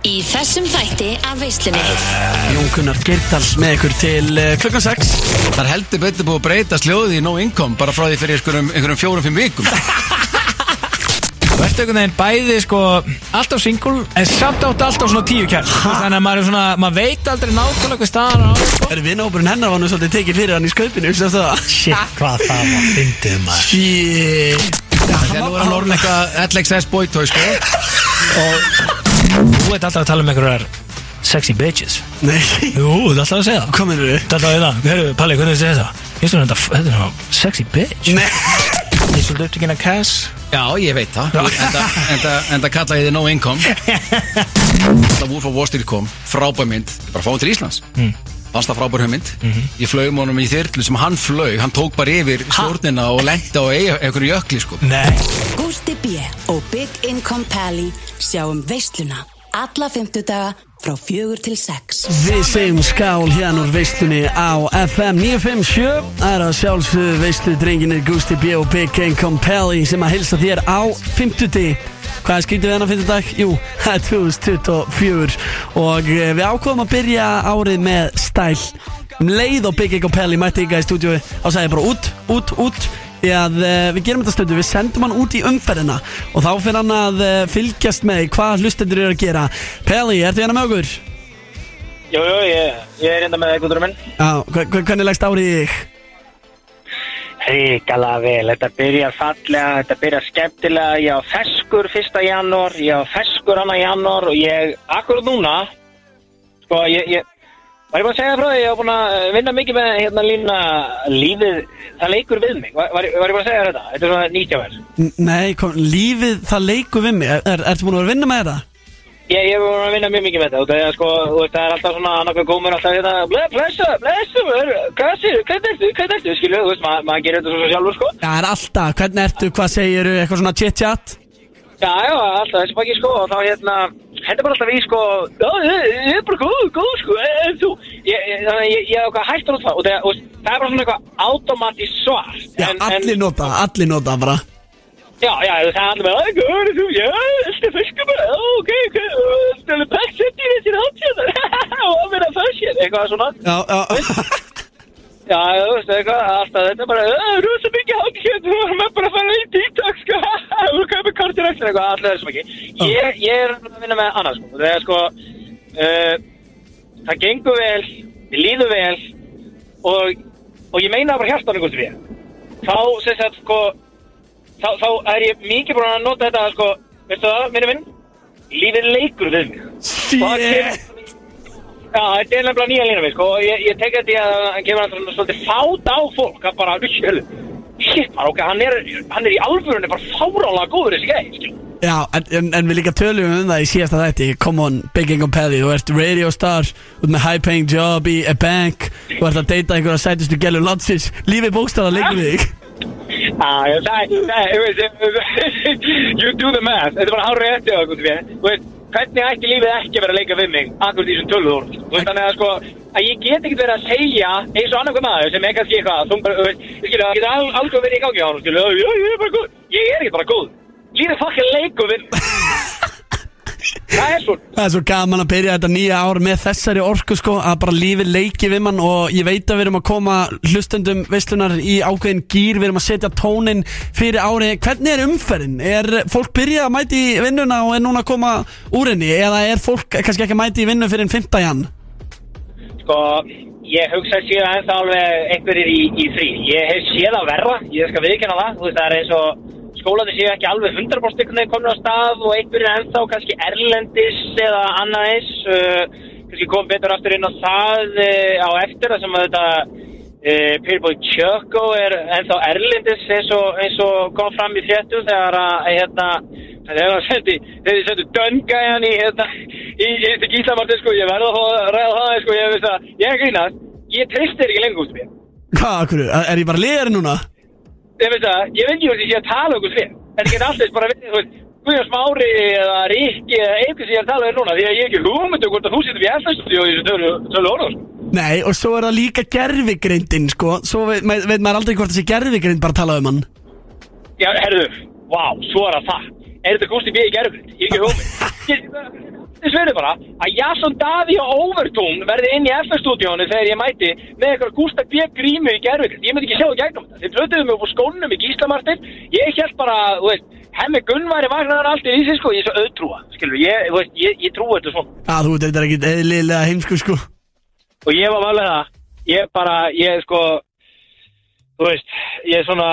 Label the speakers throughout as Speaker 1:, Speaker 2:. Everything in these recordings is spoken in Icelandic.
Speaker 1: Í þessum þætti af veislunni
Speaker 2: Jón Gunnar Geirdals með ykkur til uh, klukkan 6
Speaker 3: Það er heldur betur búið að breyta sljóðið í no income bara frá því fyrir einhverjum, einhverjum fjórum-fimm vikum
Speaker 4: Þú ert einhvern veginn bæði sko alltaf single en samt átt alltaf svona tíu kjær Þannig að maður er svona, maður veit aldrei nákvæmlega hvað staðan á sko.
Speaker 2: Það er vinnhópurinn hennar var nú svolítið tekið fyrir hann í skaupinu Þú veist það
Speaker 5: Shit, hvað það var fyndið maður
Speaker 2: Shit
Speaker 3: Þegar nú er hann orðin eitthvað LXS boytoy sko
Speaker 4: Þú ert alltaf að tala um einhverjar sexy bitches
Speaker 2: Nei,
Speaker 4: Jú, þú ert alltaf að segja það
Speaker 2: hvað minnur þið?
Speaker 4: Þú ert alltaf að segja það, hérðu Palli, hvernig þú segir það? Ég stund þetta, þetta er svona sexy bitch
Speaker 2: Nei
Speaker 4: Ég er svolítið upptökinn að cash
Speaker 3: Já, ég veit það Enda, enda, enda kalla ég þið no income Það Wolf of Wall Street kom frábær mynd, ég bara fáið til Íslands Fannst það frábær hugmynd Ég flög um honum í þyrlu sem hann flög Hann tók bara yfir stjórnina og lendi á ei- einhverju jökli sko
Speaker 4: Nei
Speaker 6: Gústi B. og Big Income Pally sjáum veisluna alla fymtudaga frá fjögur til sex.
Speaker 2: Við segjum skál hérna úr veistunni á FM 957 Það er að sjálfsögðu veistu drenginir Gusti B. og Big Gang Compelli sem að hilsa þér á 50 Hvað er skrítið við hennar 50 dag? Jú, það er 2024 og eh, við ákváðum að byrja árið með stæl um leið og Big Gang Compelli mætti ykkar í stúdíu og sagði bara út, út, út því að uh, við gerum þetta stundu, við sendum hann út í umferðina og þá fyrir hann að uh, fylgjast með hvað hlustendur eru að gera Pelli, ertu hérna með okkur?
Speaker 7: Jú, jú, ég, ég er enda með ekkurdurum minn.
Speaker 2: Já, hve- hve- hvernig leggst árið í þig?
Speaker 7: Ríkala vel, þetta byrjar fallega, þetta byrjar skemmtilega, ég á feskur 1. janúar, ég á feskur 2. janúar og ég, akkur núna, sko, ég, ég, var ég búin að segja frá því, ég var búin að vinna mikið með hérna lína lífið, það leikur við mig, var, var, ég- var ég búin að segja þér þetta, þetta er svona nýtjaverð.
Speaker 2: N- Nei, kom, lífið það leikur við mig er, er, Ertu búin að vera að vinna með þetta?
Speaker 7: Ég, ég var að vinna mjög mikið með þetta og það er sko, þú veist, það er alltaf svona annarkoð gómur alltaf hérna, "Ble- blessa, blessa, maður, hvað sér, hvað ertu, hvað ertu, skilju, þú veist, maður mað gerir þetta svo sjálfur, sko.
Speaker 2: Já, það er alltaf, hvernig ertu, hvað segiru, eitthvað svona chit-chat
Speaker 7: Já, já, alltaf þessi baki sko og þá hérna, hendur bara alltaf í sko Já, ég, ég er bara góð, góð sko en, en þú, ég, ég, þannig að ég, ég er eitthvað hættur út það og það, og það er bara svona eitthvað automatist svar
Speaker 2: Já, allir nota, allir nota bara
Speaker 7: Já, já, það er allir með, að góð, þú, já, þetta er fiskum Já, ok, ok, það er pæksett í þessi hátíð og að vera fæsjett, eitthvað svona
Speaker 2: Já, já,
Speaker 7: Já, já, þú veist, eitthvað, alltaf þetta er bara, "Ö, rosa mikið hangjönd, þú erum bara að fara í TikTok, sko, þú erum kaupið kartir ekstra, eitthvað, alltaf þetta sem ekki. Ég, ég er að vinna með annað, sko, þegar, sko, uh, það gengur vel, við líður vel og, og ég meina það bara hjartan einhvers við. Þá, sem sagt, sko, þá, þá er ég mikið búin að nota þetta, sko, veistu það, minni minn, lífið leikur við mig. Hvað
Speaker 2: shit
Speaker 7: kemur- Já, þetta er nefnilega nýja lína við, sko, og ég, ég tek þetta í að hann kemur hann svona svolítið fát á fólk, að bara, hjölu, shit, bara, ok, hann er, hann er í alvörunni bara fárálega góður þessi gæði, skil.
Speaker 2: Já, en, en, en við líka tölum um það í síðasta þætti Come on, Big Income Pelli, þú ert radio star Þú ert með high paying job í a bank Þú ert að deyta einhverja sætustu gælur landsins Lífið bókstala leikur við þig
Speaker 7: Já, já, það, það, þú veist, you do the math, þetta er bara hárið eftir það, gúti mér, þú veist, hvernig ætti lífið ekki að vera að leika við mig, akkur því sem tölvur, þú veist, þannig að, sko, að ég get ekkert verið að segja eins og annarkoð maður sem er kannski eitthvað, þú bara, þú veist, ég skilja, það getur al- algjörlega verið í gangi á hann, skilja, já, ég er bara góð, ég er ekki bara góð, lífið fokkið leikur við, það er svona.
Speaker 2: Það er svo gaman að byrja þetta nýja ár með þessari orku sko að bara lífið leiki við mann og ég veit að við erum að koma hlustendum veislunar í ákveðin gýr við erum að setja tónin fyrir ári Hvernig er umferðin? Er fólk byrjað að mæti í vinnuna og er núna að koma úr henni eða er fólk kannski ekki að mæti í vinnu fyrir en 5. jan?
Speaker 7: sko, ég hugsa síðan ennþá alveg einhverjir í, í frí. Ég hef séð að verra, ég skal viðkynna það, þú veist, það er eins og skólandi séu ekki alveg 100% einhvern veginn komin á stað og einhverjir ennþá kannski erlendis eða annað eins, uh, kannski kom betur aftur inn á það uh, á eftir það sem að þetta uh, Peerbói Tjökko er ennþá erlendis eins og, eins og kom fram í fréttum þegar að, hérna, Þegar það sendi, þegar þið sendu döngæjan í, hérna, í, í, í Gíslamartin, sko, ég verða að ræða það, sko, ég veist að, ég er grínast, ég treystir ekki lengur út mér.
Speaker 2: Hvað, akkur? Er ég bara liðari núna?
Speaker 7: Ég veist að, ég veit ekki hvort ég sé að tala okkur svið, en ég get alltaf bara verið, þú veist, Guðjón Smári eða Ríkki eða eitthvað sem ég er að tala við núna, því að ég er ekki hugmyndu hvort að þú sittum í FN-stúdíu í þessu tölu, tölu orðum, sko.
Speaker 2: Nei, og svo er það líka gerfigreindin sko Svo veit, ma- veit maður aldrei hvort þessi gerfigreind bara tala um hann
Speaker 7: Já, herðu, vá, svo er að það. Er þetta Gústi B. í gerðugrind? Ég er ekki hugmynd.
Speaker 8: Þess verður bara að Jason Daví og Overtún verði inn í FF-stúdíónu þegar ég mæti með eitthvað Gustaf B. grímu í gerðvill. Ég myndi ekki sjá það gegnum þetta. Þið plötuðu mig upp úr skónum í Gíslamartin. Ég held bara, þú veist, hemmi Gunnværi vagnar allt í þessi sko, ég er svo auðtrúa. Skilur, ég, þú veist, ég, ég trúi þetta svona.
Speaker 2: Að þú þetta er ekkert eðlilega heimsku sko
Speaker 8: Og ég var valið það. Ég bara, ég sko, þú veist, ég er svona,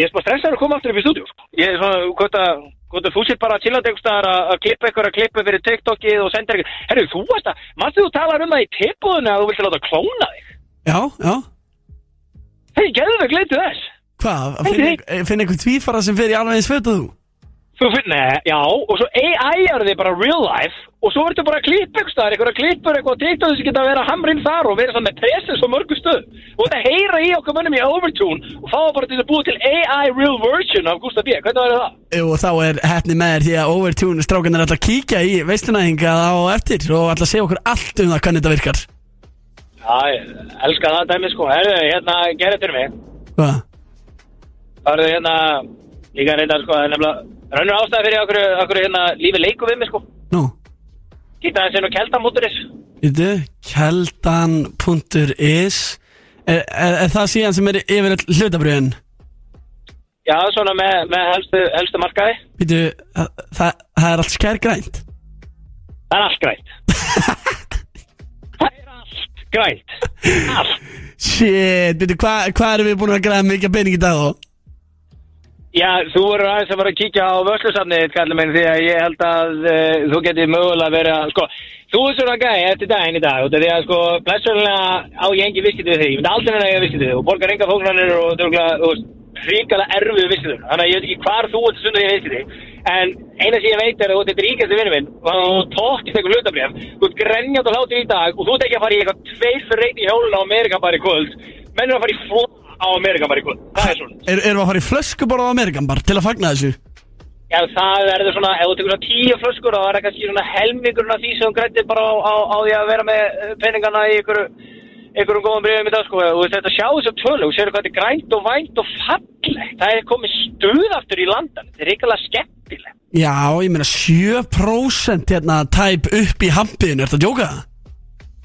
Speaker 8: ég er svona stressaður að koma aftur upp í stúdíu. Sko. Ég er svona, hvort að, hvort að þú sétt bara að chillandi einhvers staðar að að klippa ykkur að klippa fyrir TikTokið og senda ykkur. Herru, þú veist að, mannstu þú talar um það í tilbúðinu að þú vilt láta klóna þig.
Speaker 2: Já, já
Speaker 8: Hei, gerðu þau gleitu þess.
Speaker 2: Hvað, að finna, eh, finna einhvern tvífara sem fer í alveg eins fötu þú?
Speaker 8: Þú finnir það, já, og svo AI-ar þið bara real life og svo verður bara að klippa einhvers staðar, einhverja klippur, eitthvað TikTok sem geta að vera hamrinn þar og vera svona með presens á mörgum stöðum. Og þetta heyra í okkur mönnum í Overtune og fá bara til að búa til AI real version af Gustaf B. Hvernig verður það?
Speaker 2: Jú, og þá er hefni með þér því að Overtune strákan er alltaf að kíkja í veistunæðinga á eftir og alltaf að segja okkur allt um það hvernig þetta virkar
Speaker 8: Já, ég elska það dæmi sko. Herðu, hérna, gerðu þetta fyrir mig.
Speaker 2: Hvað?
Speaker 8: Farðu hérna, líka reyndar sko, það er nefnilega, rönnur ástæði fyrir okkur, okkur hérna, lífi leiku við mig sko.
Speaker 2: Nú,
Speaker 8: Gita þessi nú keltamóturis.
Speaker 2: veitu, keldan.is er, er, er það síðan sem er yfir hlutabriðin?
Speaker 8: Já, svona með, með helstu, helstu markaði.
Speaker 2: Veitu, það, það, það er allt skærgrænt
Speaker 8: Það er allt grænt Það er allt grænt Allt
Speaker 2: Shit, veitu, hvað hva erum við búin að græða mikið pening í dag þó?
Speaker 8: Já, þú verður aðeins að fara að kíkja á vörslusafnið, kallum minn, því að ég held að e, þú getið mögulega verið að, sko, þú er svona gæði eftir daginn í dag, út af því að, sko, blessunlega á ég engi viskitið þig, ég myndi aldrei að ég viskitið þig og borgar enga fóknarnir og dörgla, þú veist, ríkala erfið viskitið þig, þannig að ég veit ekki hvar þú ert að sunda ég viskitið þig, en eina sem ég veit er að þú ert eitt ríkast vinnu minn og þú tókist eitthvað hlutabrif, þú ert grenjand og hlátir í dag og þú ert ekki að fara í eitthvað tveir fyrir einn í hjólun á Amerika bara í kvöld, menn eru að fara í fló á Amerika bara í kvöld, það er svona.
Speaker 2: Er, erum við að fara í flöskuborð á Amerikan bara til að fagna þessu?
Speaker 8: Já, það verður svona, ef þú tekur svona tíu flöskur þá er það kannski svona helmingurinn af því sem þú grættir bara á, á, á því að vera með eh, peningana í einhverju, einhverjum góðum breyfum í dag, sko. Og þetta sjá þessum tölu, þú séu hvað þetta er grænt og vænt og fallegt. Það er komið stuð aftur í landan. Þetta er ykkurlega skemmtilegt.
Speaker 2: Já, ég meina 7% hérna tæp upp í hampiðinu, ertu að djóka það?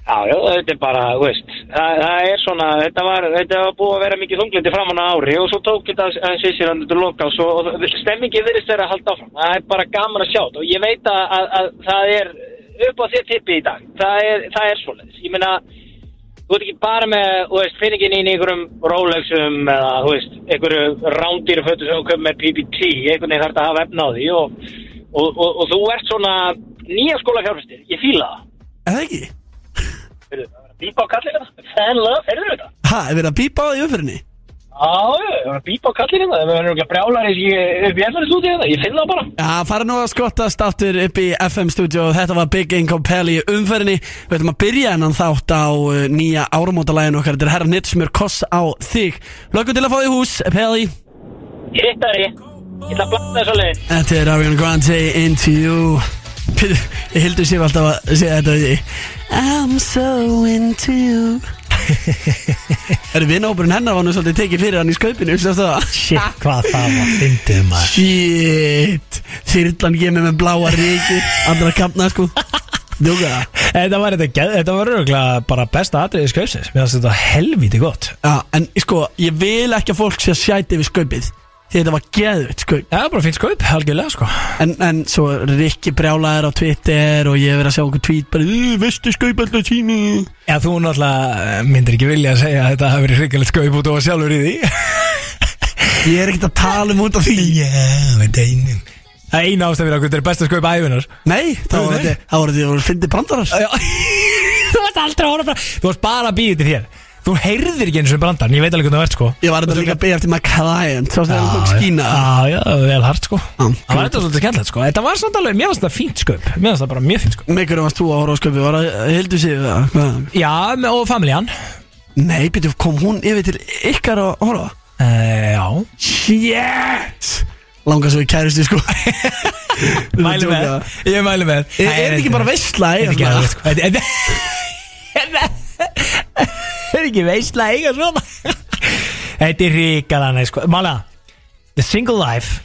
Speaker 8: Já, já, þetta er bara, þú veist, það, það er svona, þetta var, þetta var búið að vera mikið þunglindi framan á ári og svo tók þetta aðeins við sér að þetta loka og svo, og stemmingi virðist vera að halda áfram, það er bara gaman að sjá þetta og ég veit að, að, að það er upp á þér tippi í dag, það er, það er svoleiðis, ég meina, þú ert ekki bara með, þú veist, finningin í einhverjum Rolexum eða, þú veist, einhverju rándýru fötu sem þú köpum með PPT, einhvern veginn þarf að hafa efna á því og, og, og, og þú ert svona nýja skóla fjárfæstir, ég fíla það.
Speaker 2: Er það ekki?
Speaker 8: Heyrðu, það var að Bípa á kallinu það? hérna. Fan love, heyrðu þetta?
Speaker 2: Ha, er verið að bípa á því umfyrinni?
Speaker 8: Já, já, hérna. það var að bípa á kallinu það. Það verður ekki að brjála þess ég upp í ennverðis út í þetta. Ég finn það bara.
Speaker 2: Já, fara nú að skottast aftur upp í FM stúdíu og þetta var Big Income Peli umfyrinni Við ætlum að byrja hennan þátt á uh, nýja áramótalægin okkar Þetta er herra nýtt sem er koss á þig Lökum til að fá því hús, Peli
Speaker 8: Ég hitt það er ég. Ég ætla að blanda þessu leiðin.
Speaker 2: Þetta er Ariana Grande, Into You Pítur, Ég hildur sér alltaf að segja þetta við því I'm so into you Erum vinnópurinn hennar var nú svolítið tekið fyrir hann í skaupinu, sérst það?
Speaker 5: Shit, hvað það var fyndið maður
Speaker 2: Shit Þyrlan gemið með bláa ríki Andra kampna sko Djóka það
Speaker 7: Þetta var, þetta, geð- þetta var rauglega bara besta atriðið skaupsins Mér finnst þetta helvíti gott
Speaker 2: Já, en sko, ég vil ekki að fólk sé að sjæti við skaupið Því þetta var geðvitt skaup
Speaker 7: Já, bara fínt skaup, algjörlega sko
Speaker 2: En, en svo er Rikki brjálaðir á Twitter Og ég hef verið að sjá okkur tweet Bara, "Ú, veistu skaup alltaf tími
Speaker 7: Já, þú náttúrulega eh, myndir ekki vilja að segja að þetta hafi verið hrikalegt skaup út og var sjálfur í því
Speaker 2: Ég er ekkert að tala um út af því
Speaker 7: Já, þetta er einum Það er eina ástæð fyrir okkur, þetta er besta skaup æfinar
Speaker 2: Nei, þá voru
Speaker 7: Nei.
Speaker 2: þetta Þá voru þetta, voru fyndið brandarar
Speaker 7: Já, Þú varst aldrei að horfa bara Þú varst bara að býja til þér Þú heyrðir ekki eins og brandar, en ég veit alveg hvernig það verð sko
Speaker 2: Ég var þetta líka að beigja eftir maður client Svo sem það tók
Speaker 7: Já,
Speaker 2: skína
Speaker 7: Já, já, vel hart sko
Speaker 2: Já,
Speaker 7: Það var þetta svolítið skemmtilegt sko Þetta var samt alveg, mér finnst þetta fínt skaup Mér finnst þetta bara mjög fínt skaup
Speaker 2: Með hverju varst þú að horfa á skaupið? Var að hildu sig við það? Hvað?
Speaker 7: Já, með- og familjan
Speaker 2: Nei, byrju, kom hún yfir til ykkar að horfa?
Speaker 7: Uh, já
Speaker 2: Shit Langar svo í kæristu sko
Speaker 7: Mæli með Ég mæli með
Speaker 2: Er er þetta ekki bara veistla
Speaker 7: Þetta er ekki alveg sko Þetta- Þetta þetta- þetta er ekki veistla eiga svona Þetta er ríkala nei sko Mála The single life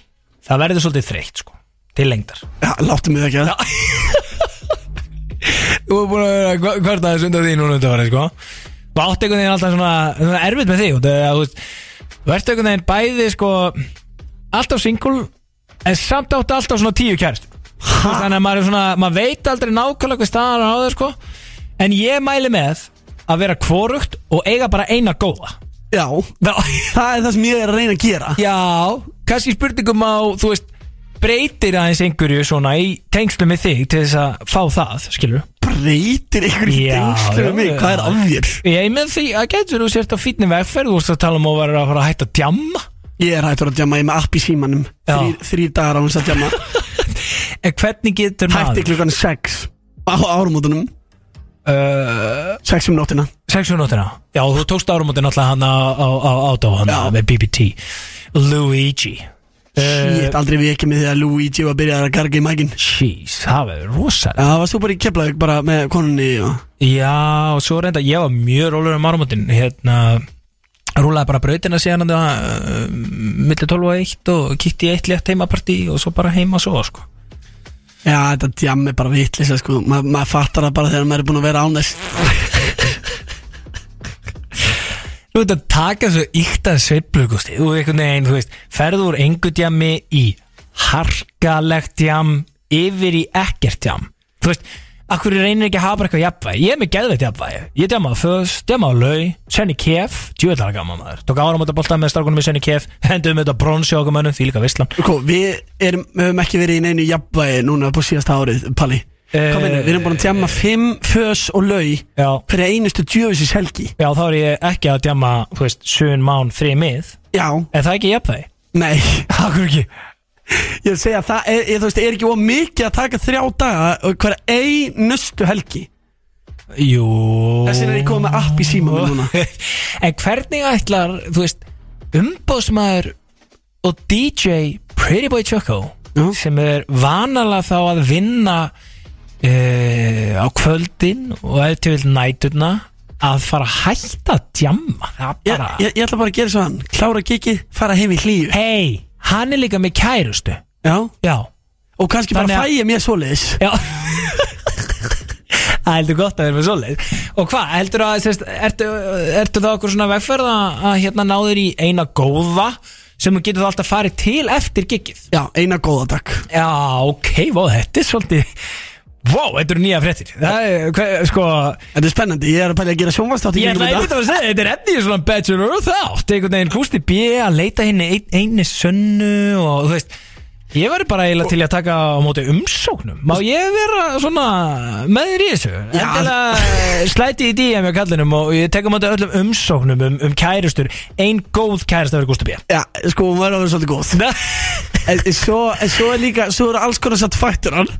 Speaker 7: Það verður svolítið þreytt sko Til lengdar
Speaker 2: Láttu mig það ekki að
Speaker 7: Þú er búin að vera hvert aðeins undan því núna undan sko Og átt einhvern veginn alltaf svona, svona erfitt með því og það, að, Þú veist, þú ert einhvern veginn bæði sko Alltaf single En samt átt alltaf svona tíu kært Þannig að maður, er svona, maður veit aldrei nákvæmlega hvað staðan á það sko En ég mæli með að vera kvorugt og eiga bara eina góða
Speaker 2: Já, það er það sem ég er að reyna að gera
Speaker 7: Já, kannski spurningum á, þú veist, breytir aðeins einhverju svona í tengslu með þig til þess að fá það, skilur
Speaker 2: Breytir ykkur í
Speaker 7: Já,
Speaker 2: dengslu
Speaker 7: já,
Speaker 2: um mig,
Speaker 7: já.
Speaker 2: hvað er af þér?
Speaker 7: Ég með því að getur þú sért á fínni vegferð, þú veist að tala um að vera að fara að hætta að djamma
Speaker 2: Ég er hættur að djama, ég er með app í símanum
Speaker 7: Já.
Speaker 2: Þrýr þrý dagar á hans að djama
Speaker 7: En hvernig getur
Speaker 2: Hætti
Speaker 7: maður?
Speaker 2: klukkan 6 á árumótunum
Speaker 7: Uh,
Speaker 2: 6 um nóttina
Speaker 7: 6 minútina Já, þú tókst árumótin alltaf hann á, á, á ádó hann
Speaker 2: Já.
Speaker 7: með BBT Luigi Eh.
Speaker 2: Shit, aldrei við ekki með því að Luigi var að byrja að garga í mækin
Speaker 7: Jeez, það verður rosalega
Speaker 2: Já, varst þú bara í Keflavík bara með konunni og...
Speaker 7: Já, og svo reynda, ég var mjög rólur um árumótin Hérna, rúlaði bara brautina síðan það, uh, milli 12 og 1 og kíkti í eitt létt heimapartí og svo bara heima svo, sko
Speaker 2: Já, þetta djam er bara vitlisa sko Ma- Maður fattar það bara þegar maður er búin að vera án þess
Speaker 7: Þú veit að taka svo ykta sveiflugusti Þú veit einhvern veginn, þú veist Ferðu úr engu djami í harkalegt djam Yfir í ekkert djam Þú veist, akkur reynir ekki að hafa bara eitthvað jafnvægi Ég er með geðveitt jafnvægi Ég djama á föðs, djama á lau, senni kef Djúðlega gaman maður Tók ára móta bolta með starkunum í senni kef Hendum þetta bronsi okkur mönnum, því líka vislam
Speaker 2: Sko, við erum, við höfum ekki verið í neinu jafnvægi núna på síðasta árið, Palli
Speaker 7: Eh,
Speaker 2: Hvað meina, við erum búin að djama 5, fös og lau
Speaker 7: Já,
Speaker 2: hverja einustu djöfisins helgi
Speaker 7: já þá er ég ekki að djama, þú veist, sun, mán, þri mið
Speaker 2: Já,
Speaker 7: Er það ekki jafnvægi?
Speaker 2: nei,
Speaker 7: Akkur ekki
Speaker 2: ég segi að það er, ég, þú veist, er ekki of mikið að taka þrjá daga og hverja einustu helgi
Speaker 7: Jú
Speaker 2: Þess vegna er ég komið með app í síma minn núna
Speaker 7: En hvernig ætlar, þú veist, umbóðsmaður og DJ Pretty Boy Choco
Speaker 2: Já.
Speaker 7: sem er vanalega þá að vinna uh, á kvöldin og eftir vil næturna að fara að hætta að djamma það
Speaker 2: ég,
Speaker 7: bara,
Speaker 2: ég, ég ætla bara að gera svo hann, klára kikið, fara heim í hlýju
Speaker 7: hei, hann er líka með kærustu
Speaker 2: Já,
Speaker 7: já,
Speaker 2: og kannski
Speaker 7: Þannig
Speaker 2: bara
Speaker 7: að-
Speaker 2: fæ ég mér svoleiðis
Speaker 7: já Það heldur gott að vera með svoleið Og hvað, heldur að, sérst, ertu, ertu það okkur svona vegferð að, að hérna náður í eina góða sem þú getur þá alltaf farið til eftir giggið
Speaker 2: Já, eina góða takk
Speaker 7: Já, ok, vó, þetta er svolítið Vó, þetta eru nýja fréttir Það er, hver, sko
Speaker 2: Þetta er spennandi, ég er að pæla að gera sjónvastátt
Speaker 7: Ég ætla einmitt að segja, þetta er efni í svona Bachelor og þátt Einhvern veginn Gústi B að leita henni ein, einni sönnu Og þú veist Ég verður bara eiginlega til í að taka á móti umsóknum Má ég vera svona með þér í þessu? Endilega slæti í DM hjá kallinum og ég tek á móti öllum umsóknum um, um kærustur Ein góð kærust að vera Gústi B
Speaker 2: Já, sko, hún var að vera svolítið góð En en svo, en svo er líka, svo eru alls konar satt faktorar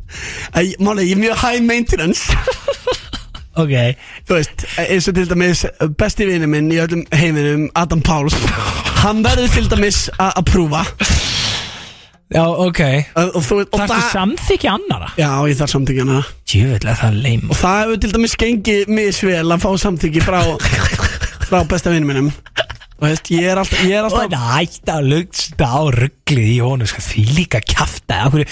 Speaker 2: Að ég- Máli, ég er mjög high maintenance
Speaker 7: Ok
Speaker 2: Þú veist, eins og til dæmis besti vinur minn í öllum heiminum, Adam Páls Hann verður til dæmis að að prúfa
Speaker 7: Já, ok
Speaker 2: Og, og, þú veist- og
Speaker 7: Þarftu samþykja annara?
Speaker 2: Já, ég þarf samþykjana
Speaker 7: Jöfnlega það er leim
Speaker 2: Og það hefur til dæmis gengið misvel að fá samþykji frá, frá besta vinur minnum Þú veist, ég er alltaf, ég er
Speaker 7: Og
Speaker 2: alltaf
Speaker 7: það hætti að lugsta á rugglið í honum sko, Því líka kjafta Akkur,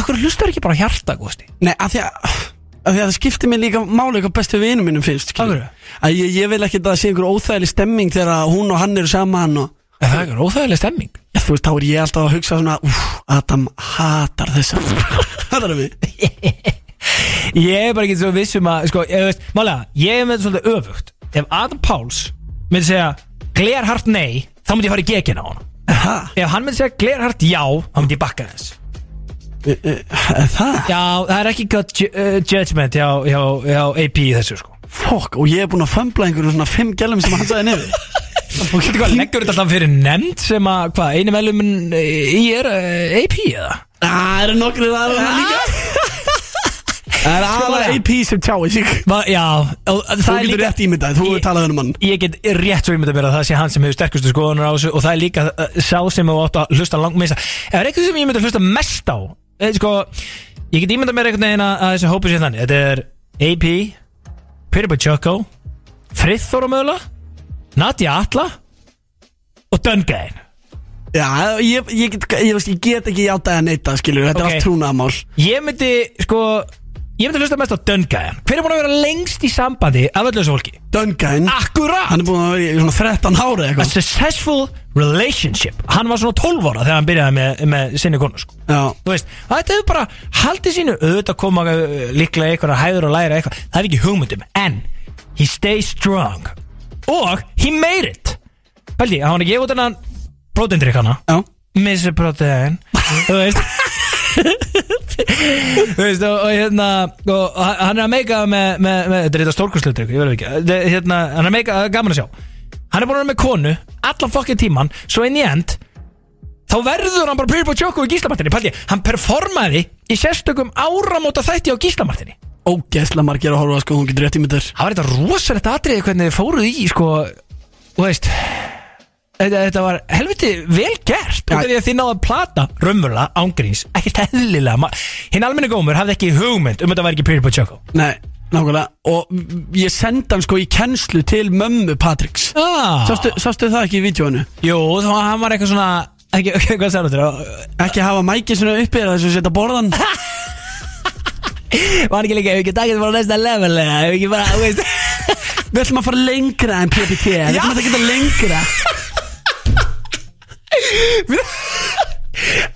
Speaker 7: akkur hlustar ekki bara á hjarta Gústi
Speaker 2: Nei, af því að Af því að það skiptir mig líka máli hvað bestu vinum minnum finnst skilur.
Speaker 7: Af hverju?
Speaker 2: Að ég, ég vil ekki að það sé einhver óþægileg stemming þegar að hún og hann eru saman og
Speaker 7: En Það er ekki óþægileg stemming
Speaker 2: Já, þú veist, þá er ég alltaf að hugsa svona Úf, Adam hatar þess að Hatar það mig
Speaker 7: Ég er bara ekki svo viss um að sko, ég, veist, Málega, ég er með þetta svolítið öfugt Ef Adam Páls myndi segja Glerhart nei, þá myndi ég fara í gekina á hann
Speaker 2: Ha?
Speaker 7: Ef hann myndi segja glerhart já Þá myndi ég bakka þess
Speaker 2: E, e, er það?
Speaker 7: Já, það er ekki gott ju- uh, judgment hjá, hjá, hjá AP í þessu sko
Speaker 2: Fokk, og ég er búinn að fömbla einhverjum svona fimm gælum sem hann sagði niður
Speaker 7: Og getur hvað, leggur þetta alltaf fyrir nefnd sem að, hvað, einu velum í er uh, AP eða?
Speaker 2: Á, Það Ah, eru nokkrið aðra hann líka Það er aðra
Speaker 7: bara-
Speaker 2: AP sem tjáir sig
Speaker 7: Va, já, og
Speaker 2: Þú
Speaker 7: það er
Speaker 2: getur
Speaker 7: líka
Speaker 2: rétt ímyndað, þú hefur
Speaker 7: Ég-
Speaker 2: talað um mann
Speaker 7: Ég get rétt svo ímynda mér að það sé hann sem hefur sterkustu skoðunar á þessu og það er líka uh, sá sem þú átt að hlusta langt meista Ef það er eitthvað sem ég myndi að hlusta mest á eða, sko, Ég get ímynda mér einhvern veginn að að þessi hópur sé þannig Þetta er AP Pyrir by Choco Friðþóra mögulega Nadia Atla og Dungain
Speaker 2: Já, ég, ég, get, ég, veist, ég get ekki játað að neita, skilur Þetta
Speaker 7: Ok.
Speaker 2: er allt trúnaðamál
Speaker 7: Ég myndi, sko Ég myndi að hlusta mest á Döngaðan Hver er búin að vera lengst í sambandi af öllu þessu fólki?
Speaker 2: Dungan
Speaker 7: Akkurát
Speaker 2: Hann er búin að vera í svona 13 ára
Speaker 7: A
Speaker 2: eitthvað
Speaker 7: successful relationship Hann var svona 12 ára þegar hann byrjaði með, með sinni konu sko.
Speaker 2: Já,
Speaker 7: Þú veist, þetta hefur bara haldið sínu auðvitað koma uh, líklega einhverja hæður og læra eitthvað Það er ekki hugmyndum En he stays strong Og he made it Pældi, hann var ekki út hennan Próteindrykk hana
Speaker 2: já,
Speaker 7: Mr. Protein Þú veist Þú veist og, og hérna og, og hann- hann er að meika með, með, með þetta er þetta stórkurslutrygg, ég verður ekki Þetta er, hérna, hann er að meika, það er gaman að sjá hann er búin að vera með konu, allan fokkið tíman svo inn í end þá verður hann bara pyrir búið tjóku í gíslamartinni Paldi, hann performaði í sérstökum áramóta þætti á gíslamartinni
Speaker 2: ógeðslega margir að horfa sko, hún getur rétt í myndir
Speaker 7: það var þetta rosalegt atriði hvernig þið fóruð í sko, þú veist þetta, þetta var helviti vel gert út af því að þið náðu að plata raunverulega ángríns, ekkert eðlilega ma- hinn almenni gómur hafði ekki hugmynd um að þetta væri ekki Pretty Boy Choco
Speaker 2: Nei, nákvæmlega Og ég sendi hann sko í kennslu til mömmu Patricks
Speaker 7: ah.
Speaker 2: Sástu, sástu það ekki í vídjónu?
Speaker 7: Jú, þá hann var eitthvað svona ekki, okay, hvað sagði þetta?
Speaker 2: Ekki hafa mækið svona uppið þess að setja borðan
Speaker 7: Var ekki líka, ef ekki daginn var á næsta level eða ef ekki bara, þú veist
Speaker 2: Við ætlum að fara lengra en PPT Við ætlum að geta lengra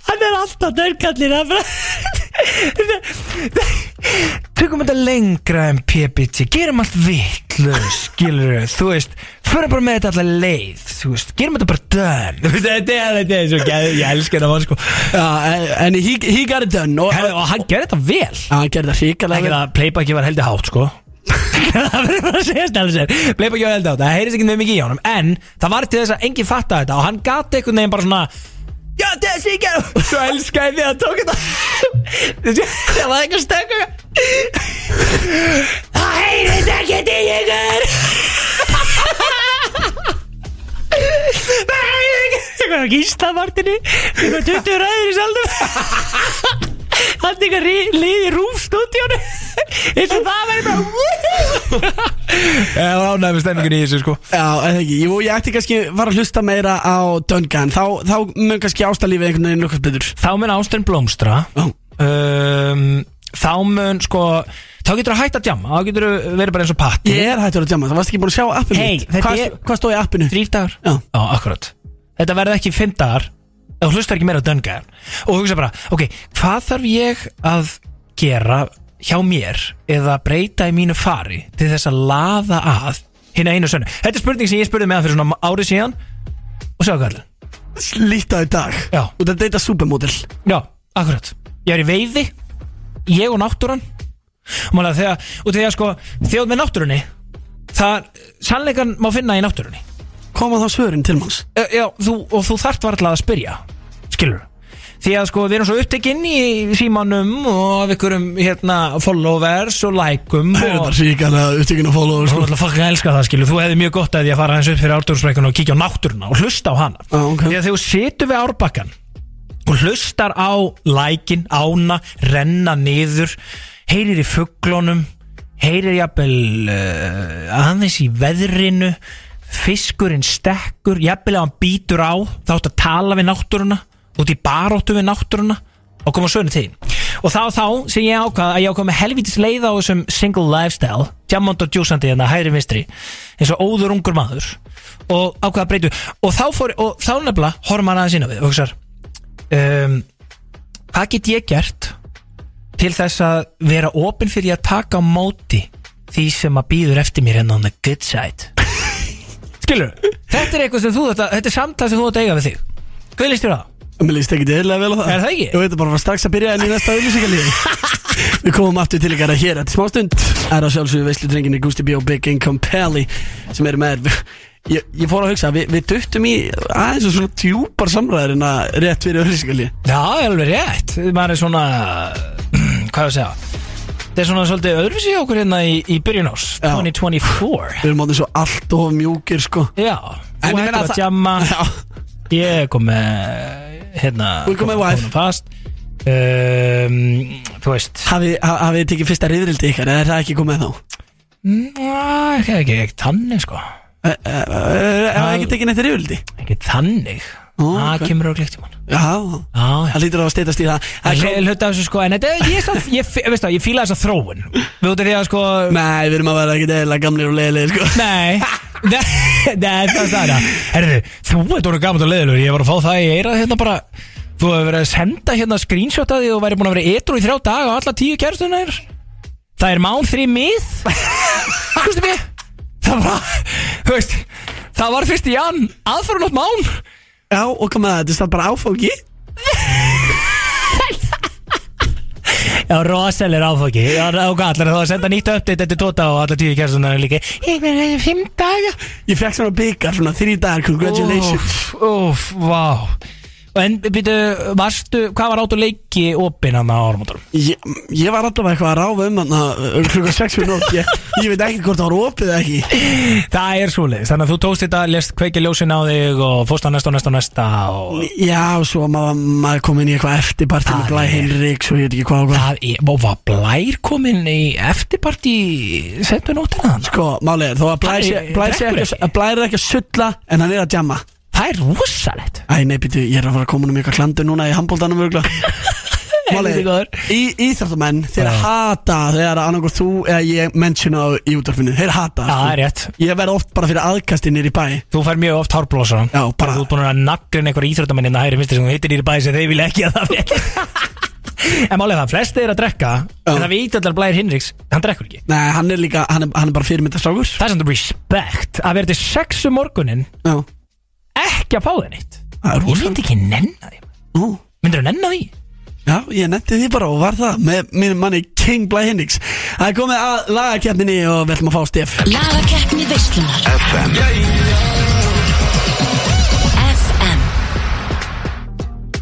Speaker 7: Hann er alltaf dörrkallir hann bara- Tökum þetta lengra en PPT Gerum allt vitlaus Skilur þú veist Förum bara með þetta allar leið Þú veist, gerum þetta bara dörr Þú veist, þetta er þetta er svo gæð Ég elska þetta mann sko
Speaker 2: Já, en- en he, he got it done Og
Speaker 7: Herðu, Og hann gerði þetta vel
Speaker 2: Já, hann gerði það
Speaker 7: Ekki
Speaker 2: hrikalega vel.
Speaker 7: það, playbacki var heldur hátt sko það verður bara að segja stæðlega sér Playbacki var heldur hátt, það heyrðis ekki mjög mikið í honum En það var til þess að enginn fatta þetta Og hann gati einhvern veginn bara svona Já, þessi ekki Svo elskaði því að tók þetta Það var eitthvað stökkur Það heyrðis ekki til ykkur Það heyrðis ekki Eitthvað gíslavartinni Eitthvað 20 ræður í saldum Hann tekur liði rúf stúdíónu eins og það verður bara Það var ánægð með stemmingun í þessu sko
Speaker 2: Já, eða ekki Jú, ég ætti kannski að fara að hlusta meira á Dungan Þá, þá mun kannski ástalífið einhvern veginn lukkast betur
Speaker 7: Þá mun ástun blómstra
Speaker 2: Já,
Speaker 7: um, Þá mun sko Þá getur þú hætt að djama Þá getur þú verið bara eins og patti
Speaker 2: Ég er hættur að djama, það varst ekki búin að sjá appinu
Speaker 7: Hey,
Speaker 2: mitt.
Speaker 7: þetta
Speaker 2: hvað,
Speaker 7: er-
Speaker 2: hvað stóð í appinu?
Speaker 7: Þrýr dagar
Speaker 2: Já.
Speaker 7: Já, akkurat Þetta verður ekki fimm dagar Þú hlustar ekki meira á döngaðan Og hugsa bara, ok, hvað þarf ég að gera hjá mér eða breyta í mínu fari til þess að laða að hinn einu sönnu Þetta er spurning sem ég spurði með hann fyrir svona ári síðan og sjá hvað allir
Speaker 2: Slíta í dag
Speaker 7: Já.
Speaker 2: Út að deyta supermodel
Speaker 7: Já, akkurat Ég er í veiði, ég og náttúran og maður að þegar, og þegar sko þjóð með náttúrunni það, sannleikan má finna í náttúrunni
Speaker 2: Koma þá svörin til manns
Speaker 7: Ö, Eh, já, þú, og þú þarft varla að spyrja skilur því að sko við erum svo upptekinn í símanum og af ykkurum hérna followers og likeum og
Speaker 2: ríkalega upptökin að follow
Speaker 7: þú ætla að fucking elska það skilur þú hefði mjög gott að því að fara hans upp fyrir árdórsbrekkuna og kíkja á náttúruna og hlusta á hana
Speaker 2: Já, ok.
Speaker 7: því að þegar þú situr við árbakkan og hlustar á lækin, ána, renna niður heyrir í fugglónum heyrir jafnvel uh, aðeins í veðrinu fiskurinn stekkur jafnvel að hann býtur á þá áttu að tala við náttúruna út í baróttu við náttúruna og koma sögnu til þín. og þá þá sem ég ákvað að ég ákvað með helvítis leið á þessum single lifestyle jamond og djúsandi hérna hægri vinstri eins og óður ungur maður og ákvað að breytu og þá, fór, og þá nefnilega horfum hann aðeins inn á við og hugsar um, hvað get ég gert til þess að vera opinn fyrir að taka á móti því sem að býður eftir mér hérna on the good side skilur, þetta er eitthvað sem þú þetta, þetta er samtala sem þú þetta eiga við þig hvað líst þér á?
Speaker 2: Mér líst ekki eðlilega vel á það
Speaker 7: Er það ekki?
Speaker 2: Jú, þetta er bara var strax að byrja en í næsta auðlýsingalíði Við komum aftur til ykkar að hér eftir smá stund Það er að sjálfsögðu veislutrenginu Gusti B og Big Income Pally sem eru með þér. ég, ég fór að hugsa, við, við duttum í aðeins og svona djúpar samræðir en að rétt fyrir auðlýsingalíði
Speaker 7: Já, ég er alveg rétt maður er svona, hvað er að segja þetta er svona svolítið öðruvísi hjá okkur hérna í, í byrjun ás
Speaker 2: Já.
Speaker 7: 2024
Speaker 2: Við erum áttum svo allt of mjúkir sko
Speaker 7: Já, þú
Speaker 2: En ég meina
Speaker 7: hættir að
Speaker 2: það-
Speaker 7: djamma
Speaker 2: Já,
Speaker 7: Ég kom með hérna
Speaker 2: Þú kom með wife.
Speaker 7: honum fast um, Þú veist
Speaker 2: hafið ha- hafið
Speaker 7: ah,
Speaker 2: þið tekið fyrsta riðrildi ykkar eða er það ekki komið þá?
Speaker 7: Það er ekki ekki tanni sko
Speaker 2: Hefur ekki tekið neitt rjöldi?
Speaker 7: Ekki þannig
Speaker 2: Ó,
Speaker 7: Það
Speaker 2: ok.
Speaker 7: kemur á glíkt í mann
Speaker 2: Já,
Speaker 7: Já, já
Speaker 2: það lítur á að steytast í það Það
Speaker 7: Það
Speaker 2: kom-
Speaker 7: er hluta af þessu sko En þetta, ég, er samt- ég, ég, veist það, ég fíla þessa þróun Við út af því að sko
Speaker 2: Nei, við erum að vera ekkert eðla gamlir og leiðilegir sko
Speaker 7: Nei Nei, nei, það er það já. Herðu, þú ert orðið gaman og leiðilegur Ég var að fá það í eirað hérna bara Þú hefur verið að senda hérna screenshot að því og væri búin að vera etru í þrjá dag og alla tíu kærustunar Það er mán þrý mið Hversu mér? Það var, þú veist Það var fyrst í jan, aðfarunótt mán
Speaker 2: Já, og hvað með það, þetta er bara áfóki
Speaker 7: Já, rosalir áfóki Já, og allar þá að senda nýtt update Þetta er tóta og alla tíu kærustunar líka Ég verið fimm daga
Speaker 2: Ég fekk svona byggar, svona þrý dagar, congratulations
Speaker 7: Úf, úf, vá En byrju, varstu, hvað var áttu leiki opinn hann á áramóttunum?
Speaker 2: Ég, ég var alltaf eitthvað að ráfa um hann klukka 6 fyrir nótt ég, ég veit ekki hvort það var opið eða ekki
Speaker 7: Það er svoleiðis, þannig að þú tókst þetta, lest kveikja ljósin á þig og fórst á næsta og næsta og næsta og
Speaker 2: Já, svo maður maður kom inn í eitthvað eftirparti
Speaker 7: Það
Speaker 2: með
Speaker 7: er-
Speaker 2: Blæ Henriks og ég veit ekki hvað og hvað
Speaker 7: það er, og var blær kominn í eftirparti sendu nótina hann?
Speaker 2: Sko, málið er, þó að Blær sé,
Speaker 7: Hann er-
Speaker 2: Blær sé
Speaker 7: drekkur
Speaker 2: ekki,
Speaker 7: ekki.
Speaker 2: að Blær er ekki að sulla en hann er að jamma
Speaker 7: Það er rosalegt
Speaker 2: Æ, nei, býtu, ég er að fara að koma um eitthvað klandur núna í handbóltanum örgla Málið
Speaker 7: Helviti góður.
Speaker 2: er, í íþrættamenn þeir hata þegar annarkoð þú eða ég mentiona á í útvarfinu, þeir hata
Speaker 7: Já, það
Speaker 2: sko.
Speaker 7: er rétt
Speaker 2: Ég verð oft bara fyrir aðkasti nýr í bæ
Speaker 7: Þú fær mjög oft hárblósa
Speaker 2: Já, bara-
Speaker 7: Þú er búin að naglin einhver íþróttamenn innan hægri vinstri sem þú hittir í bæði sem þeir vilja ekki að það fyrir En málið er það, flesti er að drekka En það veit allar Blær Hinriks, hann drekkur ekki
Speaker 2: Nei, hann er líka, hann er, hann er bara fyrirmyndastrákur
Speaker 7: Það er samt respect að vera til sexu morgunin
Speaker 2: Já,
Speaker 7: ekki að fá það neitt
Speaker 2: það er
Speaker 7: Ég
Speaker 2: rosa
Speaker 7: myndi ekki nenna því
Speaker 2: Nú.
Speaker 7: Myndir þú nenna því?
Speaker 2: Já, ég nefndi því bara og var það með mínum manni King Bly Hendrix Það er komið að lagakeppninni og við ætlum að fá stef
Speaker 1: Lagakeppni veislunar FM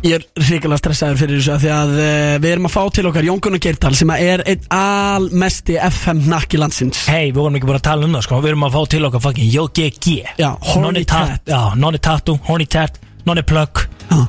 Speaker 2: Ég er hrikalega stressaður fyrir þessu af því að uh, við erum að fá til okkar Jón Gunnar Geirtal sem að er einn almesti FM nakki landsins
Speaker 7: Hei, við vorum ekki bara að tala um það sko Við erum að fá til okkar fucking JGG
Speaker 2: Já, horny
Speaker 7: Nonni tat-
Speaker 2: tat.
Speaker 7: Já, Nonni Tattoo, Horny Tat, Nonni Plug
Speaker 2: Já,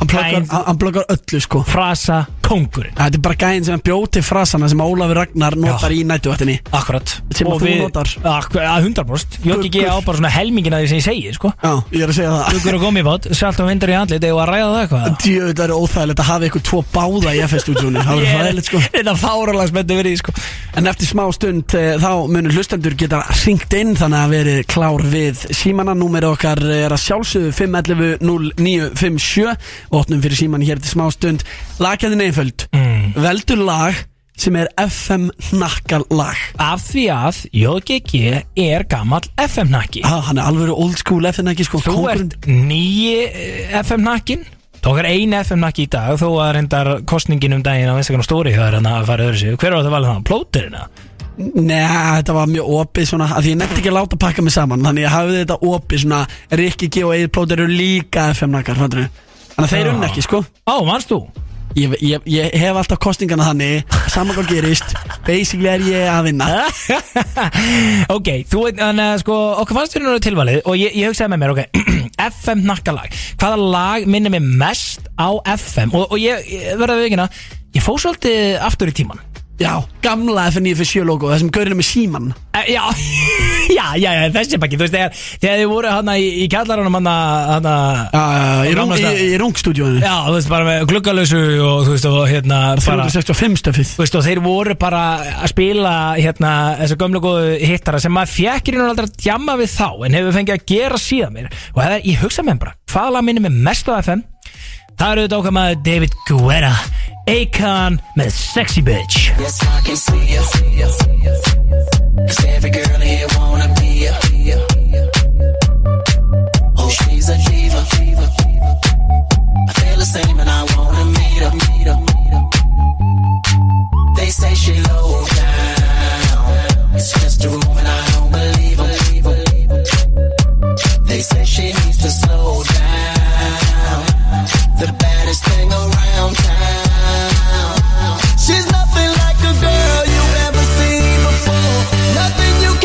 Speaker 2: Hann bloggar,
Speaker 7: Gæinn.
Speaker 2: hann, hann bloggar öllu sko
Speaker 7: Frasa, Kongurinn
Speaker 2: Þetta er bara gæðin sem bjóti frasana sem að Ólafur Ragnar notar í nættuvættinni
Speaker 7: Akkurat
Speaker 2: Sem að
Speaker 7: Og
Speaker 2: þú
Speaker 7: við-
Speaker 2: notar.
Speaker 7: Ak- að 100% JGG á bara svona helmingin að því sem ég segi sko
Speaker 2: Já, ég er að segja það
Speaker 7: Guggur og gummibát, salt og vindur í andlit Eða að ræða það eitthvað
Speaker 2: Djöðu, það er óþægilegt að hafa ykkur tvo báða í FM-stúdíunni Það verður fæðilegt sko
Speaker 7: Þetta fáralega spennu verið í, sko
Speaker 2: En eftir smá stund eh, þá munur hlustendur geta ringt inn þannig að verið klár við símanna. Númer okkar er að sjálfsögðu 511 0957 og opnum fyrir síman hér til smá stund. Lagjaðin einföld. Mm. Veldur lag sem er FM nakkal lag.
Speaker 7: Af því að JGG er gamall FM-nakki
Speaker 2: Ah, hann er alveg old school FM ekki sko.
Speaker 7: Þú
Speaker 2: kóngurinn.
Speaker 7: ert eh, nýji FM-nakkin Tók er ein FM-nakki í dag Þó að reyndar kostningin um daginn á Instagram story Það er hann að fara öðru sig Hver var það valið það? Plóterina?
Speaker 2: Nei, þetta var mjög opið svona af Því ég nefndi ekki að láta pakka mig saman Þannig ég hafði þetta opið svona Rikki G og Eir Plóter eru líka FM nakkar Þannig að þeir
Speaker 7: Já.
Speaker 2: unna ekki sko
Speaker 7: Ó, manst þú?
Speaker 2: Ég, ég, ég hef alltaf kostningana þannig Saman hvað gerist Basically er ég að vinna
Speaker 7: ok, þú veit, þannig að sko Okkur fannst þér nú tilvalið Og ég, ég hugsaði með mér, ok FM-nakkalag Hvaða lag minnir mig mest á FM? Og, og ég, ég verða við ekki Ég fór svolítið aftur í tíman
Speaker 2: Já, gamla FN957 logo Það sem gaurinu með síman
Speaker 7: Eh, Já, já, já, já, þessi pakki Þú veist, þegar, þegar þið voru hana í, í kjallarunum hana, hana
Speaker 2: uh, Í,
Speaker 7: Á
Speaker 2: rung,
Speaker 7: gamla
Speaker 2: í,
Speaker 7: stað.
Speaker 2: í rungstúdíóinu
Speaker 7: Já, þú veist, bara með gluggalösu og þú veist, og hérna bara,
Speaker 2: 365 stöfið
Speaker 7: Þú veist, og þeir voru bara að spila hérna, þessu gömlu góðu hittara sem maður fjekk í raun og aldrei að djamma við þá en hefur fengið að gera síðan mér og það er, ég hugsa með mér bara, hvaða lag minni með mest á FM? Það eru þetta okkar maður David Guetta Akon með Sexy Bitch
Speaker 9: She's nothing like a girl you've ever seen before.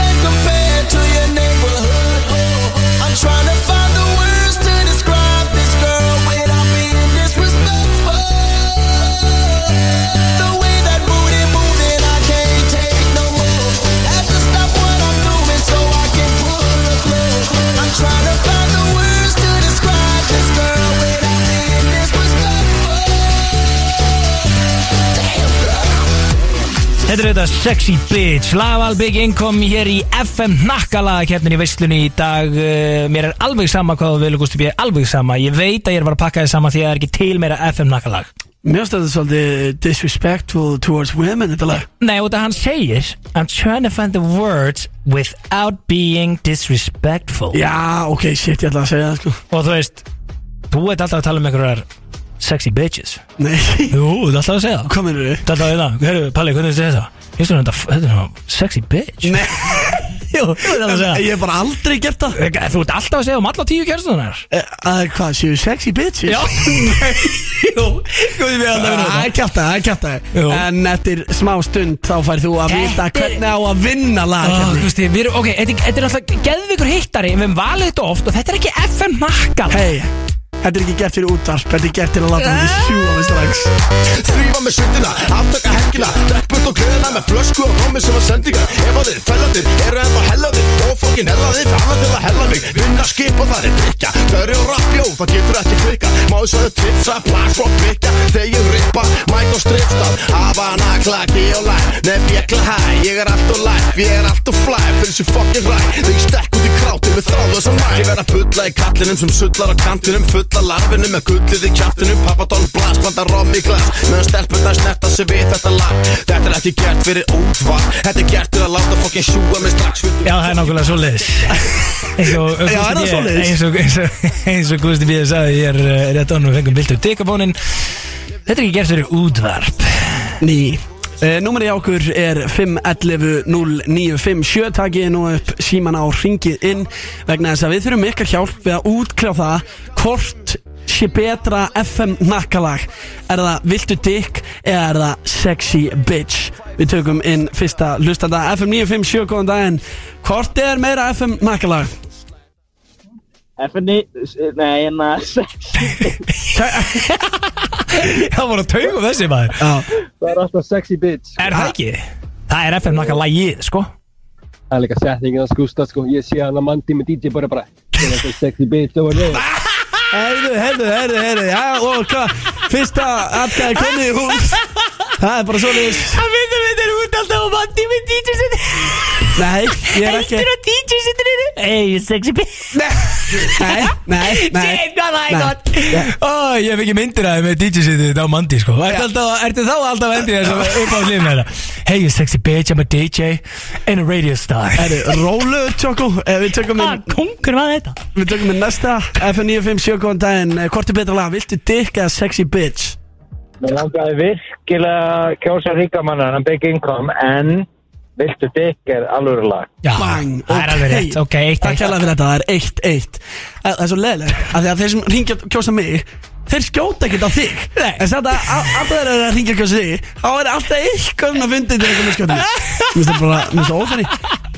Speaker 7: heitir þetta Sexy Bitch Laval Big Income hér í FM nakkalaga keppnin í veislunni í dag Eh, Mér er alveg sama hvað þú velur Gústi B Alveg sama, ég veit að ég er bara að pakka þið saman því að það er ekki til meira FM nakkalag
Speaker 2: Mér finnst þetta svolítið disrespectful towards women þetta lag
Speaker 7: Nei, út að hann segir I'm trying to find the words without being disrespectful
Speaker 2: Já, ok, shit, ég ætla að segja það sko
Speaker 7: Og þú veist, þú ert alltaf að tala um einhverjar sexy bitches
Speaker 2: Nei,
Speaker 7: Jú, þú ert alltaf að segja það
Speaker 2: hvað minnur þið?
Speaker 7: Þetta er það, hérru, Palli, hvernig er þetta? Ég svona þetta, þetta er svona sexy bitch
Speaker 2: Nei,
Speaker 7: Jú, þú ert alltaf að segja
Speaker 2: ég hef bara aldrei gert það
Speaker 7: það Þú ert alltaf að segja um alla tíu kjærstunar
Speaker 2: Eh, Að hvað, séu sexy bitches?
Speaker 7: nei, jú, Ah, góði við alltaf
Speaker 2: Það er kjátt það, það er kjátt
Speaker 7: Jú.
Speaker 2: það En eftir smá stund þá fær þú að vita
Speaker 7: Þetta er-
Speaker 2: hvernig á að vinna lag
Speaker 7: ah, Þú veist, við erum, ok, þetta þetta er alltaf geðvikur hittari, við höfum valið þetta oft og þetta er ekki FM nakkal
Speaker 2: Hei, þetta er ekki gert fyrir útvarp Þetta er gert til að láta þetta sjúa við strax
Speaker 9: Þrýfa með sveitina, aftaka helgina Drepput og gleðina með flösku og rómi sem var sendingar Ef að þið, fellaðir, eru ennþá hellaðir Og fokkin hellaðir, falla til að hella mig Vinna skip og það er drikja Dörri og rappjó, það getur ekki klikka Má þess að þau tipsa, plaks og bikja Þegin rippa, mæk og strifta Havana, klaki og læn Nef ég kla hæ, ég er allt og life Ég er allt og fly, fyrir þessu fokkin ræ Þegar ég stekk út í krátið með þráðu sem mæ Ég verð að bulla í kallinum sem sullar á kantinum Fulla larfinum með gullið í kjaftinum Papadón blast, blanda rom í glas Meðan stelpurnar snetta sig við þetta lag Þetta er ekki gert fyrir útvar Þetta er gert til að láta fokkin sjúga mig strax
Speaker 7: Já, það er nákvæmlega svo leiðis Já,
Speaker 2: Já, er það svoleiðis?
Speaker 7: Eins og, eins og, eins og Gusti Bíða sagði, ég er eh, rétt ánum og fengum viltu dikabónin Þetta er ekki gert fyrir útvarp
Speaker 2: Ný Uh, Númerið hjá okkur er 511-0957 Takið nú upp síman á ringið inn vegna þess að við þurfum ykkar hjálp við að útkljá það hvort sé betra FM nakkalag Er það viltu dick eða er það sexy bitch Við tökum inn fyrsta lustanda FM 957, góðan daginn Hvort er meira FM nakkalag?
Speaker 8: FNI, nei, hérna, en að sexy,
Speaker 7: Það voru að tauga þessi maður
Speaker 2: Já,
Speaker 8: það er alltaf sexy bitch.
Speaker 7: Er það ekki? Það er FM nakka lagið, sko
Speaker 8: Það er líka setningin að skústa, sko. Ég sé hann að mandi með DJ bara bara, það er alltaf sexy bitch over there.
Speaker 2: heyrðu, heyrðu, heyrðu, heyrðu Já, og hvað, fyrsta atkæði komið í hús Það er bara svoleiðis
Speaker 7: Það finnum við þeir út alltaf á mandi með DJ sinni
Speaker 2: Nei, ég er ekki
Speaker 7: að DJ sinni eru Hey, you sexy bitch
Speaker 2: Nei, nei, nei
Speaker 7: Shit, hvað það er
Speaker 2: Nei.
Speaker 7: gott Ó, ég hef ekki myndir aðeins með DJ sinni þetta á mandi, sko Ertu, alltaf, ertu þá alltaf endur þess að upp á hlýðum þeirra Hey, you sexy bitch, I'm a DJ and a radio star
Speaker 2: Herru, rólu tjóku Eh, Við tökum
Speaker 7: Ah,
Speaker 2: inn,
Speaker 7: Kungur var þetta
Speaker 2: við tökum inn næsta F957 góðan daginn Eh, Hvort er betra lag, viltu dick eða sexy bitch?
Speaker 8: Mér langaði virkilega að kjósa ríkamannan að byggja income, en viltu dykk er alvöru lag.
Speaker 7: Já,
Speaker 2: Bang,
Speaker 7: það er alveg rétt, ok, eitt,
Speaker 2: Takk
Speaker 7: eitt
Speaker 2: hérlega fyrir þetta, það er eitt, eitt Eh, Það er svo leiðilegt af því að þeir sem ringja og kjósa mig Þeir skjóta ekkert á þig
Speaker 7: Nei.
Speaker 2: En samt að a- að þeir eru að ringja og kjósa þig Þá er alltaf eitthvað að fundi til eitthvað með skjóta mig. Mér finnst það bara, mér finnst það ófæri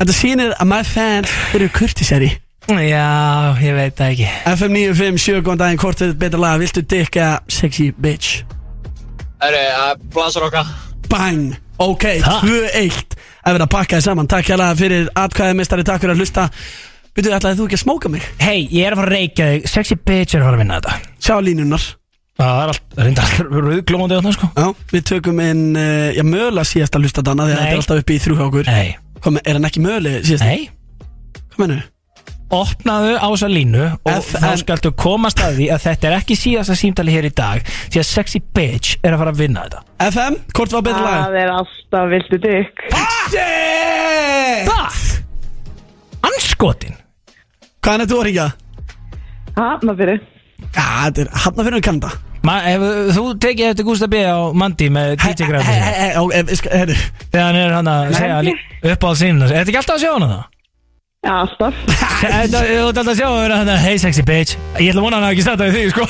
Speaker 2: Þetta sýnir að my fans eru kurtisæri
Speaker 7: Já, ég veit það ekki
Speaker 2: FM 957, góðan daginn, hvort er betra laga, viltu dick eða sexy bitch? Bang, ok, 2-1 Það er verið að pakka þið saman, takk hérlega fyrir atkvæðið mistari, takk fyrir að hlusta Veitu, ætlaði þú ekki að smóka mig?
Speaker 7: Hei, ég er að fara að reykja þig Sexy bitch er að fara að vinna þetta
Speaker 2: Sjá línunar
Speaker 7: Það er allt, reyndar alltaf rauðglómandi á það sko
Speaker 2: Já, við tökum inn, uh, já, mögulega síðasta hlusta dana Þegar
Speaker 7: Nei.
Speaker 2: þetta er alltaf upp í þrjú hjá okkur
Speaker 7: Nei,
Speaker 2: Kom, Er hann ekki mögulega síðasta?
Speaker 7: nei
Speaker 2: Hvað menur?
Speaker 7: Opnaðu á þessa línu og
Speaker 2: FM.
Speaker 7: þá skaltu komast að því að þetta er ekki síðasta símtali hér í dag því að sexy bitch er að fara að vinna þetta
Speaker 2: FM, hvort var betra laga?
Speaker 10: Það er alltaf viltu dykk
Speaker 2: Shit!
Speaker 7: Takk! Anskotin
Speaker 2: Hvaðan er þú að ringja?
Speaker 10: Hafnafyrir
Speaker 2: Já, þetta er hann að fyrir um kanda
Speaker 7: Ma, ef, Þú tekið eftir Gústa B á Mandi með DJ Grafis
Speaker 2: Herru,
Speaker 7: þegar hann er hann að segja
Speaker 10: Mandy?
Speaker 7: lí- upp á sínuna Er þetta ekki alltaf að sjá hana það?
Speaker 10: Já, alltaf
Speaker 7: Þetta- Þú ert alltaf að sjá að vera þannig Hey sexy bitch Ég ætla að vona hann að ekki starta við þig sko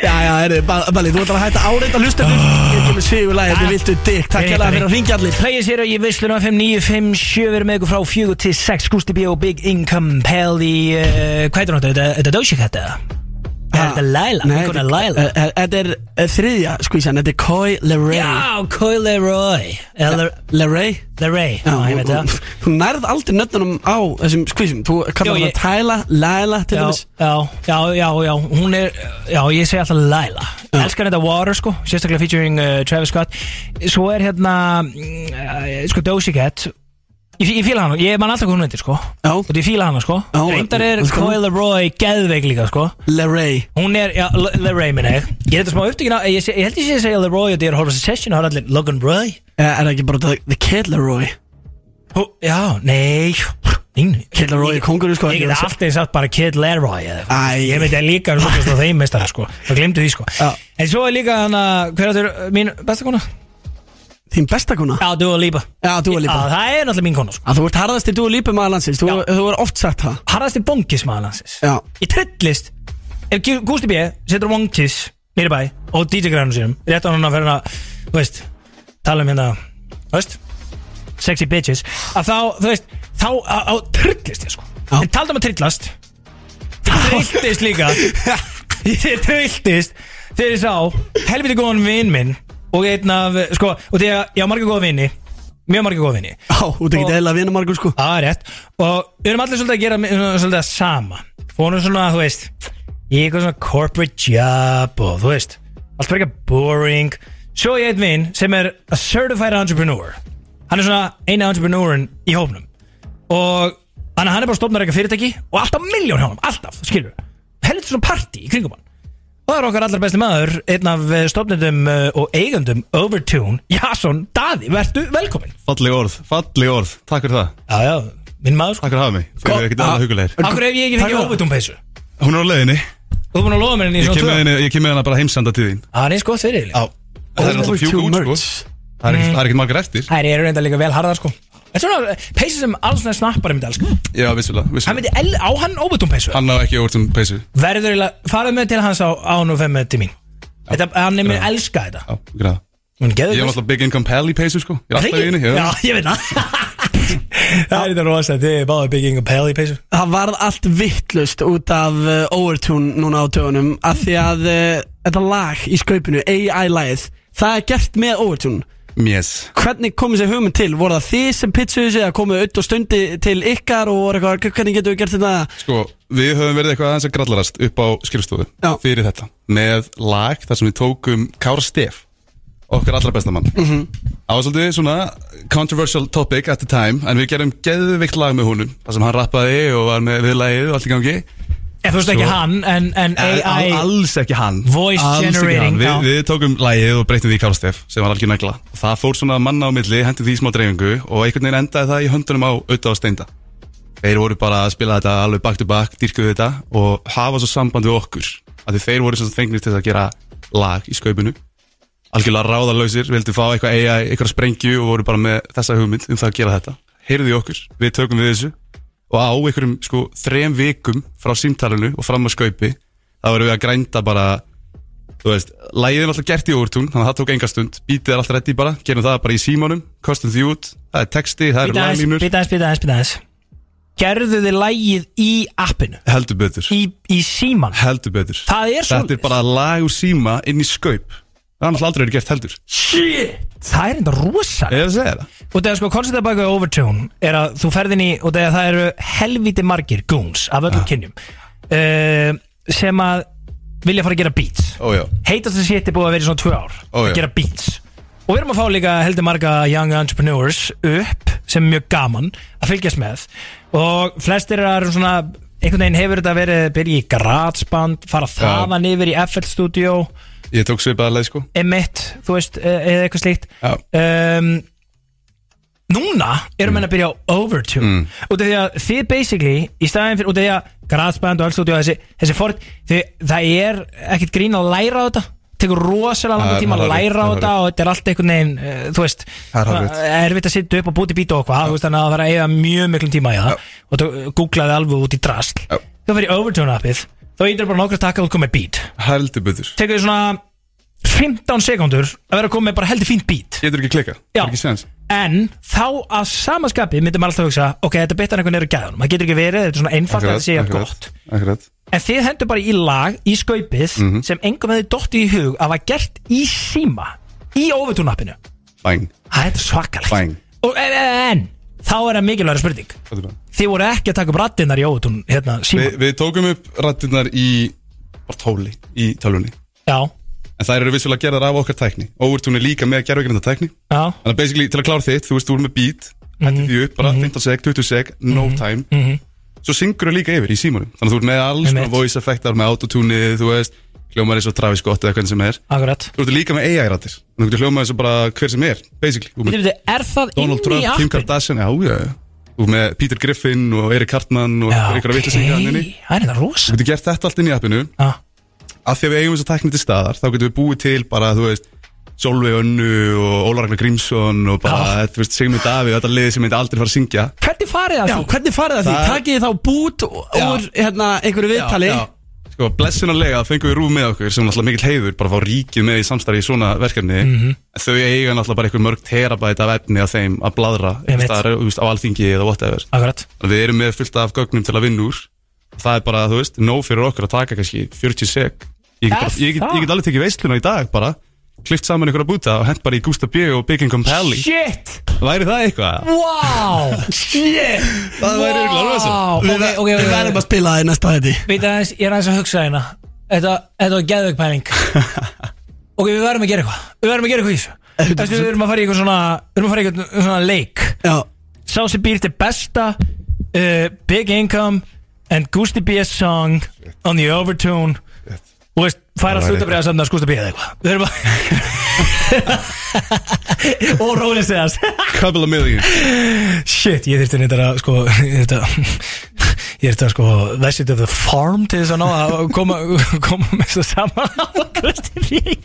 Speaker 2: Já, já, herru, Bali, þú ætlar að hætta áreita hlustendur Ég kemur sigur lagi, þetta
Speaker 7: Ah.
Speaker 2: er hérna, viltu dick Takk hérlega fyrir að ringja allir
Speaker 7: Plegið sér og ég vislun á 5957 Við erum með ykkur frá 4 til eh, 6 Gústi B og Big Income Pell í uh, Hvað er þetta? Þetta er Doja Cat eða? Er þetta Laila?
Speaker 2: Ah, Nei,
Speaker 7: Vinkona
Speaker 2: þetta-
Speaker 7: Laila?
Speaker 2: eh, eh, Þetta er eh, þriðja skvísan, þetta er Coy LeRae
Speaker 7: Já, Coy Leroy Eða Le-
Speaker 2: LeRae
Speaker 7: Leray Já, ég veit
Speaker 2: þú-
Speaker 7: það
Speaker 2: Þú nærð aldrei nöfnunum á þessum skvísum Þú kallar
Speaker 7: Jú,
Speaker 2: það
Speaker 7: ég-
Speaker 2: Tyla, Laila til
Speaker 7: Já,
Speaker 2: dæmis
Speaker 7: já, já, já, já, hún er Já, ég segi alltaf Laila
Speaker 2: Já.
Speaker 7: Elskar þetta Water, sko, sérstaklega featuring uh, Travis Scott Svo er hérna uh, Sko, Dozy Cat Ég, ég fíla hana, ég man alltaf hvað hún veitir, sko
Speaker 2: Já.
Speaker 7: Og ég fíla hana, sko
Speaker 2: Já,
Speaker 7: Reyndar er
Speaker 2: sko.
Speaker 7: Coy Leroy geðveik líka, sko
Speaker 2: LeRae
Speaker 7: Hún er, já, Le- LeRae minna ég Ég er þetta smá upptökin á, ég, sé- ég held ég sé að segja LeRoy og Þetta er Horvath Session og það er allir Logan Roy
Speaker 2: Eh, Er það ekki bara The- The Kid LeRoy
Speaker 7: Hú, Já, nei Nein,
Speaker 2: Kid Leroy er kóngurinn, sko,
Speaker 7: Ég
Speaker 2: ekki
Speaker 7: get
Speaker 2: verið að
Speaker 7: alltaf sagt bara Kid Leroy eða eitthvað.
Speaker 2: Æ.
Speaker 7: Ég myndi líka um svolítið á þeim mestara sko Það glemdi því sko
Speaker 2: Já.
Speaker 7: En svo er líka hann að Hver er þetta mín besta kona?
Speaker 2: Þín besta kona
Speaker 7: Já, Dua Lipa
Speaker 2: Já, Dua Lipa.
Speaker 7: Já, Það er náttúrulega mín kona sko
Speaker 2: Að þú ert harðast í dúi lípa maður landsins Þú eh,
Speaker 7: Já.
Speaker 2: þú er oft sagt það
Speaker 7: Harðasti bongis maður landsins
Speaker 2: Já.
Speaker 7: Ég trillist Ef Gu- Gústi B setur bongis Nýri bæ Og DJ grænum sínum Rétt á hann að fyrir hann að Þú veist Tala um hérna Þú veist Sexy bitches Að þá, þú veist Þá á, á trillist ég sko
Speaker 2: Já.
Speaker 7: En taldum að trillast Ég trilltist líka Ég trilltist Þegar ég sá Helviti góðan vinn minn Og einn af Sko Og því að ég á marga góða vinni Mjög marga góða vinni
Speaker 2: Já, þú ert ekki
Speaker 7: Og-
Speaker 2: eðla að vinna margur sko
Speaker 7: Það er rétt Og við erum allir svolítið að gera mi- svona- svolítið að sama Fórum svona, þú veist Í eitthvað svona corporate job Og þú veist, allt verið boring Svo ég einn vinn sem er A certified entrepreneur Hann er svona eina entrepreneurin í hópnum Og hann, hann er bara stofnar eitthvað fyrirtæki Og alltaf miljón hjá hann, alltaf, skilur Helviti svona party í kringum hann Og það er okkar allar besti maður, einn af stofnendum uh, og eigendum Overtune, Jason Daði, vertu velkomin
Speaker 3: Falleg orð, falleg orð, takk fyrir það
Speaker 7: Já, já, minn maður sko
Speaker 3: Takk fyrir að hafa mig, þið eru ekkert annað hugulegir
Speaker 7: Akkur hef ég ekki fengið óvitum peysu
Speaker 3: Hún er á leiðinni,
Speaker 7: Þú er búin að lofa mér henni í
Speaker 3: ég
Speaker 7: svona
Speaker 3: kem
Speaker 7: tvö
Speaker 3: með
Speaker 7: Það
Speaker 3: henni, ég kem með henni bara heimsenda til þín
Speaker 7: er eins gott fyrir
Speaker 3: Já, það er náttúrulega fjúk út sko Það er ekkert- það er ekkert margar eftir
Speaker 7: Það eru reynda líka vel harðar sko Þetta er svona peysu sem alls neð snappar myndi elska
Speaker 3: Já, vissulega,
Speaker 7: Hann
Speaker 3: vissulega
Speaker 7: myndi el, á hann óvitum peysu
Speaker 3: Hann á ekki óvart um peysu Já,
Speaker 7: Verður eiginlega, farið með til hans á án og fem með til mín Þetta, hann er mér elska þetta
Speaker 3: græða
Speaker 7: Hún
Speaker 3: Ég
Speaker 7: geður
Speaker 3: er
Speaker 7: þess
Speaker 3: náttúrulega big income pally peysu sko Ég er alltaf í henni,
Speaker 7: Já,
Speaker 3: já
Speaker 7: ég veit það Það er þetta rosa, þið er báðið bygging og pæli peysu
Speaker 2: Það varð allt vittlust út af uh, Overtune núna á tögunum Af því að uh, þetta lag í skaupinu AI-lagið Það er gert með Overtune
Speaker 3: Yes
Speaker 2: Hvernig komið sér hugmynd til? Voru það þið sem pitsuðu sig að komið auð og stundi til ykkar og voru eitthvað, hvernig getum við gert þetta?
Speaker 3: Sko, við höfum verið eitthvað aðeins að grallarast upp á skrifstofu
Speaker 2: Já.
Speaker 3: fyrir þetta með lag þar sem við tókum Kára Stef okkar allra besta mann mm -hmm. á svolítið svona controversial topic at the time en við gerum geðvikt lag með honum þar sem hann rappaði og var með viðlagið og allt í gangi
Speaker 7: Ef þú veist ekki
Speaker 3: Svo-
Speaker 7: hann, en, en
Speaker 3: Al-
Speaker 7: AI
Speaker 3: alls ekki hann
Speaker 7: Voice
Speaker 3: alls ekki
Speaker 7: generating,
Speaker 3: hann.
Speaker 7: já.
Speaker 3: við, við tókum lagið og breytum því í Kára Stef sem var algjör negla og það fór svona manna á milli hendi því í smá dreifingu og einhvern veginn endaði það í höndunum á auðvitað á steinda þeir voru bara að spila þetta alveg back to back, dýrkuðu þetta og hafa svo samband við okkur að því þeir voru sem sagt fengnir til þess að gera lag í skaupinu algjörlega ráðalausir, vildu fá eitthvað AI, eitthvað sprengju og voru bara með þessa hugmynd um það að gera þetta heyrðu í okkur, við tökum við þessu og á einhverjum sko þrem vikum frá símtalinu og fram á skaupi þá voru við að grænda bara þú veist, lægið er alltaf gert í overtún þannig að það tók enga stund, bítið er alltaf reddi bara gerum það bara í símanum, kostum því út það er texti, það eru
Speaker 7: Býta aðeins,
Speaker 3: laglínur
Speaker 7: býta aðeins, býta aðeins, býta aðeins Gerðu þið lægið í appinu
Speaker 3: heldur betur
Speaker 7: Í, í síman
Speaker 3: heldur betur
Speaker 7: Það er
Speaker 3: Þetta
Speaker 7: svoleiðis.
Speaker 3: er bara lag úr síma inn í skaup Það er náttúrulega aldrei verið gert heldur
Speaker 7: Það er enda rosa
Speaker 3: Eða segja það
Speaker 7: Og það er sko konceptið baka við Overtone Er að þú ferðin í Og það eru helviti margir goons Af
Speaker 3: Ah.
Speaker 7: öllum kynjum uh, Sem að vilja fara að gera beats
Speaker 3: Ójá
Speaker 7: Heitast að sétti búið að vera í svona tvö ár
Speaker 3: Ó, já.
Speaker 7: Að gera beats Og við erum að fá líka heldur marga young entrepreneurs upp Sem er mjög gaman að fylgjast með Og flestir eru svona Einhvern veginn hefur þetta verið Byrja í garatsband Fara þaðan yfir í FL Studio
Speaker 3: Ég tók svipaða leið sko
Speaker 7: emitt, þú veist, e- eða eitthvað slíkt
Speaker 3: Já.
Speaker 7: um, Núna erum
Speaker 3: Mm.
Speaker 7: við að byrja á Overtune mm. út af því að þið basically í staðin fyrir, út af því að Grazband og Allstudio þessi, þessi fort, þið, það er ekkert grín að læra á þetta tekur rosalega
Speaker 3: Það
Speaker 7: langa
Speaker 3: er
Speaker 7: tíma að
Speaker 3: hárrétt,
Speaker 7: læra á
Speaker 3: það er
Speaker 7: þetta og þetta er allt einhvern veginn, uh, þú veist
Speaker 3: Það er hárrétt.
Speaker 7: svona erfitt að sitja upp og búti bít og hvað þú veist, þannig að það þarf að eiga mjög miklum tíma í það og þú uh, googlaði alveg út í drast
Speaker 3: Já.
Speaker 7: þú fyrir Overtune appið, þá ítir bara nokkra takka og þú komið beat
Speaker 3: Heldur betur
Speaker 7: tekur þið svona 15 sekundur að vera að koma með bara heldur fínt beat
Speaker 3: Getur ekki klika,
Speaker 7: Já.
Speaker 3: ekki sens
Speaker 7: En þá að samaskapi myndir maður alltaf að hugsa Ok, þetta betur einhvern eru gæðanum Það getur ekki verið, þetta er svona einfalt að þetta sé að gott
Speaker 3: Akkurat
Speaker 7: En þið hendur bara í lag, í skaupið
Speaker 3: Mhm.
Speaker 7: Sem engum hefði dottið í hug Að var gert í síma Í overtúnappinu
Speaker 3: Bang
Speaker 7: Það er svakalegt
Speaker 3: Bang
Speaker 7: Og, en, en, en þá er það mikilvægur spurning
Speaker 3: Hvað er það?
Speaker 7: Þið voru ekki að taka upp rattinnar í óutun hérna, síma
Speaker 3: Vi, Við tókum upp rættirnar í Bara tóli Í tölvunni
Speaker 7: Já,
Speaker 3: En það eru vissulega gerðar af okkar tækni Overtune er líka með gerðvegrinda tækni
Speaker 7: já
Speaker 3: Þannig að basically til að klára þitt Þú veist, þú erum með beat Hætti því upp bara 15 seg, 20 seg No time
Speaker 7: mhm.
Speaker 3: Svo syngur það líka yfir í símanum Þannig að þú ert með alls
Speaker 7: Einmitt.
Speaker 3: konar voice effektar Með autotune, þú veist Hljómar eins og Travis Scott eða hvernig sem er
Speaker 7: Akkurat
Speaker 3: Þú ert líka með AI-rættir Þannig að þú hljómar eins og bara hver sem er Basically Þú ert með
Speaker 7: Býtum við, er það
Speaker 3: Donald
Speaker 7: inn í
Speaker 3: Trump, Kim
Speaker 7: appinu?
Speaker 3: Kardashian, já, já, já. Og með Peter Griffin og Eric Cartman og
Speaker 7: Já,
Speaker 3: ykkur að vittu sig
Speaker 7: ok.
Speaker 3: hann inni.
Speaker 7: Það er þetta
Speaker 3: Þú
Speaker 7: rosa
Speaker 3: getur gert þetta allt inn í appinu.
Speaker 7: Já.
Speaker 3: Af því að við eigum þess að tækni til staðar, þá getum við búið til bara, þú veist, Solveig Önnu og Ólar Ragnar Grímsson og
Speaker 7: Ah.
Speaker 3: bara, þú veist, Sigmund Davíð, þetta liði sem myndi aldrei fara að syngja.
Speaker 2: Hvernig farið það því? Hvernig farið það því?
Speaker 3: Það-
Speaker 2: Takið þið þá bút úr hérna, einhverju viðtali
Speaker 3: Sko, blessunarlega fengum við rúf með okkur sem er náttúrulega mikill heiður bara að fá ríkið með í samstarfi í svona verkefni
Speaker 7: Mhm.
Speaker 3: en þau eiga náttúrulega bara einhver mörg terabæt af efni að þeim að bladra einhvers
Speaker 7: Einmitt.
Speaker 3: staðar, þú veist, á alþingi eða whatever
Speaker 7: Akkurat
Speaker 3: Þannig að Við erum með fullt af gögnum til að vinna úr og það er bara, þú veist, nóg fyrir okkur að taka kannski 40 sek Ég get,
Speaker 7: Er
Speaker 3: bara, ég get,
Speaker 7: það?
Speaker 3: ég get alveg tekið veisluna í dag bara klift saman ykkur að búta og hent bara í Gustaf B og Big Income Pally
Speaker 7: Shit
Speaker 3: Væri það eitthvað?
Speaker 7: Wow Shit
Speaker 3: Það væri örugglega rosa.
Speaker 7: Wow Ok, ok,
Speaker 2: Við
Speaker 7: ok,
Speaker 2: verðum
Speaker 7: ok
Speaker 2: að spila það í næsta hætti
Speaker 7: Veit aðeins, ég er aðeins að hugsa hérna Þetta, þetta var geðveik pæling Ok, við verðum að gera eitthvað Við verðum að gera eitthvað í þessu Þessi, við verðum að fara í eitthvað svona Við verðum að fara í eitthvað svona leik
Speaker 2: Já,
Speaker 7: Sá sem býr til besta uh, Big Income And Gusti B. song On the Overtune Þú veist, færa
Speaker 3: Það væri
Speaker 7: slutabriða samt að Gusti B. eða eitthvað Við verðum að Og Róli segjast
Speaker 3: Couple of million
Speaker 7: Shit, ég þurfti neitt að sko Ég þurfti að Ég þurfti að sko Vessit of the farm til þess að ná að koma, koma með þess að saman Kristi Fík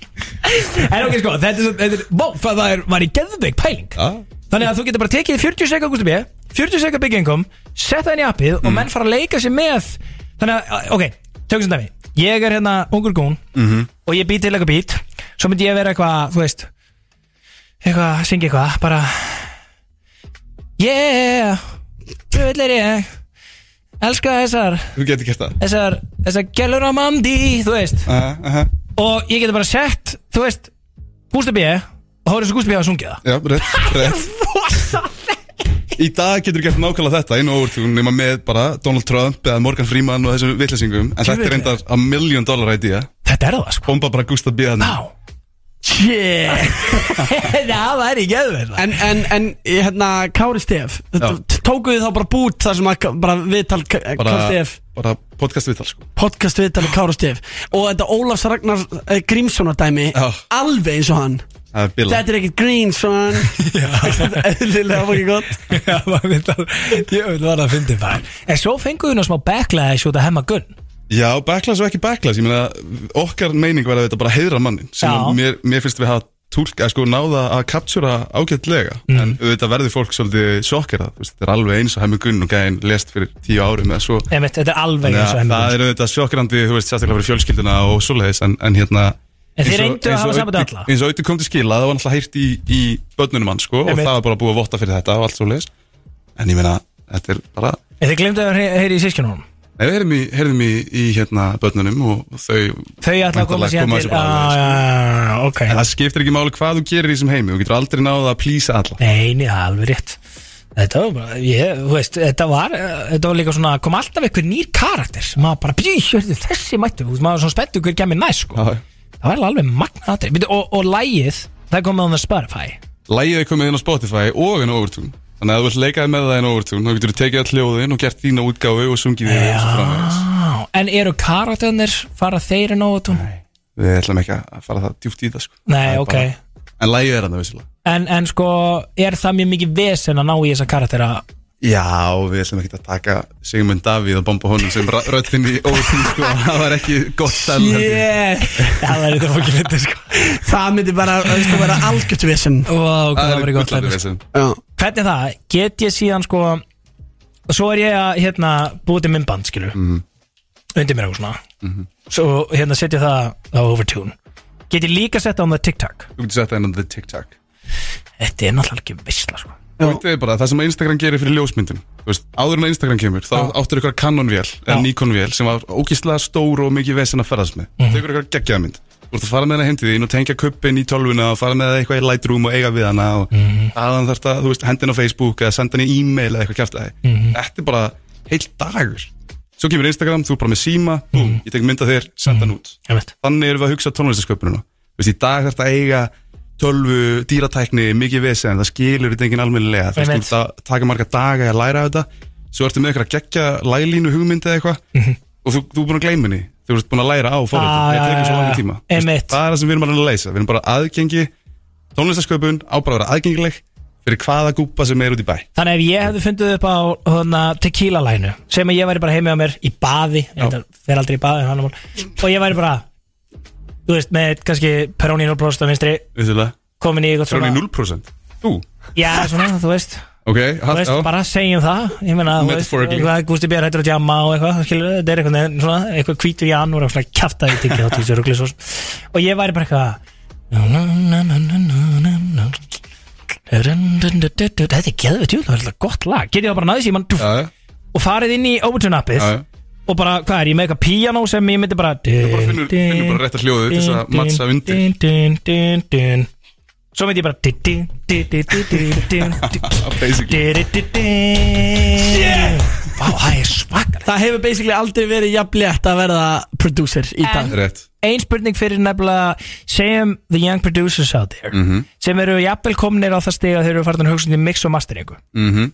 Speaker 7: En ok, sko, þetta er, svo- þetta er Vá, það það er, var í geðveik pæling
Speaker 3: ah.
Speaker 7: Þannig að þú getur bara tekið 40 sekar Gusti B 40 sekar Big Income Setta henni í appið og menn fara að leika sér með Þannig að, ok, tökum sem dæmi Ég er hérna ungur gún -hmm. Og ég být til eitthvað být Svo myndi ég vera eitthvað, þú veist Eitthvað, syngi eitthvað, bara Yeah Djöfull er ég Elska þessar
Speaker 3: Þú getur gert það
Speaker 7: Þessar, þessar gælur á mandi Þú veist
Speaker 3: uh, uh, uh.
Speaker 7: Og ég geti bara sett, þú veist Gústi B E Og hóður þessu Gústi B að sungja
Speaker 3: Já, rétt, rétt Í dag getur gert nákvæmlega þetta inn á overtún nema með bara Donald Trump eða Morgan Freeman og þessum vittlesingum en þetta
Speaker 7: Djöfull.
Speaker 3: er reyndar a million dollar idea
Speaker 7: það Þetta er það sko
Speaker 3: Bomba bara Gustaf B. þarna.
Speaker 7: Vá Shit Það væri geðverð
Speaker 2: en, en, en hérna, Kári Stef
Speaker 3: Já.
Speaker 2: Tókuð þið þá bara bút þar sem að ka- bara viðtal K- Kári
Speaker 3: bara,
Speaker 2: Stef
Speaker 3: bara podcast viðtal sko
Speaker 2: Podcast viðtal við Kári Stef Og þetta Ólafs Ragnar eh, Grímssonar dæmi
Speaker 3: Já.
Speaker 2: Alveg eins og hann
Speaker 3: Það er bila
Speaker 2: Þetta er ekkert Grímsson Eðlilega fokkin gott
Speaker 7: Já, maður veit að Ég veit að það fyndi bara En svo fengu við nú smá backlash út af hemma gunn
Speaker 3: Já, backlash og ekki backlash Ég meina, okkar meining var að þetta bara heiðra mannin sem
Speaker 7: Já.
Speaker 3: að mér, mér finnst við hafa tólka, sko, náða að kaptjúra ágætlega
Speaker 7: Mm.
Speaker 3: en auðvitað verður fólk svolítið sjokkerað, þú veist, þetta er alveg eins og hemmi gunn og gæðin lest fyrir tíu árum eða svo
Speaker 7: Einmitt, þetta er alveg
Speaker 3: Þannig
Speaker 7: eins og
Speaker 3: að
Speaker 7: hemma
Speaker 3: það
Speaker 7: gunn
Speaker 3: er auðvitað sjokkrandi, þú veist, sérstaklega fyrir fjölskylduna og svoleiðis, en, en hérna
Speaker 7: En þeir
Speaker 3: eins og-
Speaker 7: reyndu að
Speaker 3: eins og
Speaker 7: hafa samband við
Speaker 3: Auddi-
Speaker 7: alla.
Speaker 3: Eins og auðvitað kom til skila, það var náttúrulega heyrt í, í börnunum hans, sko, og
Speaker 7: Einmitt.
Speaker 3: það var bara búið að votta fyrir þetta og allt svoleiðis En ég meina, þetta er bara,
Speaker 7: En þið glemdu að hey- heyri í sískinunum
Speaker 3: nei, við heyrðum í, heyrðum í, í hérna börnunum og þau
Speaker 7: Þau ætla að koma
Speaker 3: Væntanlega
Speaker 7: síðan
Speaker 3: koma
Speaker 7: til
Speaker 3: þessu bara
Speaker 7: Já,
Speaker 3: alveg,
Speaker 7: já, já, já, ok
Speaker 3: En það skiptir ekki máli hvað þú gerir í þessum heimi, þú getur aldrei náða að plýsa alla
Speaker 7: Nei, nei, það er alveg rétt Þetta var bara, ég, þú veist, þetta var eh, Þetta var líka svona, kom alltaf einhver nýr karakter sem maður bara, bjú, hörðu, þessi mættu þú veist, maður var svona spenntu hver kemur næst, sko
Speaker 3: Já, já.
Speaker 7: Það var alveg magna aðri og, og lægið, það kom með hann að Spotify
Speaker 3: Lægið er komið inn á Spotify og inn á Overtune Þannig að ef þú vilt leikaði með það inn á Overtune þá getur þú tekið all hljóðin og gert þína útgáfu og sungið þig og svo framvegis.
Speaker 7: Já, en eru karakternir fara þeirri nótum? Nei,
Speaker 3: Við ætlum ekki að fara það djúpt í það sko. Það
Speaker 7: nei
Speaker 3: er
Speaker 7: ok
Speaker 3: bara- En lægið er hann vissulega
Speaker 7: en, en sko, er það mjög mikið vesen að ná í þessa karaktera?
Speaker 3: Já, við ætlum ekki að taka Sigmund Davíð og bomba honum sem ra- röddin í Overtune sko. Það var ekki gott dæmi, held ég.
Speaker 2: yeah.
Speaker 7: það er þetta fólkið myndi, sko
Speaker 2: Það myndi bara, það sko vera algjört vesen
Speaker 7: Vá, hvað
Speaker 3: Það
Speaker 7: það
Speaker 3: er
Speaker 7: verið gott
Speaker 3: gullandi
Speaker 7: dæmi, sko.
Speaker 3: vesen.
Speaker 2: Já
Speaker 7: hvernig það, get ég síðan sko svo er ég að hérna búið til myndband
Speaker 3: Mhm.
Speaker 7: skilu undir mér eitthvað svona svo hérna setja það á overtune Get ég líka sett á það TikTok
Speaker 3: Þú getur sett það innan the TikTok
Speaker 7: Þetta er náttúrulega ekki veistla sko
Speaker 3: Þetta er bara það sem Instagram gerir fyrir ljósmyndin Þú veist, áður en að Instagram kemur þá áttur ykkur kanonvél eða Nikonvél sem var ógíslega stór og mikið vesen að ferðast með mm. Tekur ykkur geggjaða mynd Þú ert að fara með hana heim til þín og tengja kuppin í tölvuna og fara með það eitthvað í Lightroom og eiga við hana og mm. aðan þarf það, þú veist, hendin á Facebook eða senda hann í e-mail eða eitthvað kjæft
Speaker 9: Mhm.
Speaker 3: Þetta er bara heil dagur Svo kemur Instagram, þú er bara með síma mm. Ég tek mynda þér, senda hann út
Speaker 7: Einmitt.
Speaker 3: Þannig erum við að hugsa tónlistasköpununa Þú veist, Í dag þarf þetta að eiga tölvu, dýratækni, mikið vesen Það skilur þetta enginn almennilega Það
Speaker 7: Einmitt.
Speaker 3: skilur þetta taka marga daga að læra þetta Svo ertu með ykkur að gegja lælínu hugmynd eða eitthvað Og þú, þú er búin að gleyma henni Þú ert búin að læra á
Speaker 7: Mhm. Ah,
Speaker 3: fórhaldum Það
Speaker 7: já,
Speaker 3: tekur svo
Speaker 7: já,
Speaker 3: langan
Speaker 7: já.
Speaker 3: tíma Þú veist, Það er það sem við erum að reyna að leysa Við erum bara aðgengi, tónlistasköpun á bara að vera aðgengileg Fyrir hvaða gúpa sem er út í bæ
Speaker 7: Þannig ef ég hefði fundið upp á hana, tequila lænu sem að ég væri bara heimi á mér í baði þetta fer aldrei í baði en annað mál. og ég væri bara þú veist með kannski Peroni 0% á vinstri
Speaker 3: Vissulega.
Speaker 7: komin í eitthvað
Speaker 3: Frá
Speaker 7: svona
Speaker 3: henni 0% Þú?
Speaker 7: Já, svona, þú veist
Speaker 3: Ok,
Speaker 7: Þú veist, bara segjum það Ég meina, þú veist,
Speaker 3: Metaphorically.
Speaker 7: hvað Gústi Björn hættur að jamma og eitthvað skilur, þetta er eitthvað, neginn svona, eitthvað hvítur í annur og svona kjaftaði tikið á tísu rugli svo og ég væri bara eitthvað Þetta er geðvett júl, það er alltaf gott lag Getið það bara náðið síman dúf, og farið inn í Overtune appið
Speaker 3: Já, já.
Speaker 7: og bara, hvað er, ég er með eitthvað píanó sem ég myndi bara Þú
Speaker 3: bara finnur- finnur bara rétta hljóðið til þess að matcha undir.
Speaker 7: undir Svo myndi ég bara din, din, din, din, din, din, din, din. Basically Vá, það er svakar
Speaker 2: Það hefur basically aldrei verið jafn létt að verða producer í dag
Speaker 3: Rétt
Speaker 7: Ein spurning fyrir nefnilega segjum the young producers out there
Speaker 3: Mhm.
Speaker 7: sem eru jafnvel komnir á það stig að þeir eru farin að hugsa um til mix og masteringu
Speaker 3: Mhm.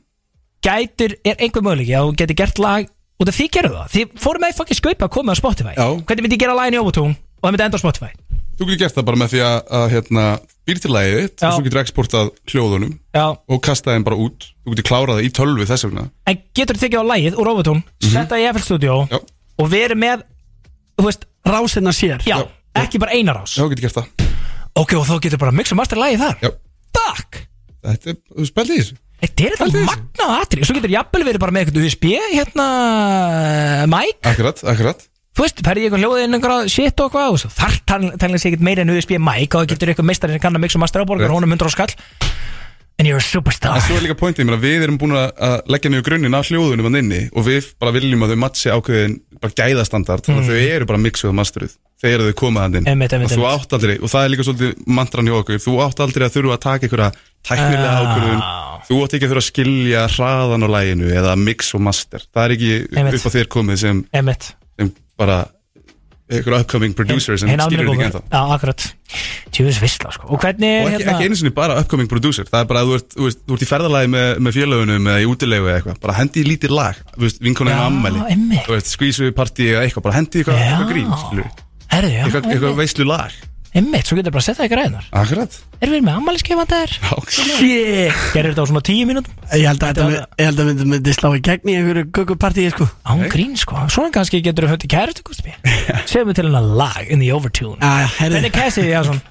Speaker 7: Gætur, er einhver möguleiki að þú getur gert lag og það þið gerðu það, þið fórum með fucking skaupa að koma á Spotify Já. hvernig myndi ég gera lagin í Overtune og það myndi enda á Spotify
Speaker 3: Þú getur gert það bara með því að, að hérna, býr til lagið þitt og svo getur exportað hljóðunum
Speaker 7: Já.
Speaker 3: og kastað þeim bara út Þú getur klárað það í tölvu þess vegna
Speaker 7: en getur þið tekið á lagið úr Overtune
Speaker 3: Mhm.
Speaker 7: setta í FL Studio
Speaker 3: Já.
Speaker 7: og verið með þú veist,
Speaker 2: rásina sér
Speaker 7: Já, ekki bara eina rás
Speaker 3: Já, þú getur gert það
Speaker 7: ok, og þá getur bara mix og master lagið þar
Speaker 3: Já.
Speaker 7: takk
Speaker 3: Þetta er, þú spældi í þessu
Speaker 7: Þetta er þetta magnað atrið Svo getur jafnvel verið bara með eitthvað USB Hérna, eh, mic
Speaker 3: Akkurat, akkurat
Speaker 7: Þú veist, ferði ég eitthvað hljóðið inn einhverja shit og hvað og svo Þar talnir sig ekkert meira en USB mic Og það getur eitthvað meistari sem kann að mixa master áborgar
Speaker 3: Rétt.
Speaker 7: Honum 100 á skall And you're a superstar
Speaker 3: En svo er líka pointið, ég meina, við erum búin að að leggja niður grunninn af hljóðunum hann inni og við bara viljum að þau matsi ákveðin bara gæðastandard, þannig að
Speaker 7: Mm.
Speaker 3: þau eru bara mixuð og masteruð þegar þau koma hann inn
Speaker 7: Einmitt, einmitt,
Speaker 3: og þú
Speaker 7: einmitt.
Speaker 3: átt aldrei, og það er líka svolítið mantran hjá okkur, þú átt aldrei að þurfa að taka einhverja tæknilega
Speaker 7: Ah.
Speaker 3: ákveðun þú átt ekki að þurfa að skilja hraðan á læginu eða mix og master, það er ekki
Speaker 7: Einmitt.
Speaker 3: upp á þér komið sem,
Speaker 7: Einmitt.
Speaker 3: sem bara einhverja upcoming producer sem
Speaker 7: Hinn
Speaker 3: skilur
Speaker 7: almenni
Speaker 3: þetta ekki
Speaker 7: góður.
Speaker 3: ennþá
Speaker 7: Já, akkurat Tjóðis visla, sko Og hvernig
Speaker 3: og
Speaker 7: er
Speaker 3: ekki, ekki einu sinni bara upcoming producer það er bara að þú ert, þú veist, þú ert í ferðalagi með, með félögunum eða í útilegu eða eitthvað, bara hendi í lítið lag þú veist, vinkona einu ammæli
Speaker 7: einmitt.
Speaker 3: þú veist, skvísu partí eða eitthvað, bara hendi í eitthvað,
Speaker 7: Já.
Speaker 3: eitthvað grín skilur,
Speaker 7: Herðu, já,
Speaker 3: eitthvað, eitthvað veislu lag
Speaker 7: Einmitt, svo getur bara að setja ekki ræðinar
Speaker 3: akkurat,
Speaker 7: Erum við með ammæliskeifan þær?
Speaker 2: Shit
Speaker 7: Gerir þetta á svona 10 mínútum?
Speaker 2: Ég held að þetta myndi- ég held að myndi, myndi slá í gegn í einhverju guggupartíi sko
Speaker 7: Án grín sko Svona kannski getur þú höndi kæristu Gusti Segum við til hennar lag in the overtune
Speaker 2: Ah,
Speaker 7: Hvernig kæsið þið Jason?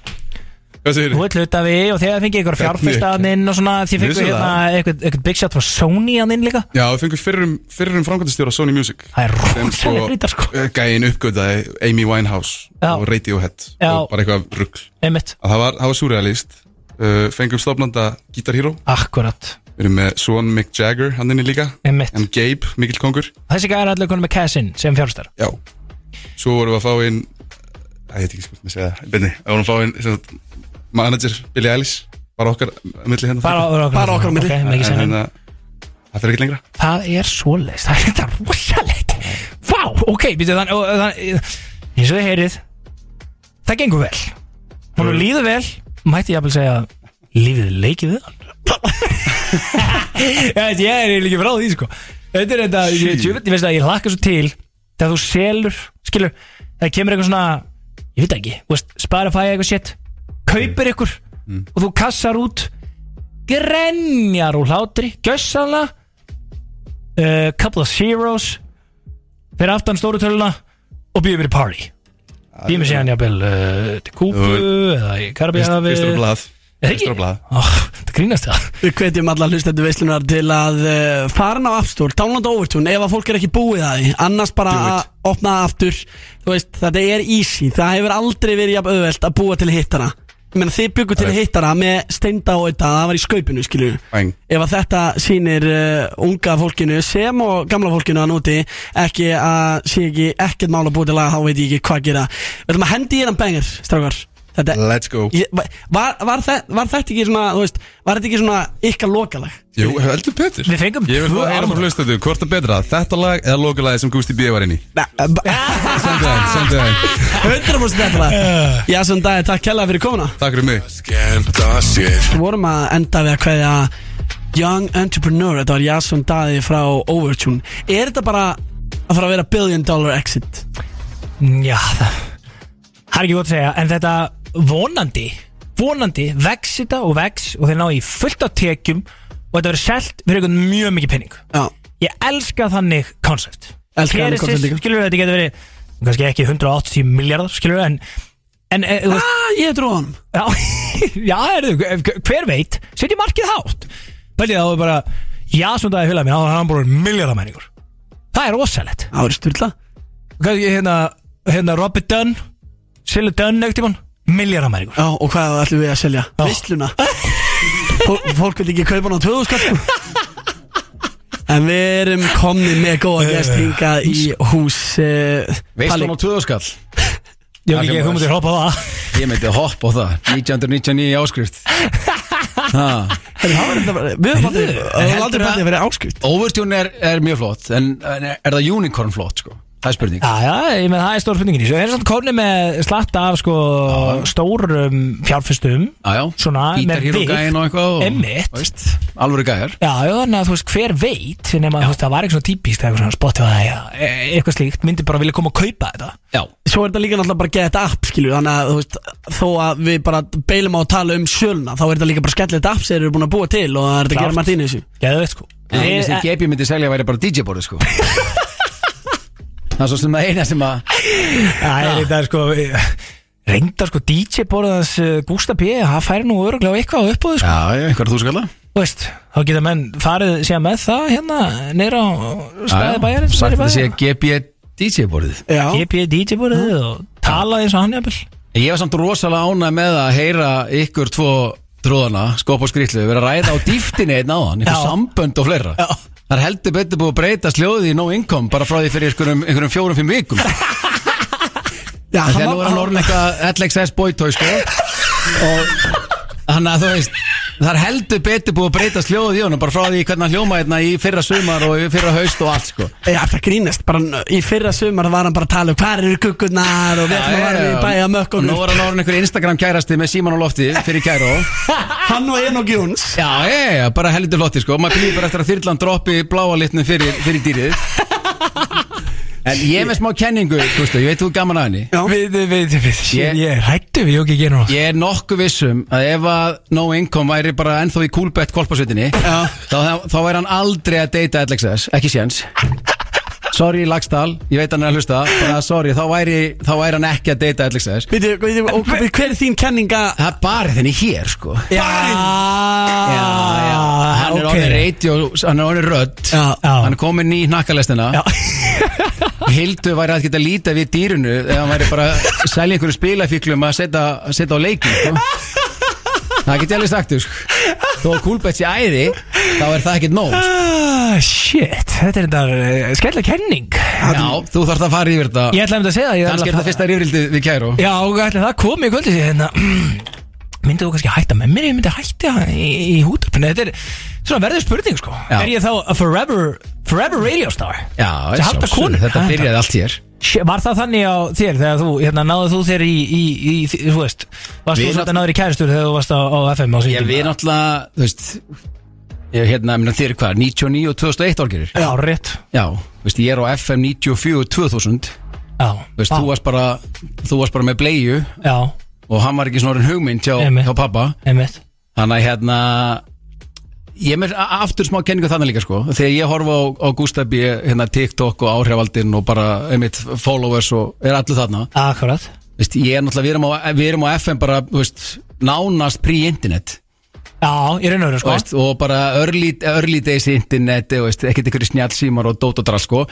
Speaker 3: Hvað segir
Speaker 7: Þú ert hlutafi og þegar fengið ykkur fjárfyrstaðaninn og svona Þið fengur
Speaker 3: Vissulega.
Speaker 7: hérna eitthvað, eitthvað big shot frá Sony hann inn líka
Speaker 3: já, við fengum fyrrum, fyrrum framkvæmdastjóra Sony Music
Speaker 7: það er
Speaker 3: rosalega grítar sko gæin uppgötaði Amy Winehouse
Speaker 7: Já.
Speaker 3: og Radiohead
Speaker 7: Já.
Speaker 3: og bara eitthvað rugg
Speaker 7: Einmitt
Speaker 3: að það var, það var surrealist uh, fengum stofnanda Guitar Hero
Speaker 7: Akkurat
Speaker 3: við erum með Swan Mick Jagger hann inni líka
Speaker 7: Einmitt.
Speaker 3: en Gabe, mikill kongur
Speaker 7: Þessi gæri allir konum með kæsin sem fjárfyrstar
Speaker 3: Já Svo vorum við að fá inn Æ, ég veit ekki sko, ég segja það, beinni Við vorum að fá inn sem sagt, manager Billy Eilish Bara okkar á milli hérna
Speaker 7: Bara- bara okkar á Bara okkar á milli. milli. Ok, mikið
Speaker 3: En
Speaker 7: sem.
Speaker 3: hérna, Það fyrir ekki lengra
Speaker 7: Það er svoleiðis, það er þetta rosalegt Vá, ok, býttu þann, og- og þann eins og þið heyrið Það gengur vel Hún líður vel, mætti ég að segja Lífið er leikið við hann Ég veit, Ég er eiginlega ekki frá því sko Þetta er þetta, ég, ég, ég veist að ég hlakka svo til Þegar þú selur, skilur Það kemur eitthvað svona, ég veit það ekki þú veist, Spotify eitthvað shit Kaupir ykkur og þú kassar út Grenjar úr hlátri Gjössanlega uh, couple of zeros fyrir aftan stóru töluna og býðum mér í party býðum mér síðan jafnvel uh, til eh, Kúbu eða í Karabíhafi
Speaker 3: Fyrst- fyrstur á blað.
Speaker 7: Ekki? Oh, það grínast það
Speaker 2: Við hvetjum alla hlustendur veislunar til að uh, fara inn á App Store, downloada Overtune ef að fólk er ekki búið að því, annars bara að opna það aftur, þú veist, þetta er easy, það hefur aldrei verið jafn auðvelt að búa til hittara, ég meina þið byggu til
Speaker 3: Það er-
Speaker 2: hittara með steinda og þetta það var í skaupinu, skilju,
Speaker 3: Bang.
Speaker 2: ef að þetta sýnir uh, unga fólkinu sem og gamla fólkinu að núti ekki að sé ekki ekkert mál að búa til að þá veit ég ekki hvað gera, við ætlum að hendi hérna bengir, strákar, þetta
Speaker 3: Let's go
Speaker 2: Ég- va- var, var, þe var þetta ekki svona þú veist, var þetta ekki svona ykkar lokalag
Speaker 3: Jú, heldur betur
Speaker 7: Við fengum
Speaker 3: Ég vil
Speaker 7: tvö
Speaker 3: fá að heyra frá
Speaker 7: alvöru.
Speaker 3: hlustandi Hvort er betra, þetta lag eða lokalagið sem Gusti B. var inn í Sendu það, inn, sendu það inn.
Speaker 2: 100% þetta lag Já, sem dagi, takk kella fyrir komuna
Speaker 3: Takk fyrir mig
Speaker 11: Skemmta sér
Speaker 2: Við vorum að enda við að kveðja Young Entrepreneur, þetta var Jason Daði frá Overtune Er þetta bara að fara að vera billion dollar exit?
Speaker 7: Já, það Það er ekki gott að segja En þetta vonandi Vonandi vex þetta og vex Og þeir ná í fullt á tekjum Og þetta verður selt fyrir einhvern mjög mikið penning
Speaker 2: Já
Speaker 7: Ég elska þannig koncept
Speaker 2: Elska þannig concept líka.
Speaker 7: Skilur þetta getur verið Kannski ekki 180 miljardar Skilur en En e, þú veist
Speaker 2: Ah, ég trúi honum
Speaker 7: Já, já er, hver veit Setjum markið hátt Pælið þá er bara Já, svona það er hulað mér Þá er hann bara miljardamæningur Það er rosalett
Speaker 2: Það var styrla
Speaker 7: Kannski hérna, hérna Robert Dunn Silla Dunn ekkert tímann Miljaramæringur
Speaker 2: Já, og hvað ætlum við að selja? Vissluna Fól- Fólk vil ekki kaupa hann á 2000 skall En við erum komni með góða gest hingað í hús uh,
Speaker 12: Veist hún á tvöðaskall?
Speaker 7: Ég veit ekki, þú myndir hoppa á það
Speaker 12: Ég myndi hoppa á það 1999 áskrift
Speaker 2: Herri, það var þetta bara- Við höfum aldrei- við
Speaker 12: Heyrðu,
Speaker 2: höfum aldrei
Speaker 12: heldurðu
Speaker 2: fættið að vera áskrift
Speaker 12: Overtune er, er mjög flott En, en er er það unicorn flott sko? Það er spurning
Speaker 7: Já, já, ég menn það er stór spurningin í þessu Það er svona komni með slatta af sko stórum fjárfestum
Speaker 12: Já, já.
Speaker 7: Svona
Speaker 12: Bítar hér og
Speaker 7: vigt.
Speaker 12: gæin og eitthvað og-
Speaker 7: Einmitt
Speaker 12: veist, Alvöru gæjar
Speaker 7: Já, já, þannig að þú veist, hver veit nema, þú veist, það var eitthvað svona típist eitthvað svona Spotify eða e- eitthvað slíkt myndi bara vilja koma að kaupa þetta
Speaker 12: Já,
Speaker 2: Svo er þetta líka náttúrulega bara get app skilju Þannig að þú veist Þó að við bara beilum á að tala um sjölna Þá er þetta líka bara skellilegt app sem þeir eru búin að búa til Og það er þetta að
Speaker 7: Klárt.
Speaker 2: gera margt inn í þessu
Speaker 7: Geðu veit sko
Speaker 12: Það eina sem Gepi myndi selja væri bara DJ-borðið sko Það er svo sem það eina sem að
Speaker 7: Það er þetta sko Reyndar sko DJ borðans eh, Gústa B, það færi nú öruglega á eitthvað upp á þau sko
Speaker 12: Já, já, einhverja þú skalla
Speaker 7: Þú veist, þá geta menn farið síðan með það hérna neyra á staði bæjarins
Speaker 12: Sagt
Speaker 7: niðri í
Speaker 12: að það sé
Speaker 7: bæjarins.
Speaker 12: Gepi DJ-borðið
Speaker 2: Já
Speaker 7: GP DJ búrið og talaði eins og hann jafnvel
Speaker 12: Ég var samt rosalega ánæg með að heyra ykkur tvo tróðana, skop og skrýtlu vera að ræða á dýftinni einn áðan einhver
Speaker 7: Já.
Speaker 12: sambönd og fleira
Speaker 7: Já.
Speaker 12: Það er heldur betur búið að breyta sljóði í no income bara frá því fyrir einhverjum, einhverjum fjórum fimm vikum Þegar
Speaker 2: Já, hann
Speaker 12: nú er
Speaker 2: var
Speaker 12: hann orðin eitthvað LXS boytoy sko og þannig að þú veist Það er heldur betur búið að breyta sljóðið í honum bara frá því hvernig hann hljóma hérna í fyrra sumar og í fyrra haust og allt sko
Speaker 2: Já, það grínast Bara í fyrra sumar var hann bara að tala um Hvar eru guggunar Og við ætlum að
Speaker 12: Já,
Speaker 2: varum
Speaker 12: já,
Speaker 2: í
Speaker 12: já.
Speaker 2: bæja mökk
Speaker 12: Og
Speaker 2: og
Speaker 12: Nú er hann orðin einhver Instagram kærasti með síman á lofti fyrir kæró
Speaker 2: Hann og Enok Jóns
Speaker 12: Já, já, já, bara heldur flotti sko Maður býður bara eftir að þyrlan droppi bláa litnum fyrir, fyrir dýrið En ég er með smá kenningu, Gustaf, ég veit þú er gaman að henni
Speaker 2: Já.
Speaker 7: Við, við, við,
Speaker 12: Ég-
Speaker 7: ég, ég rættu við Jóki Genur
Speaker 12: Ég er nokkuð vissum að ef að No Income væri bara ennþá í Coolbet kvalpasveitinni
Speaker 2: Já.
Speaker 12: þá, þá væri hann aldrei að deyta LXS, ekki séns Sorry Lagstall, ég veit hann er að hlusta bara sorry, þá væri, þá væri hann ekki að deyta LXS
Speaker 2: Veitu, veitu, og hver- hver er þín kenninga
Speaker 12: Það er bara þenni hér sko
Speaker 2: Já,
Speaker 12: Já, já, hann er orðin radio, hann er orðin rödd
Speaker 2: Já,
Speaker 7: já.
Speaker 12: hann er komin í nakkalestina Hildur væri að geta lítið við dýrinu eða hann væri bara að selja einhverju spilafíklum að setja, setja á leikin sko. það get ég alveg sagt þér, sko. þó að kúlbett sé æði þá er það ekkert nóg sko.
Speaker 7: Ah, shit, þetta er þetta skellileg kenning
Speaker 12: já, þú þarf að fara yfir
Speaker 7: Ég
Speaker 12: þetta
Speaker 7: ætlaði einmitt að segja það, ég ætlaði
Speaker 12: kannski
Speaker 7: að
Speaker 12: er þetta
Speaker 7: fara-
Speaker 12: fyrsta rifrildið við kæru
Speaker 7: Já, og ætlaði það komið í kvöldi sér hérna Myndið þú kannski hætta með mér, ég myndi hætta í, í hútarpinu Þetta er svona verður spurning sko
Speaker 12: Já.
Speaker 7: Er ég þá a forever, forever radio star?
Speaker 12: já,
Speaker 7: Þetta halda
Speaker 12: sjálfsögðu,
Speaker 7: konur.
Speaker 12: þetta
Speaker 7: Það er
Speaker 12: byrjaði allt hér
Speaker 7: Shit, Var það þannig á þér þegar þú, hérna, náðu þú þér í, í, í, í þú veist, varst
Speaker 12: Við
Speaker 7: þú
Speaker 12: nátt-
Speaker 7: þetta náður í kæristur þegar þú varst á, á FM á
Speaker 12: ég
Speaker 7: sínum
Speaker 12: við náttúrulega, þú veist ég hérna, minna þér hvað, 99 og 2001 orgerir
Speaker 7: Já, rétt
Speaker 12: já, þú veist, ég er á FM 94 og 2000
Speaker 7: Já,
Speaker 12: Þú veist,
Speaker 7: Vá.
Speaker 12: þú varst bara, þú varst bara með bleiu
Speaker 7: Já,
Speaker 12: og hann var ekki svona orðin hugmynd hjá,
Speaker 7: Einmitt.
Speaker 12: hjá pappa
Speaker 7: einmitt
Speaker 12: Þannig að hérna Ég er með a- aftur smá kenningu þannig líka sko Þegar ég horfa á, á Gustaf B hérna, TikTok og áhrifaldinn og bara einmitt followers og er allir þarna
Speaker 7: Akkurat
Speaker 12: veist, ég er náttúrulega, við erum á, við erum á FM bara, þú veist, nánast pre-internet
Speaker 7: Já, ég raunur
Speaker 12: sko.
Speaker 7: sko
Speaker 12: veist, og bara early, early days internet, þú veist, ekkert einhverju snjálsímar og dót og drall sko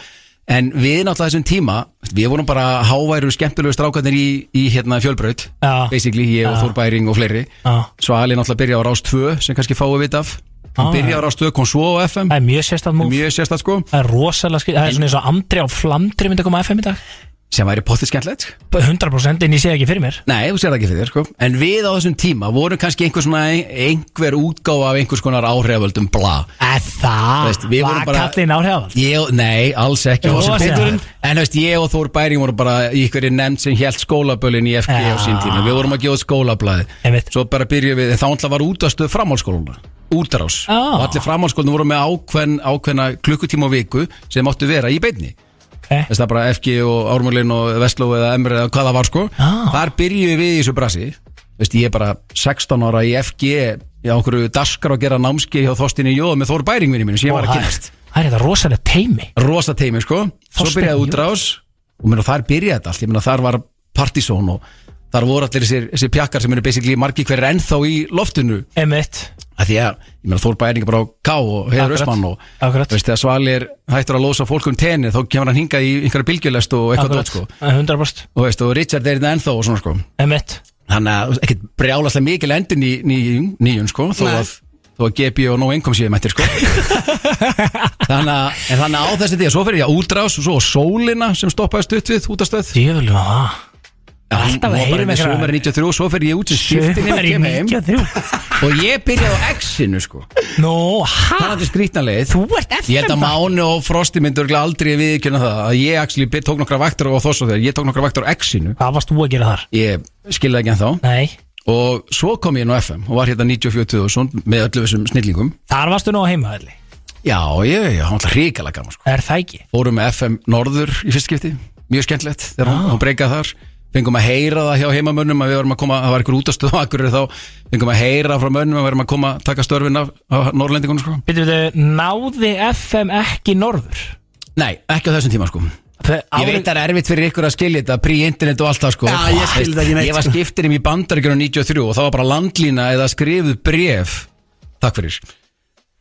Speaker 12: en við náttúrulega þessum tíma, þú veist, við vorum bara háværu skemmtilegu strákarnir í, í hérna fjölbraut,
Speaker 7: Já.
Speaker 12: basically ég og
Speaker 7: Já.
Speaker 12: Þór Bæring og fleiri
Speaker 7: Já.
Speaker 12: svo Ali náttúrulega byrja á Rás 2 sem kannski fáum við af
Speaker 7: Já,
Speaker 12: hann
Speaker 7: já.
Speaker 12: byrja á Rás 2, kom svo á FM
Speaker 7: Það er mjög sérstætt múf
Speaker 12: mjög sérstætt sko,
Speaker 7: Það er rosalega skil Það er svona eins og andri á flamdri myndi að koma á FM í dag
Speaker 12: sem væri pottið skemmtilegt
Speaker 7: 100% en ég sé það ekki fyrir mér
Speaker 12: Nei, þú sér það ekki fyrir þér sko En við á þessum tíma vorum kannski einhver svona einhver útgáfa af einhvers konar áhriföldum bla
Speaker 7: Eða
Speaker 12: Þú
Speaker 7: Það
Speaker 12: veist, við vorum
Speaker 7: var
Speaker 12: bara-
Speaker 7: kallinn áhrifald
Speaker 12: ég, Nei, alls ekki
Speaker 7: Jú,
Speaker 12: Og sem
Speaker 7: að segja
Speaker 12: betur- En þú veist, ég og Þór Bæring vorum bara í einhverju nefnd sem hélt skólabölin í FG á sín tíma Við vorum að gefa út skólablaði
Speaker 7: Einmitt.
Speaker 12: Svo bara byrjuðum við, þá ætla var útastöð framhalskóluna Útarás
Speaker 7: Ah.
Speaker 12: Og allir framhalskólinu voru með ákveðn, ákveðna klukkutíma á viku sem máttu vera í beinni
Speaker 7: Ok.
Speaker 12: Þess það bara FG og Ármúlin og Vestló eða Emre eða hvað það var sko
Speaker 7: Ah.
Speaker 12: Þar byrjuðum við í þessu brasi Veist, ég er bara 16 ára í FG Ég á okkur daskar að gera námski hjá Þorstinni Jóð með Þór Bæringvinni mínu sem ég var að kynast
Speaker 7: Það er þetta rosalega teimi
Speaker 12: rosa teimi sko svo
Speaker 7: Þorsteinn
Speaker 12: byrjaði
Speaker 7: Jóns.
Speaker 12: útrás og meina, þar byrjaði þetta allt, ég meina þar var partysón og þar voru allir þessir, þessir pjakkar sem eru basically margi hverjir ennþá í loftinu
Speaker 7: Emmett
Speaker 12: að því að, ég meina Þór Bæringa bara á K og Heiður
Speaker 7: Akkurat,
Speaker 12: Ösmann og
Speaker 7: akkurat.
Speaker 12: þú veist þegar Svali er hættur að losa fólk um tenni þá kemur hann hingað í einhverja bylgjulest og eitthvað drótt sko
Speaker 7: 100%
Speaker 12: og, veist, og Richard er þetta ennþá og svona sko
Speaker 7: Emmett
Speaker 12: þannig að ekkert brjálaslega mikil endur ný, ný, nýjum sko þó
Speaker 2: Nei.
Speaker 12: að, þó að GP og no income séu mættir sko þannig að, en þannig að á þessi því að svo fyrir ég að útrás og svo á sólina sem stoppaði stutt við út af stöð
Speaker 7: Djöfulum að það alltaf að heyrum
Speaker 12: eitthvað
Speaker 7: eitthvað.
Speaker 12: Sumar 93 og svo fyrir ég út sem skiptin
Speaker 7: Sjöfumar í
Speaker 12: kem heim
Speaker 7: 93
Speaker 12: og ég byrjaði á X-inu sko
Speaker 7: Nó,
Speaker 12: það er
Speaker 7: hæ?
Speaker 12: þetta skrýtnarlegið
Speaker 7: Ah. Þú ert
Speaker 12: Ég held að
Speaker 7: FM
Speaker 12: Máni og Frosti myndur örugglega aldrei viðkjöna það að ég actually byr- tók nokkra vaktur á þoss og þegar ég tók nokkra vaktur á X-inu
Speaker 7: Hvað varst þú að gera þar?
Speaker 12: ég skilði ekki en þá
Speaker 7: Nei
Speaker 12: og svo kom ég nú FM og var hérna 94.000 með öllu þessum snillingum
Speaker 7: Þar varstu nú á heimaðalli
Speaker 12: já, ég, já, hann var hrikalega gaman sko.
Speaker 7: Er það ekki?
Speaker 12: fórum með FM Norður í fyrst skipti mjög skemmtilegt þegar hún, hún breykaði þar fengum að heyra það hjá heimamönnum að við varum að koma, það var einhver útastöð og akkur þá fengum að heyra frá mönnum að við varum að koma að taka störfin af, af Norrlendingunum sko
Speaker 7: Býttu við náði FM ekki norður?
Speaker 12: nei, ekki á þessum tíma sko Ég veit að það er erfitt fyrir ykkur að skilja þetta Pre-internet og allt það sko
Speaker 2: Já, ég skil þetta ekki neitt,
Speaker 12: Ég var
Speaker 2: sko.
Speaker 12: skiptinum í bandaríkjörnum 93 Og það var bara landlína eða skrifuð bref Takk fyrir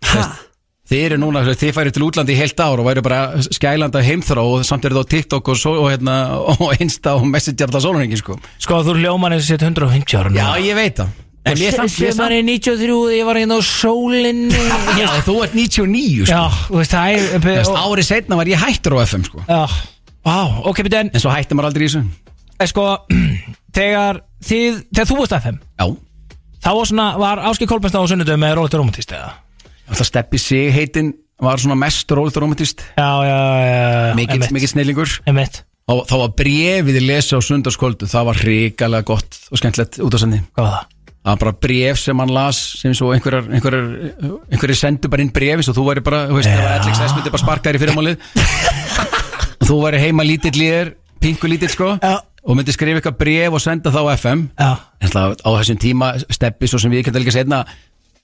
Speaker 12: Veist, Þið eru núna, þú veist, þið færi til útlandi í heilt ár Og væri bara skælanda heimþrá Og samt er það á TikTok og, svo, og, hérna, og Insta og Messenger Það sólunningi sko
Speaker 7: Sko þú hljóman eins og sett 150 ára
Speaker 12: Já, ég veit það En ég samt, ég samt
Speaker 7: Sjöfumar í 93 Ég var hérna á sólinni
Speaker 12: Já, þú ert 99 sko
Speaker 7: Já, þú veist það er
Speaker 12: Þú veist,
Speaker 7: og-
Speaker 12: Árið setna var ég hættur á FM sko
Speaker 7: Já, vá, ok, býttu en
Speaker 12: En svo hætti maður aldrei í þessu
Speaker 7: eh, Sko, þegar þið, þegar þú varst FM
Speaker 12: Já
Speaker 7: Þá var svona, var Áski Kolbensna á sunnudöð með Róletur Romantist eða?
Speaker 12: Það steppi sig heitin Var svona mest rólið romantist
Speaker 7: Já, já, já, já
Speaker 12: mikill, mikill snillingur
Speaker 7: Emmett,
Speaker 12: og þá var brefið að lesa á sundarskvöldu það var hrikalega gott og skemmtilegt út á sendi
Speaker 7: hvað var það?
Speaker 12: það var bara bref sem hann las sem svo einhverjar einhverjar einhverjar sendu bara inn brefi svo þú væri bara þú veist það var LXS myndi bara sparka þér í fyrirmálið og þú væri heima lítill í þér pingu lítill sko
Speaker 7: Já.
Speaker 12: og myndi skrifa eitthvað bref og senda það á FM
Speaker 7: Já,
Speaker 12: en það á þessum tíma steppi svo sem við kemdum líka setna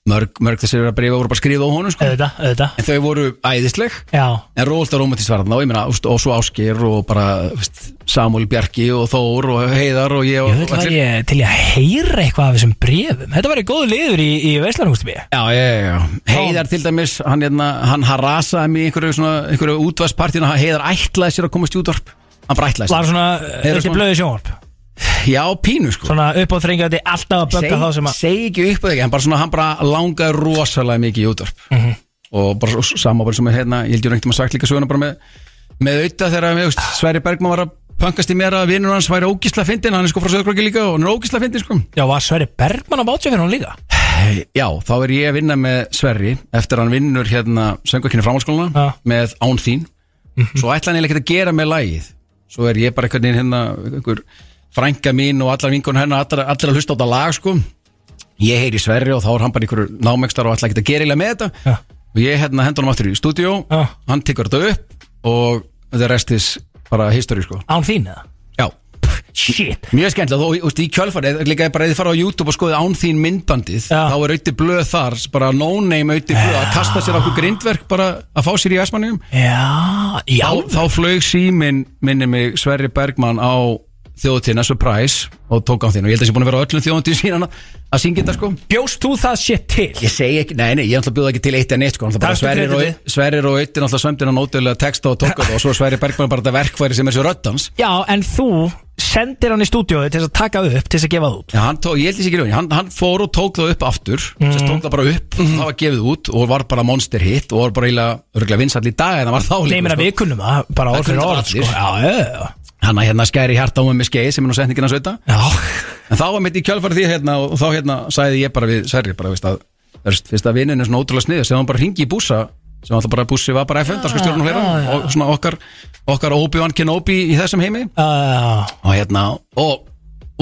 Speaker 12: mörg, mörg þessir brefi voru bara skrifið á honum sko
Speaker 7: auðvitað, auðvitað
Speaker 12: en þau voru æðisleg
Speaker 7: Já,
Speaker 12: En Róald og Rómatís var þarna og ég meina úst, og svo Áskir og bara veist, Samuel Bjarki og Þór og Heiðar og ég og
Speaker 7: ég veit hvað ég til í að heyra eitthvað af þessum brefum Þetta var í góðu liður í, í Veislanústubí
Speaker 12: Já, já, já, já. Heiðar til dæmis, hann, hérna, hann harasaði mig í einhverju, svona, einhverju útvarspartínu Heiðar ætlaði sér að komast í útvarp Hann bara ætlaði
Speaker 7: Var
Speaker 12: sér
Speaker 7: svona,
Speaker 12: Heyra
Speaker 7: þetta
Speaker 12: svona-
Speaker 7: blöði sjónvarp
Speaker 12: Já, pínu sko
Speaker 7: Svona upp á þrengjandi, alltaf að bögga þá sem að
Speaker 12: seg ekki upp á þig, hann bara, svona, hann bara langaði rosalega mikið í útvarp Og bara svo- sama bara sem er hérna, ég held ég hef einhvern veginn sagt líka söguna bara með Með auðvitað þegar veist, Sverri Bergman var að pöngast í mér að vinnur hans væri ógísla fyndin Hann er sko frá Söðurkróki líka og hann er ógísla fyndin sko
Speaker 7: Já, var Sverri Bergman á bátjöfinn hún líka?
Speaker 12: Eh, Já, þá er ég að vinna með Sverri eftir að hann vinnur hérna söngvakynni framhalskóluna
Speaker 7: Já. Mhm.
Speaker 12: með Án þín svo ætla hann eiginlega ekkert að gera með lagið svo er ég bara einhvern veginn hérna einhver frænka mín og allar vingun hennar allar, allar að hlusta á þetta lag sko ég heyri Sverri og þá er hann bara einhverju námegstar og ætla ekkert að gera eiginlega með þetta
Speaker 7: Já.
Speaker 12: og ég hérna hendur hann aftur í stúdíó
Speaker 7: Já.
Speaker 12: hann tekur þetta upp og þetta er restis bara history sko
Speaker 7: Án þín eða?
Speaker 12: Já,
Speaker 7: Shit
Speaker 12: Mjög skemmtilega, þú veist, í kjölfarið, líka bara ef þið fara á YouTube og skoðið án þín myndbandið,
Speaker 7: Já.
Speaker 12: þá er auðvitað blöð þar, bara no-name auðvitað blöð, að kasta sér okkur grindverk bara að fá sér í S-manningum.
Speaker 7: Já, já
Speaker 12: Þá, þá flög síminn minni mig Sverri Bergmann á þjóðutíðina Surprise og tók á þín og ég held að það sé búin að vera á öllum þjóðutíð síðan að- að syngja þetta sko
Speaker 7: Bjóst þú það sétt til?
Speaker 12: Ég segi ekki, nei, nei, ég ætla að bjóða ekki til eitt en eitt sko náttúrulega bara
Speaker 7: Taktu
Speaker 12: Sverrir og,
Speaker 7: kreditið.
Speaker 12: Sverrir og Eittin alltaf sömdina nótilega texta og tók á það og svo Sverrir Bergman bara þetta verkfæri sem er svo röddans
Speaker 7: Já, en þú sendir hann í stúdíóið til þess að taka upp, til þess að gefa það út
Speaker 12: Já, hann tók, ég held þessi ekki raunin, hann, hann fór og tók það upp aftur mm.
Speaker 7: Mhm.
Speaker 12: sem tók það bara upp, það var gefið út og var bara monster hit og var bara eiginlega vinsall í dag en það var þá
Speaker 7: Nei, mér að
Speaker 12: sko.
Speaker 7: við kunnum það, bara
Speaker 12: Það
Speaker 7: orð fyrir
Speaker 12: kunnu
Speaker 7: orð
Speaker 12: þetta
Speaker 7: sko.
Speaker 12: allir.
Speaker 7: Já, já, já.
Speaker 12: hann að hérna skæri hjarta á mig með skeið sem er nú setningin að sveita
Speaker 7: Já.
Speaker 12: en þá var mitt í kjálfari því hérna og þá hérna sagði ég bara við Sverri bara veist að veist, fyrst að vinnin er svona ótrúlega sniður sem hann bara ringi í búsa sem alltaf bara bússi var bara FN sko stjórn og
Speaker 7: Ah, já, já.
Speaker 12: hlera og svona okkar okkar Obi-Wan Kenobi í þessum heimi
Speaker 7: Uh,
Speaker 12: og hérna og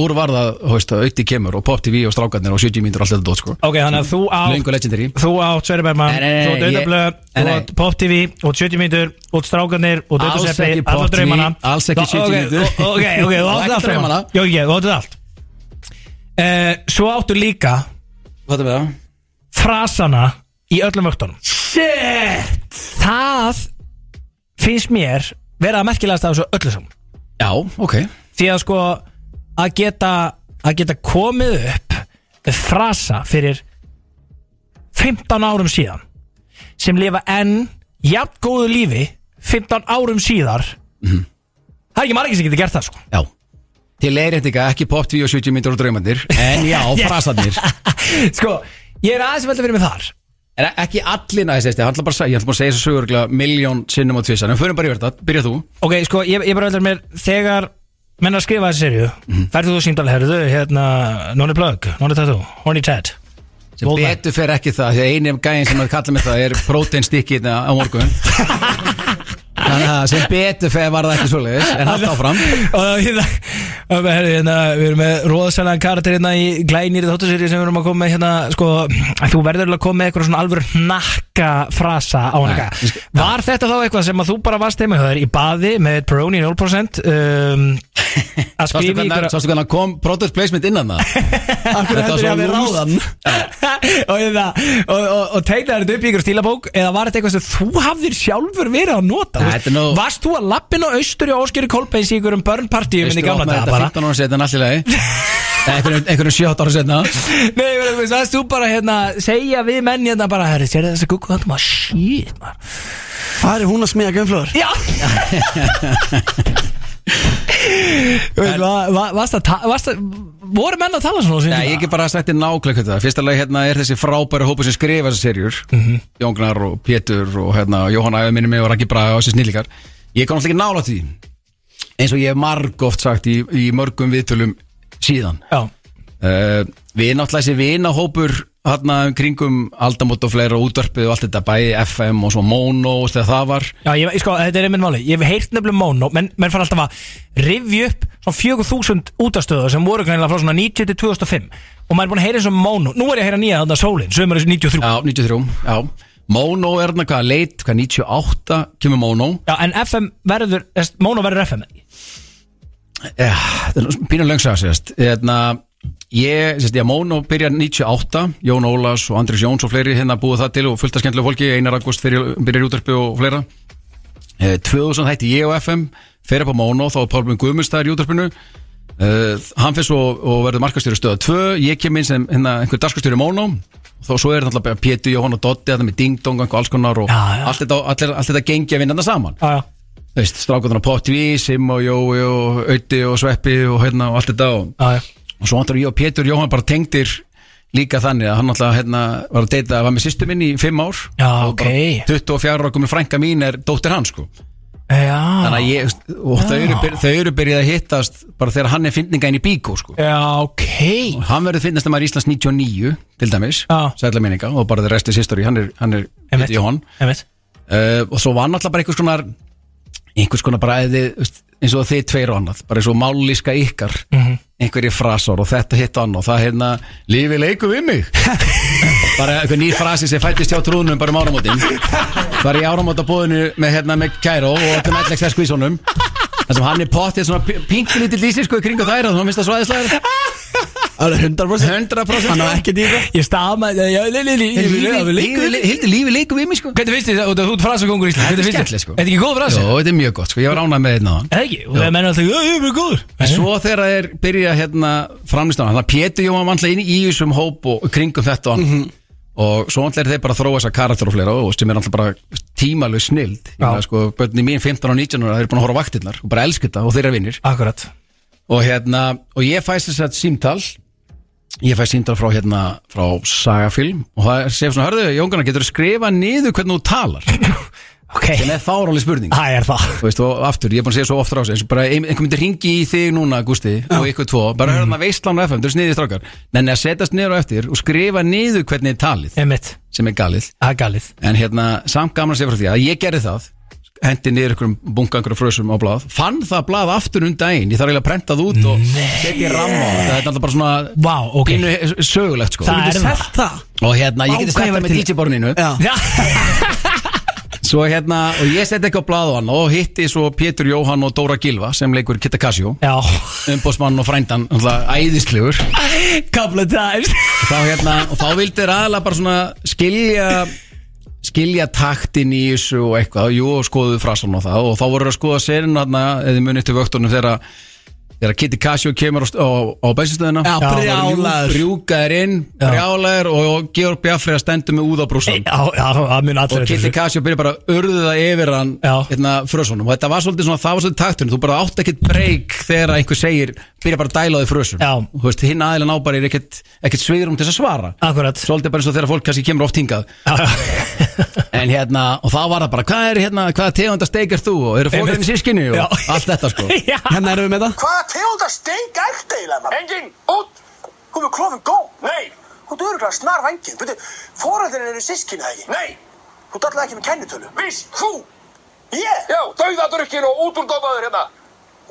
Speaker 12: úr var það þú veist að auktið kemur og Pop TV og strákarnir og 70 mínútur og allt þetta dót sko
Speaker 7: ok, þannig að þú átt
Speaker 12: löngu legendary
Speaker 7: Þú átt Sverri Bergman,
Speaker 12: Nei, nei, nei,
Speaker 7: þú átt
Speaker 12: ég-
Speaker 7: Auðablö,
Speaker 12: Nei,
Speaker 7: þú
Speaker 12: nei.
Speaker 7: átt Pop TV, þú átt 70 mínútur, þú átt Strákarnir, þú átt
Speaker 12: Alls
Speaker 7: Auðablö,
Speaker 12: ekki
Speaker 7: alla
Speaker 12: Pop TV,
Speaker 7: draumana
Speaker 12: alls ekki
Speaker 7: Þú-
Speaker 12: 70
Speaker 7: ok,
Speaker 12: mínútur.
Speaker 7: o- Ok, ok, þú
Speaker 12: Og
Speaker 7: átt
Speaker 12: ekki
Speaker 7: allt
Speaker 12: draumana.
Speaker 7: draumana. Já, já, þú átt allt Eh, Svo áttu líka
Speaker 12: Hvað er með það?
Speaker 7: frasana í öllum vöktunum
Speaker 12: Shit
Speaker 7: Það finnst mér vera að merkilegast af þessu öllu saman
Speaker 12: Já, ok
Speaker 7: því að sko að geta að geta komið upp frasa fyrir 15 árum síðan sem lifa enn jafn góðu lífi 15 árum síðar Mhm. það er ekki margir sem getur gert það sko
Speaker 12: Já Til leiðréttinga ekki Pop TV og 70 mínútur og draumandir en já, frasarnir
Speaker 7: sko, ég er aðeins að velta fyrir mig þar
Speaker 12: En ekki allir næst, ég ætla bara að segja, ég ætla bara að segja þessu sögurglega miljón sinnum á tvisar, en förum bara yfir þetta, byrja þú.
Speaker 7: ok, sko, ég, ég bara velta fyrir mér þegar menn að skrifa þessi serju mm -hmm. færðu þú símdala, herðu, hérna Nonni Plug, Nonni Tattoo, Horny Ted
Speaker 12: Sem
Speaker 7: Goldman.
Speaker 12: betur fer ekki það, því að eini af gæðin sem að kalla mig það er proteinstikkið á morgun. Þannig að sem betur fer var það ekki svoleiðis, en haldt áfram.
Speaker 7: og það hérna, og það- herri, hérna við erum með roðsælan karakter hérna í glænýri þáttasýri sem við erum að koma með hérna sko, þú verður alveg að koma með eitthvað svona alvöru hnakka frasa á hana
Speaker 12: Nei, ég sk-
Speaker 7: var þetta þá eitthvað sem að þú bara varst heima hjá þér í baði með Peroni 0% um, að
Speaker 12: Sástu
Speaker 7: skrifa í
Speaker 12: hvernig,
Speaker 7: ykkur
Speaker 12: sástu hvernig kom product placement innan það? Akkur
Speaker 7: heldur ég að við ráðan? og, hérna, og, og, og tegnaði þetta upp í ykkur stílabók eða var þetta eitthvað sem þú hafðir sjálfur verið að nota
Speaker 12: Nei,
Speaker 7: Þú veist,
Speaker 12: þetta er nú-
Speaker 7: varst þú að lappin á austur í Óskeri Kolbeins í ykkur um börnpartíum minni gamla
Speaker 12: opnaði
Speaker 7: daga
Speaker 12: þetta
Speaker 7: bara
Speaker 12: 15 ára setna, allir lagi. Nei, einhverjum- Einhverjum 7 ára setna.
Speaker 7: Nei, ég verður, þú veist, þú bara hérna segja við menn hérna bara, herri, sér þessi kukku hann, maður, shit, maður
Speaker 2: Hvað er hún að smíða gönnflöður?
Speaker 7: Já Þú veist, va- va- varst að, ta- varst að, voru menn að tala svona á sínum
Speaker 12: Nei, ég
Speaker 7: tíma?
Speaker 12: get bara sagt þér nákvæmlega þetta Fyrsta lagi hérna er þessi frábæri hópu sem skrifa þessar serjur Jóngnar og Pétur og hérna, Jóhann Ævi minni mig og Raggi Braga og þessi snillíkar Ég kom alltaf ekki nála því eins og ég hef marg oft sagt í, í mörgum viðtölum síðan
Speaker 7: Já,
Speaker 12: uh, Við náttúrulega þessi vinahópur hérna um kringum aldamót og fleira og útvarpið og allt þetta bæði FM og svo Mono og þegar það var
Speaker 7: já, ég, sko, þetta er einmitt máli Ég hef heyrt nefnilega móno, menn, menn fara alltaf að rifja upp svona 4000 útastöðu sem voru greinilega frá svona 90 til 2005 og maður er búin að heyra eins og móno Nú er ég að heyra nýja þarna sólin, sömur 93
Speaker 12: Já, 93, já Mono er hérna hvað leit, hvað 98 kemur Mono
Speaker 7: Já, en FM verður, móno verður FM
Speaker 12: Já, þetta er pínu löngsaga sérst Hérna, ég, sérst, ég Móno byrja 98, Jón Ólafs og Andris Jóns og fleiri hérna búið það til og fullt að skemmtilega fólki, Einar Agust fyrir, byrjar í útvarpi og fleira Eh, 2000 hætti ég og FM, fer upp á Móno þá er Pálmur Guðmundsstæður í útvarpinu Uh, hann fyrst og, og verður markastjóri stöða 2, ég kem inn sem hérna, einhver dagskastjóri Móno, þá svo er þetta Pétur, Jóhann og Dotti, þetta með Ding Dong og alls konar og
Speaker 7: Já, já.
Speaker 12: allt þetta, allt, allt þetta gengi að vinna þetta saman
Speaker 7: Já, já
Speaker 12: Þú veist, strákurnar á Pottví, Sim og Jói og Ötti og Sveppi og hérna og allt þetta og,
Speaker 7: Já, já.
Speaker 12: og svo andur ég og Pétur Jóhann bara tengdir líka þannig að hann alltaf hérna var að deyta, var með sýstu minn í fimm ár
Speaker 7: Já,
Speaker 12: Og bara
Speaker 7: ok.
Speaker 12: 24 ára komið frænka mín er dóttir hans sko
Speaker 7: Já
Speaker 12: þannig að ég, og þau
Speaker 7: Ah.
Speaker 12: eru, byr- þau eru byrjað að hittast bara þegar hann er fyndninga inn í bíkó sko
Speaker 7: Já, ok
Speaker 12: Hann verður finnast að maður í Íslands 99 til dæmis,
Speaker 7: Já.
Speaker 12: sætla minninga og bara þeir restið sýstur í, hann er, hann er Pétur Jóhann
Speaker 7: Einmitt
Speaker 12: uh, og svo var náttúrulega bara einhvers konar einhvers konar bara eði, eins og þið tveir og annað, bara eins og mállíska ykkar
Speaker 7: Mhm.
Speaker 12: einhverjir frasar og þetta hitt og annað og það hérna, lífið leikur við mig bara einhver nýr frasi sem fættist hjá trúnum bara um áramótin var ég áramóta búinu með hérna með Kæró og öllum ætlegst skvísunum þar sem hann er pottið svona pinklítill ísir sko í kringu þær og þannig finnst það svo aðeinslega
Speaker 2: Alveg 100%
Speaker 12: 100%
Speaker 2: Hann á ekkert í það
Speaker 7: Ég stamaði já, li- li- li-
Speaker 12: Hildi,
Speaker 7: li- við leikum.
Speaker 12: lífi- Hildi, lífi leikum við mig sko
Speaker 7: Hvernig finnst þið, og þú ert frasakongur í Ísland
Speaker 12: Þetta er
Speaker 7: hvernig finnst þér-
Speaker 12: skemmtilegt sko
Speaker 7: Þetta er ekki góð frasi
Speaker 12: Jó, þetta er mjög gott sko Ég var ánað með þetta náðan
Speaker 7: Er Það ekki, og það menna alltaf, já, ég er mjög góður
Speaker 12: En svo þegar þeir byrja hérna framlýstana Þannig að Pétur Jóhann vantlega inn í þessum hóp og og kringum þetta og annað Og svo vantlega er þeir bara að þróa þessa karakter og fleira og sem er alltaf bara tímalög snild Ég meina, sko, Bönni mín 15 og 19 ára, þeir eru búin að horfa á vaktirnar og bara elska þetta og þeir eru vinnir
Speaker 7: Akkurat
Speaker 12: og hérna, og ég fæst þess að símtal ég fæst símtal frá hérna frá sagafilm og það er segir svona, hörðu, Jóngana, getur þú skrifa niður hvernig þú talar
Speaker 7: Ok,
Speaker 12: sem er fáráli spurning
Speaker 7: það er það
Speaker 12: Þú veist, og aftur, ég er búin að segja svo ofta á sig eins og bara ein- einhver myndir ringi í þig núna, Gústi og ykkur tvo,
Speaker 7: Mhm.
Speaker 12: bara hörðu maður veistlan á FM, þú er sniðið strákar nenni að setjast niður á eftir og skrifa niður hvernig er talið,
Speaker 7: Emmett,
Speaker 12: sem er galið
Speaker 7: það er galið
Speaker 12: en hérna, samt gaman að segja frá því að ég gerði það hendi niður ykkur bunga ykkur frösum á blað fann það blað aftur um daginn, ég þarf eiginlega að prenta það út og setja ramma á þetta þetta er alltaf bara svona
Speaker 7: Vá, ok
Speaker 12: pínu sögulegt sko
Speaker 7: Það er það
Speaker 2: Selt það
Speaker 12: og hérna,
Speaker 2: Vá, hvað
Speaker 12: ég geti
Speaker 2: ég
Speaker 12: sett það
Speaker 2: væri
Speaker 12: með
Speaker 2: til í-
Speaker 12: DJ-borninu
Speaker 2: Já
Speaker 7: Já,
Speaker 12: svo hérna, og ég setti eitthvað á blað á hann og hitti svo Pétur Jóhann og Dóra Gilva sem leikur Kitta Kassjó
Speaker 7: já
Speaker 12: umbósmann og frændan, alltaf æðislegur
Speaker 7: Couple of times
Speaker 12: þá hérna, og þá vildi þér aðalega bara svona skilja skilja taktin í þessu og eitthvað jú, og skoðuðu frasan á það og þá voru þeir að skoða serin hérna, eða munið til vöktunum þegar þegar Kitty Casio kemur á, st- á, á bensinstöðina
Speaker 2: Já, brjálaður.
Speaker 12: rjúkaður inn, brjálaður og, og Georg Bjafri að stendur með úðabrúsan
Speaker 7: Já, já, það mun allir
Speaker 12: og Kitty Casio byrja bara að urðu það yfir hann
Speaker 7: Já.
Speaker 12: hérna, frösunum og þetta var svolítið svona, það var svolítið takturinn þú bara átt ekkert breyk þegar einhver segir byrja bara að dæla á því frösun
Speaker 7: Já.
Speaker 12: Þú veist, hinn aðilin ábæri er ekkert, ekkert sviðrum til þess að svara
Speaker 7: Akkurat
Speaker 12: svolítið bara eins og þegar fólk kannski kemur oft hingað
Speaker 7: Já, já.
Speaker 12: en hérna, og þá var það bara hvað er hérna, hvaða tegunda steik er þú og eru fólkarnir sískinni og
Speaker 7: Já.
Speaker 12: allt þetta sko
Speaker 7: Já,
Speaker 2: Hérna erum við með það
Speaker 11: Hvaða tegunda steik ert eiginlega maður? Engin! Út! Hún er klofin góð? Nei! Hún er öruglega snar vangið. Byrju, fóröldin eru sískina ekki? Nei! Þú dallaði ekki með kennitölu? Víst! Þú! Ég? Já, dauðadrukkin og útúrdómaður hérna.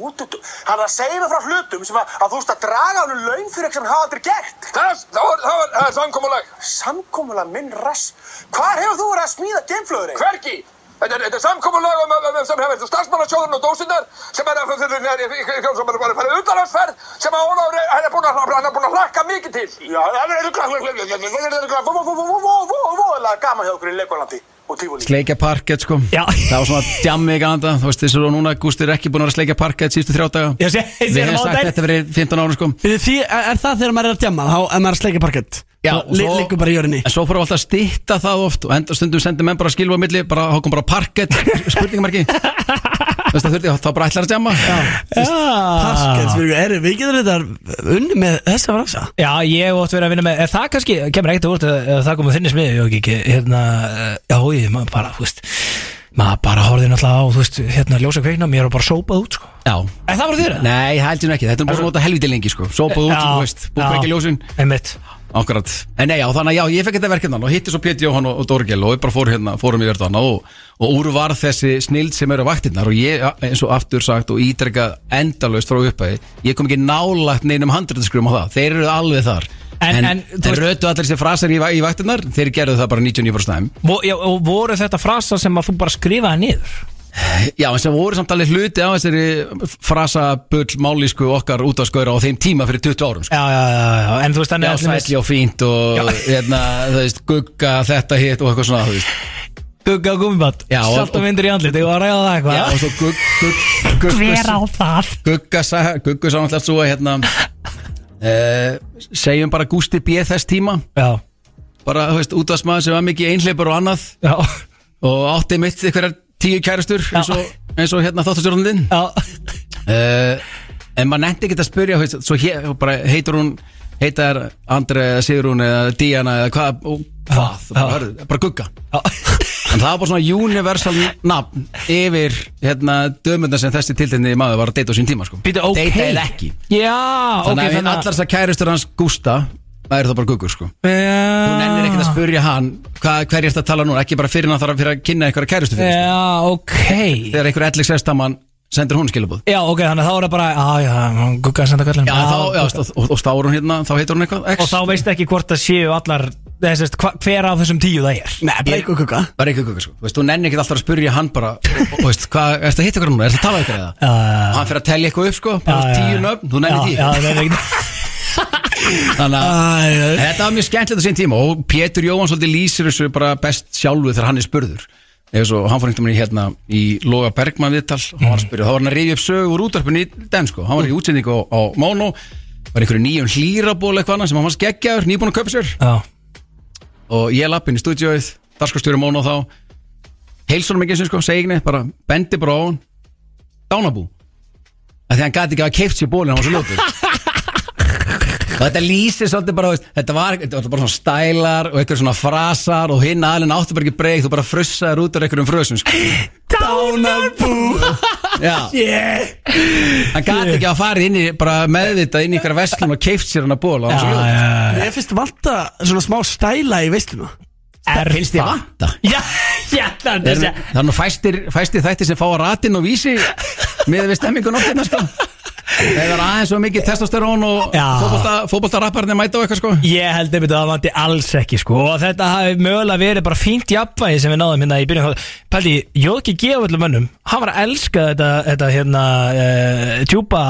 Speaker 11: Útúrdó... Hann er að segja mig frá hlutum sem að, að þú veist að draga hann um laun fyrir eitthvað sem hann hafa aldrei gert. Það, það var, það var, það er samkómulag. Samkómulag minn rass. Hvar hefur þú verið að smíða geimflöður eiginlega? Hvergi! Þetta er, þetta er samkomulag um, um, um, sem hefur starfsmannasjóðurinn og dósinnar sem er að fara fara utanlandsferð sem að Ólafur er- hann er búinn að hann er búinn að hlakka mikið til. Já, það er voðalega gaman hjá okkur í Leikolandi og Tífólí.
Speaker 12: sleikja parkett sko
Speaker 7: Já.
Speaker 12: það var svona djammi ekki annað þú veist þessu og núna Gústi er ekki búin að vera að sleikja parkett síðustu þrjá daga
Speaker 7: Já, sé- sé-
Speaker 12: við hefum
Speaker 7: á
Speaker 12: sagt
Speaker 7: daginn.
Speaker 12: þetta verið 15 ára sko
Speaker 2: Bíddu, Því, er er það þegar maður er að djama þá ef maður er að sleika parkett
Speaker 12: Já,
Speaker 2: Þá
Speaker 12: og
Speaker 2: li-
Speaker 12: svo-
Speaker 2: Liggur bara í jörinni
Speaker 12: en svo fórum við alltaf að stýtta það oft og enda stundum sendum menn bara skilfa á milli bara, þá kom bara parkett spurningamarki þú veist það þurfti þá bara ætlar að djamma
Speaker 2: Parkett, við erum við getum þetta unni með þessa frasa
Speaker 7: Já, ég ótt verið að vinna með, er það kannski, kemur ekkert að úr að það komið þinni smiði, ég ekki, hérna, eh, já, ég, maður bara, þú veist, maður bara horfði náttúrulega á, þú veist, hérna, ljósa kveikna, mér er bara sópað út, sko.
Speaker 12: já
Speaker 7: En það voru þeirra?
Speaker 12: nei, ég held ég nú ekki þetta er búin að nota helviti lengi sko sópað út, þú veist búið að kveikja ljósin
Speaker 7: Einmitt.
Speaker 12: Akkurat, en nei, já, þannig að já, ég fekk þetta verkefnan og hitti svo Pétur Jóhann og, og Dorgel og við bara fórum hérna, fórum í verðan og, og úr var þessi snild sem eru vaktinnar og ég, eins og aftur sagt og ítrekka endalaust frá upphæði, ég kom ekki nálagt neinum handrættaskrum á það, þeir eru alveg þar
Speaker 7: En-
Speaker 12: en,
Speaker 7: en,
Speaker 12: en,
Speaker 7: þú veist-
Speaker 12: rötu allir þessi frasar í, va- í vaktinnar, þeir gerðu það bara 99% af þeim.
Speaker 7: Vo, já, og voru þetta frasa sem að þú bara skrifaði niður?
Speaker 12: Já, en sem voru samt alveg hluti á þessari frasabull málísku okkar út að skoira á þeim tíma fyrir 20 árum, sko.
Speaker 7: Já, já, já, já, en þú veist,
Speaker 12: Já,
Speaker 7: þannig
Speaker 12: sætli og fínt og hérna, þú veist, gugga þetta hitt og eitthvað svona, þú veist
Speaker 7: gugga og gummibatt,
Speaker 12: Já, og-
Speaker 7: salta myndir í andlit, ég var að ræða það
Speaker 12: Já,
Speaker 7: eitthvað.
Speaker 12: og svo gugg, gugg, gugg
Speaker 5: Hver á það?
Speaker 12: Gugga, sa- guggu sá alltaf svo að hérna uh, segjum bara Gústi B þess tíma
Speaker 7: Já,
Speaker 12: bara, þú veist, útvarsmaður sem var mikið einhleipur og annað
Speaker 7: já,
Speaker 12: og átti mitt einhverjar tíu kærastur eins og, eins og hérna þáttastjórnandinn
Speaker 7: já,
Speaker 12: uh, en maður nefndi ekki að spyrja þú veist, svo hér, bara heitur hún heitar Andre eða Sigrún eða Díana eða hvað, og hvað
Speaker 7: Já,
Speaker 12: bara,
Speaker 7: já.
Speaker 12: hörðu, bara gugga
Speaker 7: já.
Speaker 12: en það var bara svona universal nafn yfir hérna dömunda sem þessi tiltegni maður var að deyta á sín tíma sko.
Speaker 7: Býta, ok.
Speaker 12: deyta eða ekki
Speaker 7: Já, ok,
Speaker 12: þannig að allar þessar kærustur hans Gústa það eru það bara guggur sko
Speaker 7: Já.
Speaker 12: hún ennir ekkert að spurja hann hvað, hver er þetta að tala núna, ekki bara fyrir hann þarf að fyrir að kynna einhverja kærustu fyrir sko.
Speaker 7: Já, ok.
Speaker 12: þegar einhver ellik sestamann sendir hún skilabóð
Speaker 7: Já, ok, þannig að þá er það bara, já, já, gugga að senda kallin
Speaker 12: já, þá, já, og, og, og þá er hún hérna, þá heitur hún eitthvað X.
Speaker 7: Og þá veistu ekki hvort það séu allar, þessist, hva, hver af þessum tíu það er
Speaker 2: Nei, bara ykkur kukka
Speaker 12: bara eitthvað guggur sko, Þú veist, hún ennir ekkert alltaf að spurja hann bara, og, og veist, hvað, er þetta að hitta ykkur núna, er þetta að tala ykkur eða
Speaker 7: já, já.
Speaker 12: og hann fyrir að telja eitthvað upp sko, bara
Speaker 7: Já, já,
Speaker 12: tíu
Speaker 7: já. Ah.
Speaker 12: nöfn, þú
Speaker 7: Já,
Speaker 12: nennir
Speaker 7: já,
Speaker 12: tíu
Speaker 7: það er ekki
Speaker 12: Þannig að þetta var mjög skemmtilegt á sín tíma og Pétur Jóhann svolítið lýsir þessu bara best sjálfu þegar hann er spurður eða svo hann fór einhvern veginn í hérna í Loga Bergman viðtal og hann var spurður, þá var hann að rifja upp sög úr útarpinu í den sko, hann var ekki útsendingu á, á Mono var einhverju nýjum hlýraból eitthvað annað sem hann var skeggjaður, nýbúin að köpa sér
Speaker 7: Já.
Speaker 12: og ég lapp inn í stúdíóið darskastjóri Mono þá heilsar honum ekki eins og sko, segi ekki neitt, bara bendi bara á hann dánabú að því hann gæti ekki að keift sér bólinn hann var svo ljótur og þetta lýsir svolítið bara veist, þetta, var, þetta var bara svona stælar og eitthvað svona frasar og hinn aðlinn áttu bara ekki breykt og bara frussaður út af einhverjum frösum sko.
Speaker 7: Dánabú
Speaker 12: Já.
Speaker 7: Yeah
Speaker 12: hann gæti ekki að fara inn í bara meðvitað inn í einhverja vestlun og keift sér hann að ból og hann var svo ljótur
Speaker 2: Ég finnst vanta svona smá stæla í veistluna
Speaker 7: Er
Speaker 12: finnst þið vanta?
Speaker 7: Já, já, þannig
Speaker 12: Er,
Speaker 7: að
Speaker 12: það er nú fæstir, fæstir þættir sem fá að ratin og vísi með við stemmingun oftina sko Það er aðeins og mikið testosterón og
Speaker 7: Já.
Speaker 12: fótbolta- fótboltarapparnir mæta á eitthvað sko
Speaker 7: Ég held einmitt að það vanti alls ekki sko og þetta hafi mögulega verið bara fínt jafnvægi sem við náðum hérna í byrjun Paldi, Jóki gefa öllum mönnum hann var að elska þetta, þetta hérna uh, tjúpa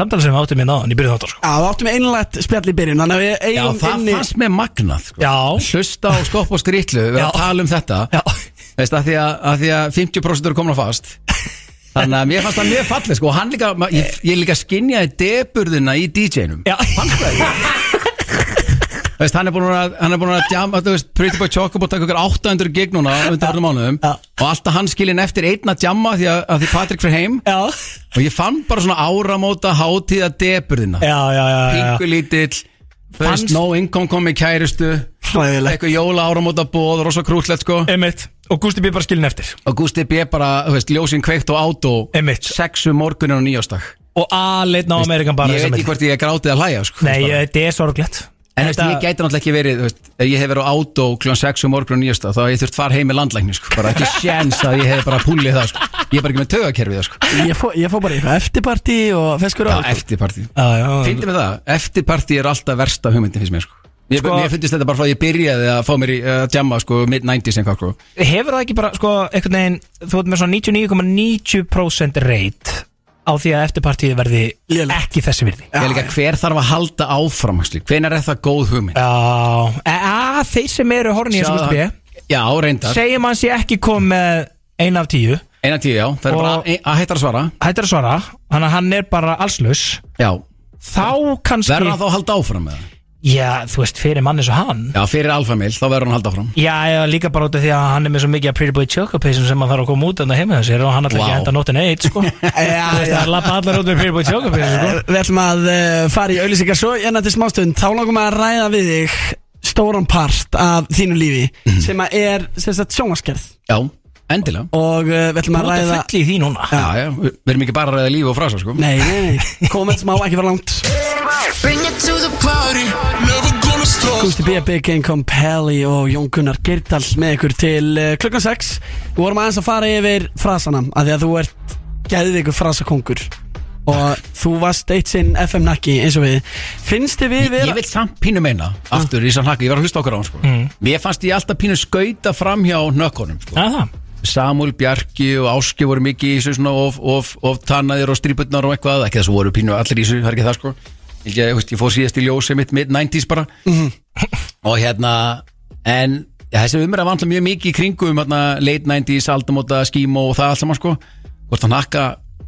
Speaker 7: samtala sem við áttum hérna á hann í byrjun þáttar sko
Speaker 2: Já, við áttum einlægt spjall í byrjun Þannig að við
Speaker 12: Já,
Speaker 2: eigum
Speaker 12: það
Speaker 2: inni
Speaker 12: fannst með magnað sko.
Speaker 7: Já,
Speaker 12: Hlusta á skopp og skrýtlu Við erum að tala um þetta
Speaker 7: Já.
Speaker 12: Veist, að, því að, að því að 50% eru komin á fast Þannig að mér fannst það mjög fallið sko. Og hann líka, ma- ég, ég líka skinjaði deburðina í DJ-num
Speaker 7: já,
Speaker 12: Veist, hann er búin að, hann er búin að djama, þú veist, Pretty Boy Choco búin að taka okkur 800 gig núna undir hörnum mánuðum og alltaf hann skilin eftir einn að djama því að, að því Patrik fyrir heim
Speaker 7: já,
Speaker 12: og ég fann bara svona áramóta hátíða deburðina,
Speaker 7: já, já, já, já.
Speaker 12: pingu lítill
Speaker 7: Fannst-
Speaker 12: fannst no income kom í kærustu
Speaker 2: Hræðilegt
Speaker 12: eitthvað jóla áramóta bóð, rosa krútlegt sko
Speaker 7: Einmitt, og Gústi býr bara skilin eftir
Speaker 12: og Gústi B. bara, þú veist, ljósin kveikt og át og
Speaker 7: Einmitt.
Speaker 12: sexu morgunin á nýjástak
Speaker 7: og aðleitt ná Amerikan bara
Speaker 12: ég
Speaker 7: þessa
Speaker 12: veit ekki
Speaker 7: mynd.
Speaker 12: hvort ég er grátið að hlæja sko,
Speaker 7: Nei,
Speaker 12: þú veist, bara.
Speaker 7: ég- þetta er sorglegt
Speaker 12: En þetta... ég gæti náttúrulega ekki verið, þú veist, ef ég hef verið á átó kljóðan 6 um morgun og nýjasta, þá hef ég þurft far heim með landlækni, sko, bara ekki sjens að ég hef bara púlið það, sko, ég er bara ekki með tögakerfið það, sko,
Speaker 2: Ég fó, ég fó bara í eitthvað eftirparti og feskur
Speaker 7: sko.
Speaker 12: já,
Speaker 2: á
Speaker 12: eftirparti
Speaker 7: Já, já, já.
Speaker 12: Fyndið með það, eftirparti er alltaf versta hugmyndin finnst mér, sko, ég,
Speaker 7: Sko-
Speaker 12: mér finnst þetta bara frá að ég byrjaði að fá mér í uh, jamma, sko, mid-90s einhvað, sko,
Speaker 7: Hefur það ekki bara, sko, einhvern veginn Þú ert með svona 99,90% rate Á því að eftirpartíð verði
Speaker 2: Lélegt.
Speaker 7: ekki þessi virði
Speaker 12: ég er líka hver þarf að halda áfram, hvernig er það góð hugmynd?
Speaker 7: Já, e- að þeir sem eru horni í
Speaker 12: Sjá
Speaker 7: þessu
Speaker 12: það-
Speaker 7: gústi
Speaker 12: Já, reyndar,
Speaker 7: Segjum hans ég ekki kom með eina af tíu
Speaker 12: eina tíu, já, það er bara
Speaker 7: Og-
Speaker 12: að- að hættar að svara,
Speaker 7: Hættir að svara, hann, hann er bara allslaus
Speaker 12: já,
Speaker 7: Þá kannski
Speaker 12: verður hann þá að halda áfram með það?
Speaker 7: Já, þú veist, fyrir mann eins og hann
Speaker 12: Já, fyrir alfamil, þá verður hann að halda áfram.
Speaker 7: Já, já, líka bara út af því að hann er með svo mikið að Pretty Boy Choco Paysum sem hann þarf að koma út þannig heima þessi og hann ætla ekki
Speaker 12: Vá.
Speaker 7: að henda nóttin eitt, sko Þú veist,
Speaker 2: já.
Speaker 7: það lappa allar út með Pretty Boy Choco Paysum, sko
Speaker 2: Eh, Við ætlum að uh, fara í auðlýsingar svo en til smástund, þá langum við að ræða við þig stóran part af þínu lífi
Speaker 12: Mhm.
Speaker 2: sem að er sem sagt sjónvaskerð
Speaker 12: Já, endilega.
Speaker 2: og uh, við ætlum að
Speaker 7: Þú ert
Speaker 2: ræða
Speaker 7: að fulli í því núna
Speaker 12: Já, já, við við erum ekki bara að ræða lífi og frasa, sko
Speaker 2: Nei, nei, nei, komment smá, ekki fara langt Gusti B. Byggin, Compelli og Jón Gunnar Geirdal með ykkur til uh, klukkan 6 Við vorum aðeins að fara yfir frasana af því að þú ert geðveikur frasakongur og þú varst eitt sinn FM nakki eins og við Finnst þið við
Speaker 12: Ég, ég vil samt pínu meina, aftur í sann hakka, ég var að hlusta okkur á hann sko. Mér fannst ég alltaf pínu skauta fram hjá nökkunum sko.
Speaker 7: Já, það
Speaker 12: Samúl, Bjarki og Áski voru mikið í þessu svona of, of, of tannaðir og stríputnar og eitthvað Ekki þess að voru pínu allir í þessu, það er ekki það sko Ég, ég, veist, ég fór síðast í ljósi mitt mid-90s bara Og hérna, en ja, þessi umræða var alltaf mjög mikið í kringum hérna, Late 90s, aldamóta, skímó og það allt saman sko Hvort hann hakka,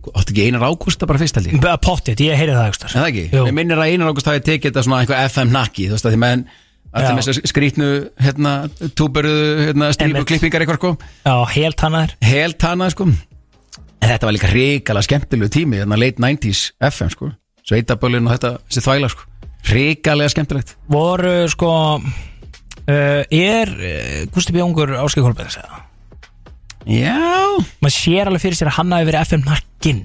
Speaker 12: áttu ekki einar ágústa bara fyrst held ég
Speaker 7: Bara Pottit, ég heyrði það eitthvað
Speaker 12: Er það ekki?
Speaker 7: Jú.
Speaker 12: Mér minnir að Einar Ágúst hafi tekið þetta svona einhver FM nakki Þú veist að því menn
Speaker 7: Já.
Speaker 12: að það með þessu skrítnu hérna, túberðu hérna, strípu
Speaker 7: Einmitt.
Speaker 12: klippingar eitthvað sko
Speaker 7: Já, helt hann er
Speaker 12: Helt hana sko En þetta var líka hrikalega skemmtilegu tími Þannig late 90s FM sko Sveitabölin og þetta, þessi þvæla sko Hrikalega skemmtilegt
Speaker 7: Voru sko uh, Er uh, Gústi B. Ungur Áskei Kolbæðis eða?
Speaker 12: Já
Speaker 7: Maður sér alveg fyrir sér að hann hafi verið FM nakkinn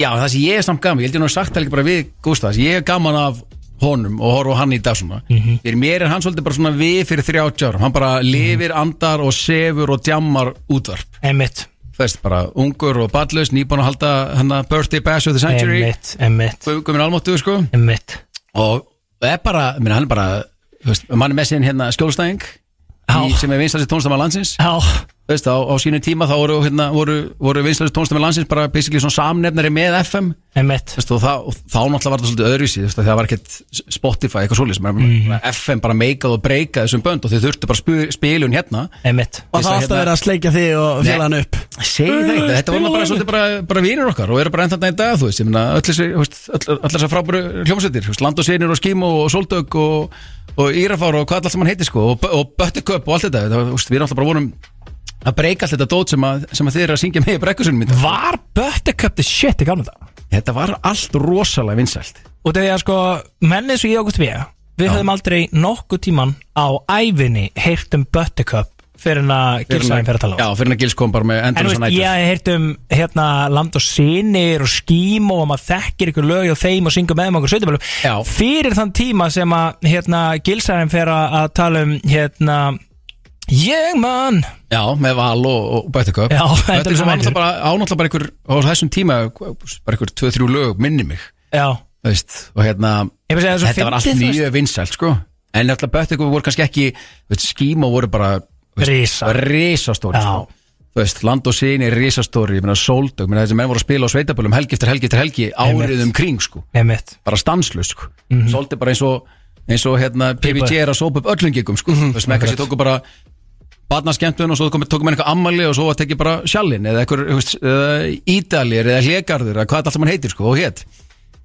Speaker 12: Já, það sem ég er samt gaman, ég held ég nú að sagt það líka bara við Gústa, það sem ég er gaman af honum og horfa á hann í dag svona
Speaker 7: Mhm.
Speaker 12: fyrir mér er hann svolítið bara svona við fyrir 30 árum hann bara lifir, andar og sefur og djammar útvarp
Speaker 7: Einmitt,
Speaker 12: þú veist bara ungur og ballust nýbúin að halda hann að birthday bash of the century
Speaker 7: einmitt, einmitt
Speaker 12: guðminn almáttu sko
Speaker 7: Einmitt
Speaker 12: og það er bara, minna, hann er bara þú veist, mann er með sinn hérna skjólstæðing í- sem er vinstast í tónstamann landsins
Speaker 7: Já,
Speaker 12: þú veist, á, á sínu tíma þá voru, hérna, voru, voru vinslæðist tónstæmi landsins bara basically svona samnefnari með FM
Speaker 7: Einmitt.
Speaker 12: Veist, og, það, og þá náttúrulega var það svolítið öðruvísi þú veist, af því það var ekkert Spotify eitthvað svolítið sem mm. FM bara meikað og breykað þessum bönd og þið þurftu bara spu- spilun hérna
Speaker 7: Einmitt.
Speaker 2: Og það átti að vera að sleikja þig og félagann upp
Speaker 12: Segðu það ekki, þetta voru bara svolítið bara, bara vinir okkar og eru bara enn þarna í dag, þú veist, ég meina öll þessi, þú veist, öll- öll þessar frábæru hljómsveitir, þú veist, land og sinir og skím og, og soldögg og, og írafár og hvað allt sem hann heitir sko og, og böttiköp og allt þetta, það, var, þú veist, við erum alltaf bara vorum að breyka allt þetta dót sem, að, sem að þið eru að syngja með í brekkusunum mitt.
Speaker 7: Var Buttercup the shit í gamla dag?
Speaker 12: Þetta var allt rosalega vinsælt.
Speaker 7: Og þegar sko, mennið svo ég ákvæmt við Við höfum aldrei nokkuð tíman á ævinni heyrt um Buttercup fyrir en að gilsæðin fyrir að tala á
Speaker 12: Já, fyrir að Gils kom bara með
Speaker 7: En þú
Speaker 12: endur
Speaker 7: veist, ég hef heyrt um hérna, land og sinir og skím og maður þekkir ykkur lög og þeim og syngur með um okkur sveitabölu fyrir þann tíma sem að hérna, Gilsæðin fer að að tala um hérna, ég mann
Speaker 12: Já, með val og, og bættiköp
Speaker 7: Já, þetta er svo
Speaker 12: Þetta var
Speaker 7: venjur.
Speaker 12: náttúrulega bara, á náttúrulega bara ykkur á þessum tíma, bara ykkur 2-3 lög minni mig,
Speaker 7: Já,
Speaker 12: þú veist og hérna,
Speaker 7: Ég vil segja það er svo
Speaker 12: þetta var allt
Speaker 7: fyndið, þú
Speaker 12: mjög vinsælt sko, en náttúrulega bættiköp voru kannski ekki, þú veist, skíma voru bara þú veist,
Speaker 7: Risa.
Speaker 12: risastóri sko. þú veist, land og sinni risastóri, ég meina sóldög, ég meina þessi menn voru að spila á sveitabölum helgi eftir helgi eftir helgi árið um kring sko,
Speaker 7: einmitt
Speaker 12: bara stanslust sko. svolítið bara eins og eins og hérna PVG er að sópa upp öllum gigum sko. þú veist, með kannski tóku bara barnaskemmtun og svo komi, tóku með eitthvað ammali og svo var tekið bara sjallinn eða eitthvað þú veist, uh, ídalir eða hlegarður eða hvað þetta allt mann heitir sko, og hétt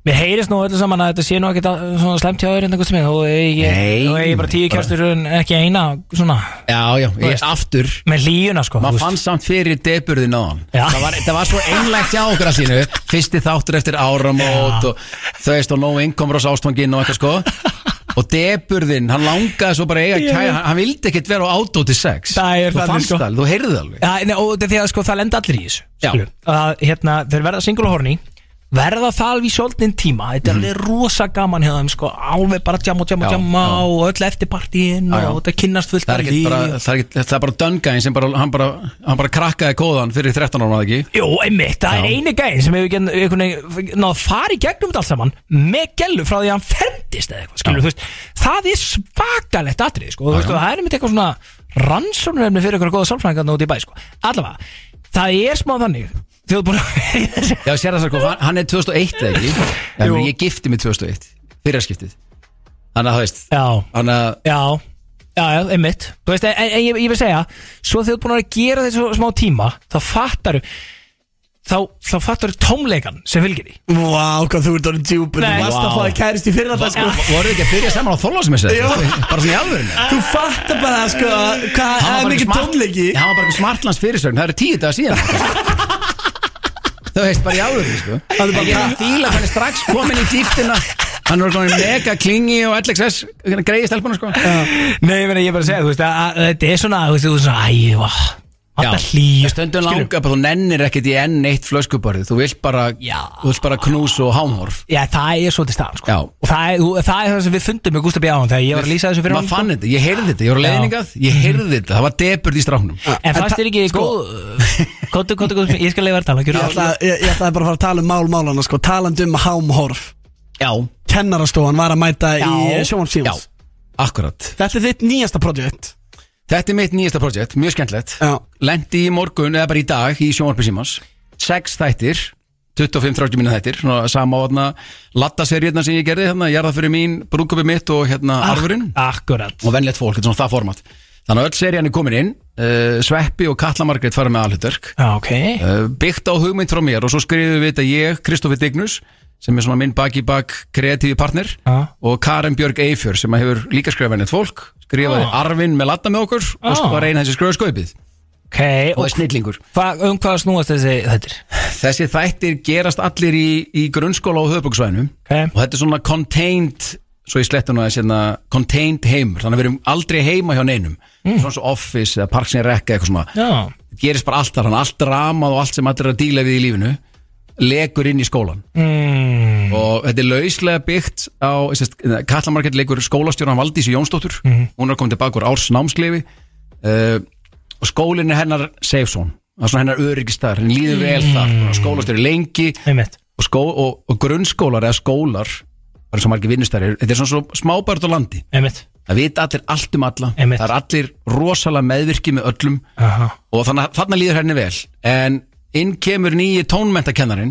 Speaker 7: Mér heyrist nú öllu saman að þetta sé nú ekkert að- svona slæmt hjá öðru en einhvern tíma og ég,
Speaker 12: Nei,
Speaker 7: og ég bara tíu
Speaker 12: bara-
Speaker 7: kjæstur en ekki eina svona
Speaker 12: Já, já,
Speaker 7: Þú
Speaker 12: ég,
Speaker 7: veist.
Speaker 12: aftur
Speaker 7: með líuna sko þú
Speaker 12: maður
Speaker 7: veist.
Speaker 12: fann samt fyrir deburðin á hann
Speaker 7: Já.
Speaker 12: það var, það var svo einlægt hjá okkur að sínu fyrsti þáttur eftir áramót og þau veist og nóg innkomur á ástfangin og eitthvað sko og deburðin, hann langaði svo bara að eiga
Speaker 7: Ég veit.
Speaker 12: kæja, hann, hann vildi ekkert vera á átóti sex
Speaker 7: Það er
Speaker 12: þú
Speaker 7: þannig,
Speaker 12: fannst
Speaker 7: sko.
Speaker 12: það, þú heyrði það alveg
Speaker 7: Já, nei, og þetta er því að sko, það lenda allir í þessu skilur. að hérna, þeir verða single og horny verða það alveg í svolítinn tíma þetta er alveg rosa gaman hjá þeim sko, alveg bara jam og jam og
Speaker 12: Mhm. Já,
Speaker 7: jam og öll eftir partíin
Speaker 12: Já, já.
Speaker 7: og þetta kynnast fullt
Speaker 12: það er
Speaker 7: af
Speaker 12: ekki
Speaker 7: lífi
Speaker 12: bara,
Speaker 7: og-
Speaker 12: það er ekki, það er bara döngaðin sem bara, hann bara, hann bara krakkaði kóðan fyrir 13 ára, var það ekki?
Speaker 7: Jó, einmitt, það
Speaker 12: Já.
Speaker 7: er eini gæðin sem hefur genn- einhvern veginn náð að fara í gegnum þetta allt saman með gellu frá því að hann ferndist eða eitthvað, skilur, þú veist, það er svakalegt atrið, sko, þú veist, og það er einmitt eitthvað svona rannsóknarefni fyrir ykkur góða sálfræðingarna út í bæ, sko, allavega, það er smá þannig, þau búin að
Speaker 12: Já, sér það sko, hann- hann er 2001 eða ekki? Já, menn, ég gifti mig 2001, fyrirskiptið Þannig að það veist,
Speaker 7: Já,
Speaker 12: þannig að
Speaker 7: já, já, já, einmitt Þú veist, en, en ég, ég vil segja Svo þegar þú ert búin að vera að gera þessu smá tíma Þá fattaru Þá, þá fattaru tómleikan sem fylgir því
Speaker 2: Vá, hvað þú ert orðin djúpur Þú
Speaker 7: Nei.
Speaker 2: varst að
Speaker 12: Vá.
Speaker 2: fá það kærist í fyrir þetta sko
Speaker 12: Voru ekki að byrja saman á Þorláksmessu?
Speaker 2: Jó.
Speaker 12: Bara svona í alvörinu?
Speaker 2: Þú fattar bara sko Hvað
Speaker 12: Hann var
Speaker 2: er
Speaker 12: bara
Speaker 2: mikið
Speaker 12: smart-
Speaker 2: tónleiki
Speaker 12: Já, hann var bara eitthvað smartlands fyrirsögn, það eru tíu dagar síðan Þau heist bara í alvörinu, sko
Speaker 2: Hann er bara-
Speaker 12: En Ég er að fíla, hann er strax komin í dýftina Hann er komin mega klingi og LXS greiði stelpuna, sko
Speaker 7: Nei, ég, meina, ég er bara að segja, þú veist að, að, Þetta er svona, þú veist, þú veist svona Æ, vá, alltaf hlýju
Speaker 12: Stundum langa, bara þú nennir ekkert í enn eitt flöskubarið Þú vilt bara,
Speaker 7: Já.
Speaker 12: þú vilt bara knús og hámhorf
Speaker 7: Já, það er svolítið stað, sko
Speaker 12: Já.
Speaker 7: Og það er, þú- það er það sem við fundum með Gústa B. Án Þegar ég var að lýsa þessu fyrir
Speaker 12: Maður
Speaker 2: sko.
Speaker 12: fann þetta, ég heyrði þetta, ég var
Speaker 7: Já.
Speaker 12: leiðningað Ég heyrði þetta, það var deburð í stráknum
Speaker 7: sko. En fannst þér
Speaker 12: sko-
Speaker 7: ekki góð Kóttu, kóttu, kóttu, ég skal leiða að tala
Speaker 2: Ég
Speaker 7: gjörðu svo
Speaker 2: ætlaði, ég, ég ætlaði bara að fara að tala um mál málana sko Talandi um hámhorf
Speaker 12: Já,
Speaker 2: Kennarastofan var að mæta í
Speaker 12: Já. já,
Speaker 2: sjónvarpsímans
Speaker 12: akkurat
Speaker 2: Þetta er þitt nýjasta projekt
Speaker 12: Þetta er mitt nýjasta projekt, mjög skemmtilegt
Speaker 2: Já.
Speaker 12: Lendi í morgun eða bara í dag í sjónvarpi símans Sex þættir 25-30 minna þættir svona Sama átna lattaseríðna sem ég gerði hérna, Jarða fyrir mín, brúkupi mitt og hérna arfurinn
Speaker 7: Ah, Akkurat
Speaker 12: Og venlegt fólk, þetta er svona það format Þannig að öll serían er komin inn uh, Sveppi og Katla Margrét fara með alhutverk
Speaker 7: Já, ok
Speaker 12: uh, Byggt á hugmynd frá mér og svo skrifum við þetta ég, Kristoffer Dignus sem er svona minn bak í bak kreatífi partner
Speaker 7: Já.
Speaker 12: og Karen Björg Eifjör sem að hefur líka skrifað neitt fólk skrifaði
Speaker 7: Já.
Speaker 12: Arvin með latta með okkur og
Speaker 7: Já.
Speaker 12: svo var eina þessi skrifaði skaupið
Speaker 7: Ok,
Speaker 12: og það
Speaker 7: og
Speaker 12: er snillingur
Speaker 7: hva, um hvað snúast þessi þettir?
Speaker 12: Þessi þættir gerast allir í, í grunnskóla og höfbruksvæðinu
Speaker 7: Ok.
Speaker 12: og þetta er svona contained svo ég slettu nú að sérna contained heimur þannig að við erum aldrei heima hjá neinum svona svo office eða park sem er rekka eitthvað svona
Speaker 7: Já
Speaker 12: gerist bara allt þar, hann allt ramað og allt sem allir er að díla við í lífinu legur inn í skólan
Speaker 7: mm,
Speaker 12: og þetta er lauslega byggt á sérst, kallamarkett leikur skólastjóran Valdísi Jónsdóttur hún er komin tilbaka úr árs námskleifi uh, og skólinn er hennar safe zone, það er svona hennar öryggistæðar henni líður vel þar, mm. skólastjóri lengi
Speaker 7: einmitt
Speaker 12: og, skó, og, og grunnskólar eða skólar, það er svo margir vinnustæðir þetta er svona svo smábært á landi
Speaker 7: Einmitt
Speaker 12: það vita allir allt um alla það er allir rosalega meðvirki með öllum
Speaker 7: Aha.
Speaker 12: og þannig að þarna líður henni vel en inn kemur nýji tónmentakennarin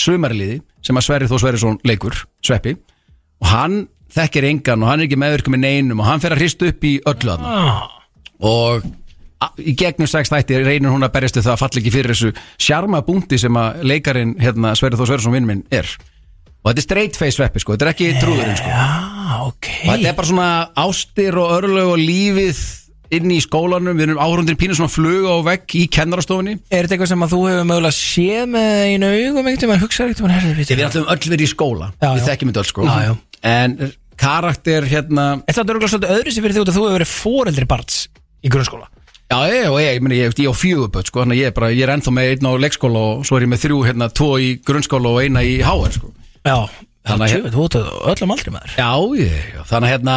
Speaker 12: sumarliði sem að Sverri þó Sverri leikur, Sveppi og hann þekkir engan og hann er ekki meðvirkum með neinum og hann fer að hristu upp í öllu þarna
Speaker 7: Ah,
Speaker 12: og a- í gegnum sex þætti reynir hún að berjast við það að falla ekki fyrir þessu sjarma búndi sem að leikarin hérna, Sverri Þór Sverrisson vinn minn er og þetta er straight face veppi sko, þetta er ekki trúðurinn sko
Speaker 7: Já, ok
Speaker 12: og þetta er bara svona ástir og örlög og lífið inn í skólanum, við erum áhundir pínu svona flug á vegg í kennarastofunni
Speaker 7: Er þetta eitthvað sem að þú hefur mögulega séð með einu augum einhvern tímann, hugsaði einhvern tímann, herðu,
Speaker 12: við ætlum öll verið í skóla
Speaker 7: Já,
Speaker 12: við
Speaker 7: já.
Speaker 12: þekkjum þetta öll sko
Speaker 7: Já, já.
Speaker 12: en karakter hérna
Speaker 7: Þetta er örgulega svolítið öðru sem fyrir því út að þú hefur verið foreldri barns í grunnskóla
Speaker 12: Já, ég, og ég, ég, meni, ég, ég á fjöguböld sko, þannig að ég, er bara, ég er ennþá með einn á leikskóla og svo er ég með þrjú, hérna, tvo í grunnskóla og eina í HR sko.
Speaker 7: Já,
Speaker 12: Þannig að-
Speaker 7: þannig að þú ert á öllum aldri maður
Speaker 12: Já, ég, já, þannig að hérna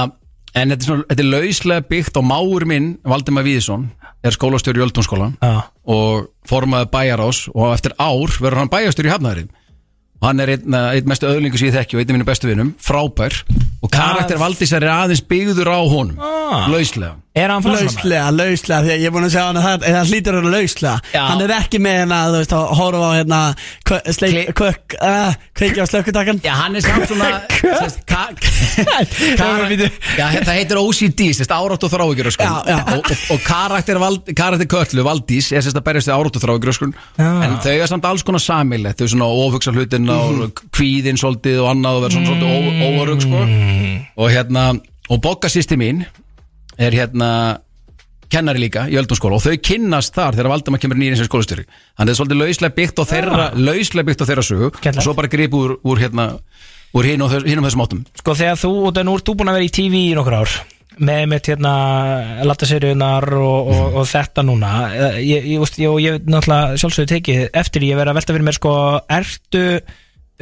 Speaker 12: En þetta er, svona, þetta er lauslega byggt á máur minn Valdimar Víðisson er skólastjóri í Öldunskóla
Speaker 7: Já.
Speaker 12: og formaði bæjarás og eftir ár verður hann bæjarstjóri í Hafnaðurinn og hann er einn, einn mestu öðlingu sem ég þekki og einn af mínu bestu vinum, frábær og karakter Valdísar er aðeins byggður á honum
Speaker 2: Ah.
Speaker 12: lauslega
Speaker 7: Er hann framsóknarmaður?
Speaker 2: Lauslega, lauslega, því að ég er búin að segja hann að það, en það hlýtur hann lauslega
Speaker 12: Já.
Speaker 2: Hann er ekki með hérna, þú veist, að horfa á hérna kvö- sleik- Kvökk, uh, kveikja á slökkutakkan
Speaker 12: Já, hann er samt svona sérst, ka- Kara- Já, það heitir OCD, sérst, árátt og þrávíkjur sko.
Speaker 2: Já, já.
Speaker 12: og, og, og karakter, vald, karakter Köllu, Valdís er sérst að berjast við árátt og þrávíkjur sko. en
Speaker 7: Ah.
Speaker 12: þau er samt alls konar samilegt þau er svona ofugsa hlutin og kvíðin svolítið og annað og verður svona svolítið ó- óörugg sko. og hérna, og Bogga sýsti mín er hérna kennari líka í öldumskóla og þau kynnast þar þegar Valdimar kemur nýjum sem skólastjóri þannig að það er svolítið lauslega byggt á þeirra lauslega byggt á þeirra sögu og svo bara gripu úr, úr hérna úr hinn og þess- hinum þessum áttum
Speaker 7: Sko þegar þú, og nú ert þú búin að vera í TV í nokkur ár með mitt hérna lattaserunar og, og, og þetta núna Eh, ég, ég, ég, ég, ég náttúrulega sjálfsögðu tekið eftir ég verið að velta fyrir mér sko ertu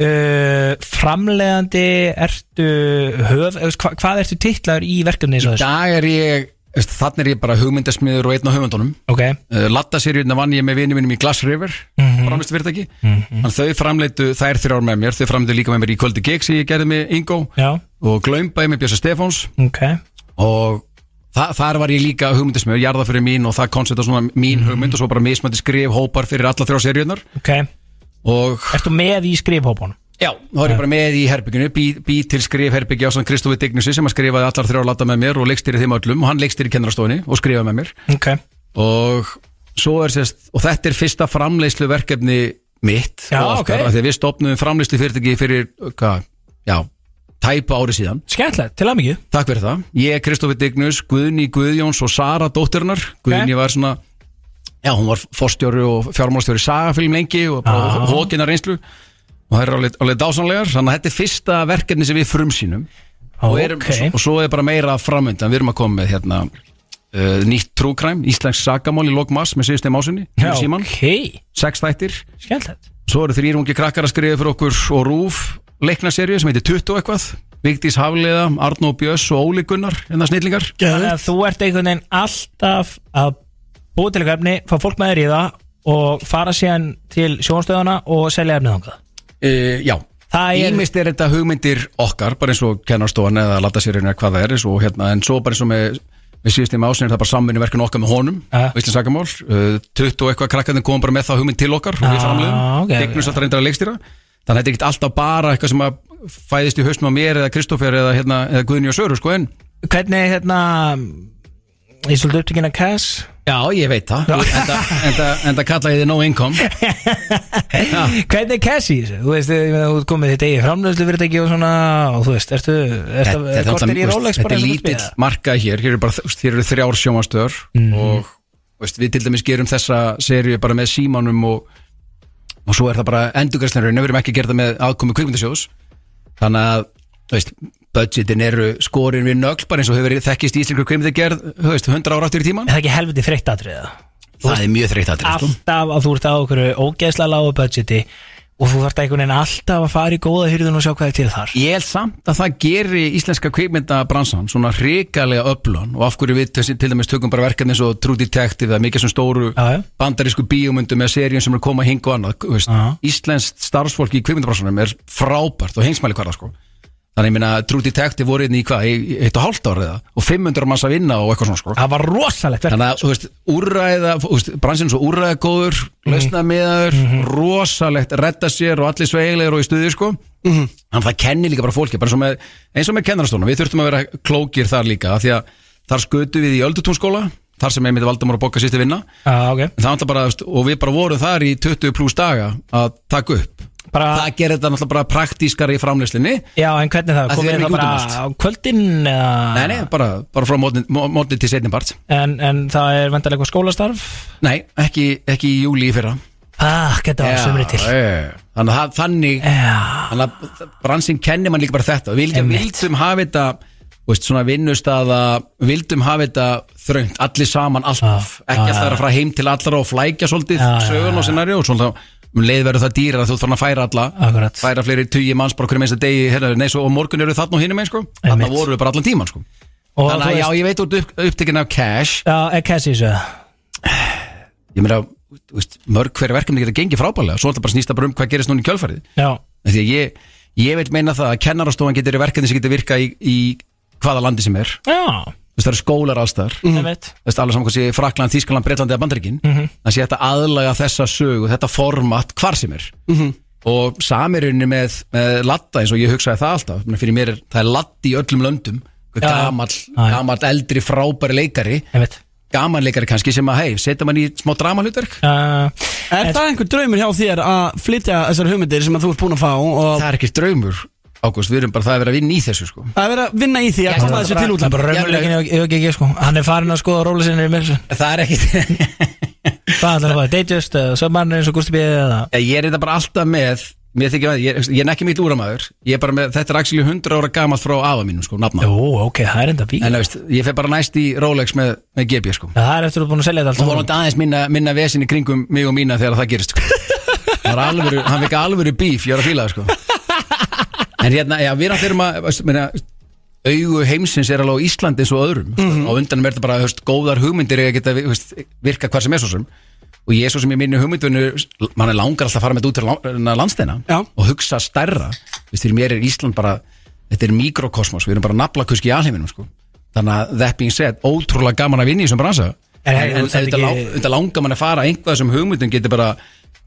Speaker 7: uh, framlegandi ertu höf eða, hva, hvað ertu titlaður í verkefni eins og
Speaker 12: í
Speaker 7: þessu?
Speaker 12: dag er ég, veist, þannig er ég bara hugmyndasmiður og einn á hugmyndunum
Speaker 7: ok,
Speaker 12: uh, Latta sérjurna vann ég með vinum mínum í Glass River
Speaker 7: Mhm.
Speaker 12: framlistu fyrirtæki þannig þau framleitu, þær þrjár með mér þau framleitu líka með mér í kvöldi gig sem ég gerði með Ingo
Speaker 7: já,
Speaker 12: og Glaumbaði með Bjösa Stefáns
Speaker 7: ok
Speaker 12: og þa þar var ég líka hugmyndismöður, jarða fyrir mín og það koncepta svona mín hugmynd og svo bara mismöndi skrif hópar fyrir alla þrjá seríunar
Speaker 7: ok,
Speaker 12: og
Speaker 7: ertu með í skrifhópunum?
Speaker 12: já, þá er ég bara með í herbygginu bý, bý til skrif herbyggja á sann Kristofi Dignusi sem að skrifaði allar þrjá latta með mér og leikstýri þeim öllum og hann leikstýri kennarastofinni og skrifaði með mér
Speaker 7: ok,
Speaker 12: og svo er sérst og þetta er fyrsta framleiðslu verkefni mitt
Speaker 7: Já,
Speaker 12: og
Speaker 7: ok.
Speaker 12: okkar, af því að við stopnum framleiðslu fyrirtæki fyrir, hvað, já tæpa ári síðan
Speaker 7: skemmtilegt, til að mikið
Speaker 12: Takk fyrir það. Ég, Kristofi Dignus, Guðni Guðjóns og Sara dóttirinnar. Guðni var svona, já, hún var forstjóri og fjármálstjóri sagafilm lengi og bara
Speaker 7: Ah.
Speaker 12: hókina reynslu og það er alveg, alveg dásanlegar. Þannig að þetta er fyrsta verkefni sem við frumsýnum og, erum,
Speaker 7: Ok.
Speaker 12: og svo er bara meira framöndan. Við erum að koma með hérna uh, nýtt trúkræm, Íslensk sagamál í Logmas með síðustegum ásinni,
Speaker 7: Já,
Speaker 12: síman,
Speaker 7: ok,
Speaker 12: sex þættir.
Speaker 7: skemmtilegt
Speaker 12: Svo eru þrýr ungi krakkar að skrifa fyrir okkur og Rúf leiknaserju sem heitir 20 eitthvað Vigdís Hafliða, Arnó Björns og Óli Gunnar en það snillingar
Speaker 7: Þannig að þú ert einhvern veginn alltaf að búa til eitthvað efni, fá fólk með þér í það og fara síðan til sjónstöðana og selja efnið þangað.
Speaker 12: e, Já,
Speaker 7: Það er,
Speaker 12: ímist er þetta hugmyndir okkar bara eins og kennarstofan eða lataserjun eða hvað það er eins og, hérna, en svo bara eins og með við síðust í maður ásinni það er bara samvinni verkefni okkar með honum
Speaker 7: Aha.
Speaker 12: Íslands Sakamál, uh, 20 eitthvað krakkarnir komum bara með það hugmynd til okkar og við
Speaker 7: Ah,
Speaker 12: framleiðum,
Speaker 7: ok.
Speaker 12: Dignus alltaf reyndar að leikstýra þannig að þetta er ekkert alltaf bara eitthvað sem að fæðist í hausnum á mér eða Kristoffer eða, hérna, eða Guðni og Söru sko, en
Speaker 7: hvernig hérna, ég er svolítið upptökinn að cash,
Speaker 12: Já, ég veit það Enda, enda, enda kalla ég þið no income
Speaker 7: hvernig er cash í þessu? Þú veist, ég meina, þú ert komið þitt eigið framlöðslu fyrirtæki og svona, og þú veist, ertu, ertu,
Speaker 12: Þetta- þetta
Speaker 7: ertu kortir í
Speaker 12: náttúrulega-
Speaker 7: Rolex
Speaker 12: Þetta
Speaker 7: bara eins
Speaker 12: er
Speaker 7: og þú
Speaker 12: lítill
Speaker 7: spila?
Speaker 12: markað hér Hér eru, bara, þú veist, hér eru þrjár sjómastöður og veist, við til dæmis gerum þessa seríu bara með símanum og, og svo er það bara endurgræslanurinn við erum ekki að gera það með aðkomi kvikmyndasjóðs þannig að þú veist, budgetin eru skorin við nögl bara eins og hefur verið þekkist í íslengur kvikmyndagerð þú veist, 100 ára áttur í tíman
Speaker 7: Er það ekki helviti freitt atriða?
Speaker 12: Það er mjög þreytt aðrið sko.
Speaker 7: Alltaf að þú ert á okkur ógeðslega lágu budgeti og þú þarft einhvern veginn alltaf að fara í góða hyrðun og sjá hvað er til þar.
Speaker 12: Ég held samt að það geri íslenska kvikmyndabransan svona hrikalega öflun og af hverju við til, til dæmis tökum bara verkefni eins og True Detective eða mikið sem stóru
Speaker 7: Já, já.
Speaker 12: bandarísku bíómyndum eða seríum sem er að koma að hinga og annað þú veist,
Speaker 7: Já.
Speaker 12: Íslenskt starfsfólk í kvikmyndabransanum er frábært og hengsmæli hverða sko Þannig ég meina, True Detective voru inn í hvað, í í eitt og hálft ár eða og 500 manns að vinna og eitthvað svona sko
Speaker 7: Það var rosalegt verk.
Speaker 12: Þannig að, þú veist, úrræða, þú veist, bransinn er svo úrræðagóður, lausnamiðaður, rosalegt, redda sér og allir sveiglegur og í stuði sko Þannig að það kenni líka bara fólki, bara eins og með, eins og með kennarastónum, við þurftum að vera klókir þar líka af Því að þar skutum við í öldutúnskóla, þar sem einmitt Valdamór og Bokka sýtti vinna
Speaker 7: ah, okay.
Speaker 12: En það var náttúrulega bara, þú veist, og við bara vorum þar í 20 pluss daga að taka upp
Speaker 7: bara,
Speaker 12: Það gerir þetta náttúrulega bara praktískar í framleyslinni
Speaker 7: Já, en hvernig það,
Speaker 12: Að þið
Speaker 7: komið það
Speaker 12: eruð ekki út um
Speaker 7: bara á kvöldin eða...
Speaker 12: Nei, nei, bara, bara frá mótni, mótni til setni part
Speaker 7: En, en það er vendalega eitthvað skólastarf
Speaker 12: Nei, ekki, ekki í júli í fyrra
Speaker 7: Ah, geta á
Speaker 12: Já,
Speaker 7: sömri til Eh.
Speaker 12: já. Þannig að það- þannig Þannig að bransinn kennir mann líka bara þetta Við líka vildum hafa þetta þú veist, svona vinnustaða Vildum hafa þetta þröngt, allir saman alltaf Ekki alltaf vera að fara heim til allra og flækja svolítið
Speaker 7: Já, já,
Speaker 12: Sögun og sinari og svona um leið verður það dýrar að þú þarf að færa alla
Speaker 7: Akkurat.
Speaker 12: færa fleiri tugi manns bara hverjum eins að degi hérna, nei, svo, og morgun eru þarna og hinum eins sko. þannig
Speaker 7: Einmitt.
Speaker 12: að voru við bara allan tíman sko.
Speaker 7: Og
Speaker 12: þannig
Speaker 7: þú
Speaker 12: að já,
Speaker 7: veist-
Speaker 12: ég veit út upp, upptekinn af cash
Speaker 7: Já, er Cassie þessu
Speaker 12: ég meina, þú veist, mörg hverja verkefni geta gengið frábælega, svo er þetta bara snýst það bara um hvað gerist núna í kjölfærið
Speaker 7: Já,
Speaker 12: Af Því að ég, ég vil meina það að kennarastofan getur verið verkefni sem getur virka í, í hvaða landi sem er
Speaker 7: já,
Speaker 12: Þú veist, það eru skólar allstar
Speaker 7: ég
Speaker 12: mm.
Speaker 7: veit
Speaker 12: Það er alveg saman hvað sé Frakland, Þískaland, Bretland eða Bandaríkin
Speaker 7: Mhm.
Speaker 12: Það sé þetta aðlaga þessa sögu, þetta format hvar sem er
Speaker 2: Mhm.
Speaker 12: Og samirunni með, með latta eins og ég hugsaði það alltaf Menni fyrir mér er, það er latti í öllum löndum Einhver
Speaker 7: Já, já.
Speaker 12: Gamall,
Speaker 7: Já, já.
Speaker 12: gamall, eldri, frábæri leikari
Speaker 7: Ég veit
Speaker 12: Gaman leikari kannski sem að, hei, setja mann í smá dramalutverk
Speaker 7: uh,
Speaker 2: Er það einhver draumur hjá þér að flytja þessar hugmyndir sem að þú ert búin að fá og
Speaker 12: Það er ekki draumur, Ágúst, við erum bara það að vera að vinna í þessu sko
Speaker 2: að vera að vinna í því að koma þessu til
Speaker 7: Það er
Speaker 2: útlanda
Speaker 7: bara raunveruleikin í OGG sko Hann er farin að skoða róla sinni í Milsson
Speaker 12: Það er ekki,
Speaker 7: Hvað ætlar að fá, Datejust, Submarn eins og Gusti B eða
Speaker 12: Ég ég er þetta bara alltaf með Mér þykja að ég, ég er ekki mitt úramæður Ég er bara með, þetta er actually 100 ára gamalt frá afa mínum sko, nafna
Speaker 7: Jú, ok, það er enda fík
Speaker 12: En þú veist, ég fer bara næst í Rolex með, með GB sko
Speaker 7: Það er eftir að þú ert búin að selja
Speaker 12: Og
Speaker 7: þetta allt
Speaker 12: vonandi aðeins minna, minna vesin í kringum mig og mína þegar það gerist sko. Það er alvöru, hann fikk alvöru bíf, ég var að fíla það sko En hérna, já, við erum fyrir maður meina, augu heimsins er alveg á Íslandi eins og öðrum mm
Speaker 7: Mhm.
Speaker 12: -hmm. og undanum er þetta bara, höfst, góðar hugmyndir eiga að geta, höfst, virka hvað sem er svo sem og ég er svo sem ég minni hugmyndinu mann er langar alltaf að fara með þetta út til lá- landsteina
Speaker 2: Já.
Speaker 12: og hugsa stærra Vist, fyrir mér er Ísland bara, þetta er mikrokosmos við erum bara naflakusk í alheiminum sko. þannig að that being said, ótrúlega gaman að vinna í þessum bransa
Speaker 7: En-
Speaker 12: en,
Speaker 7: en-
Speaker 12: en, en,
Speaker 7: þetta
Speaker 12: þetta
Speaker 7: ekki-
Speaker 12: lá- þetta langar mann að fara einhvað sem hugmyndum getur bara,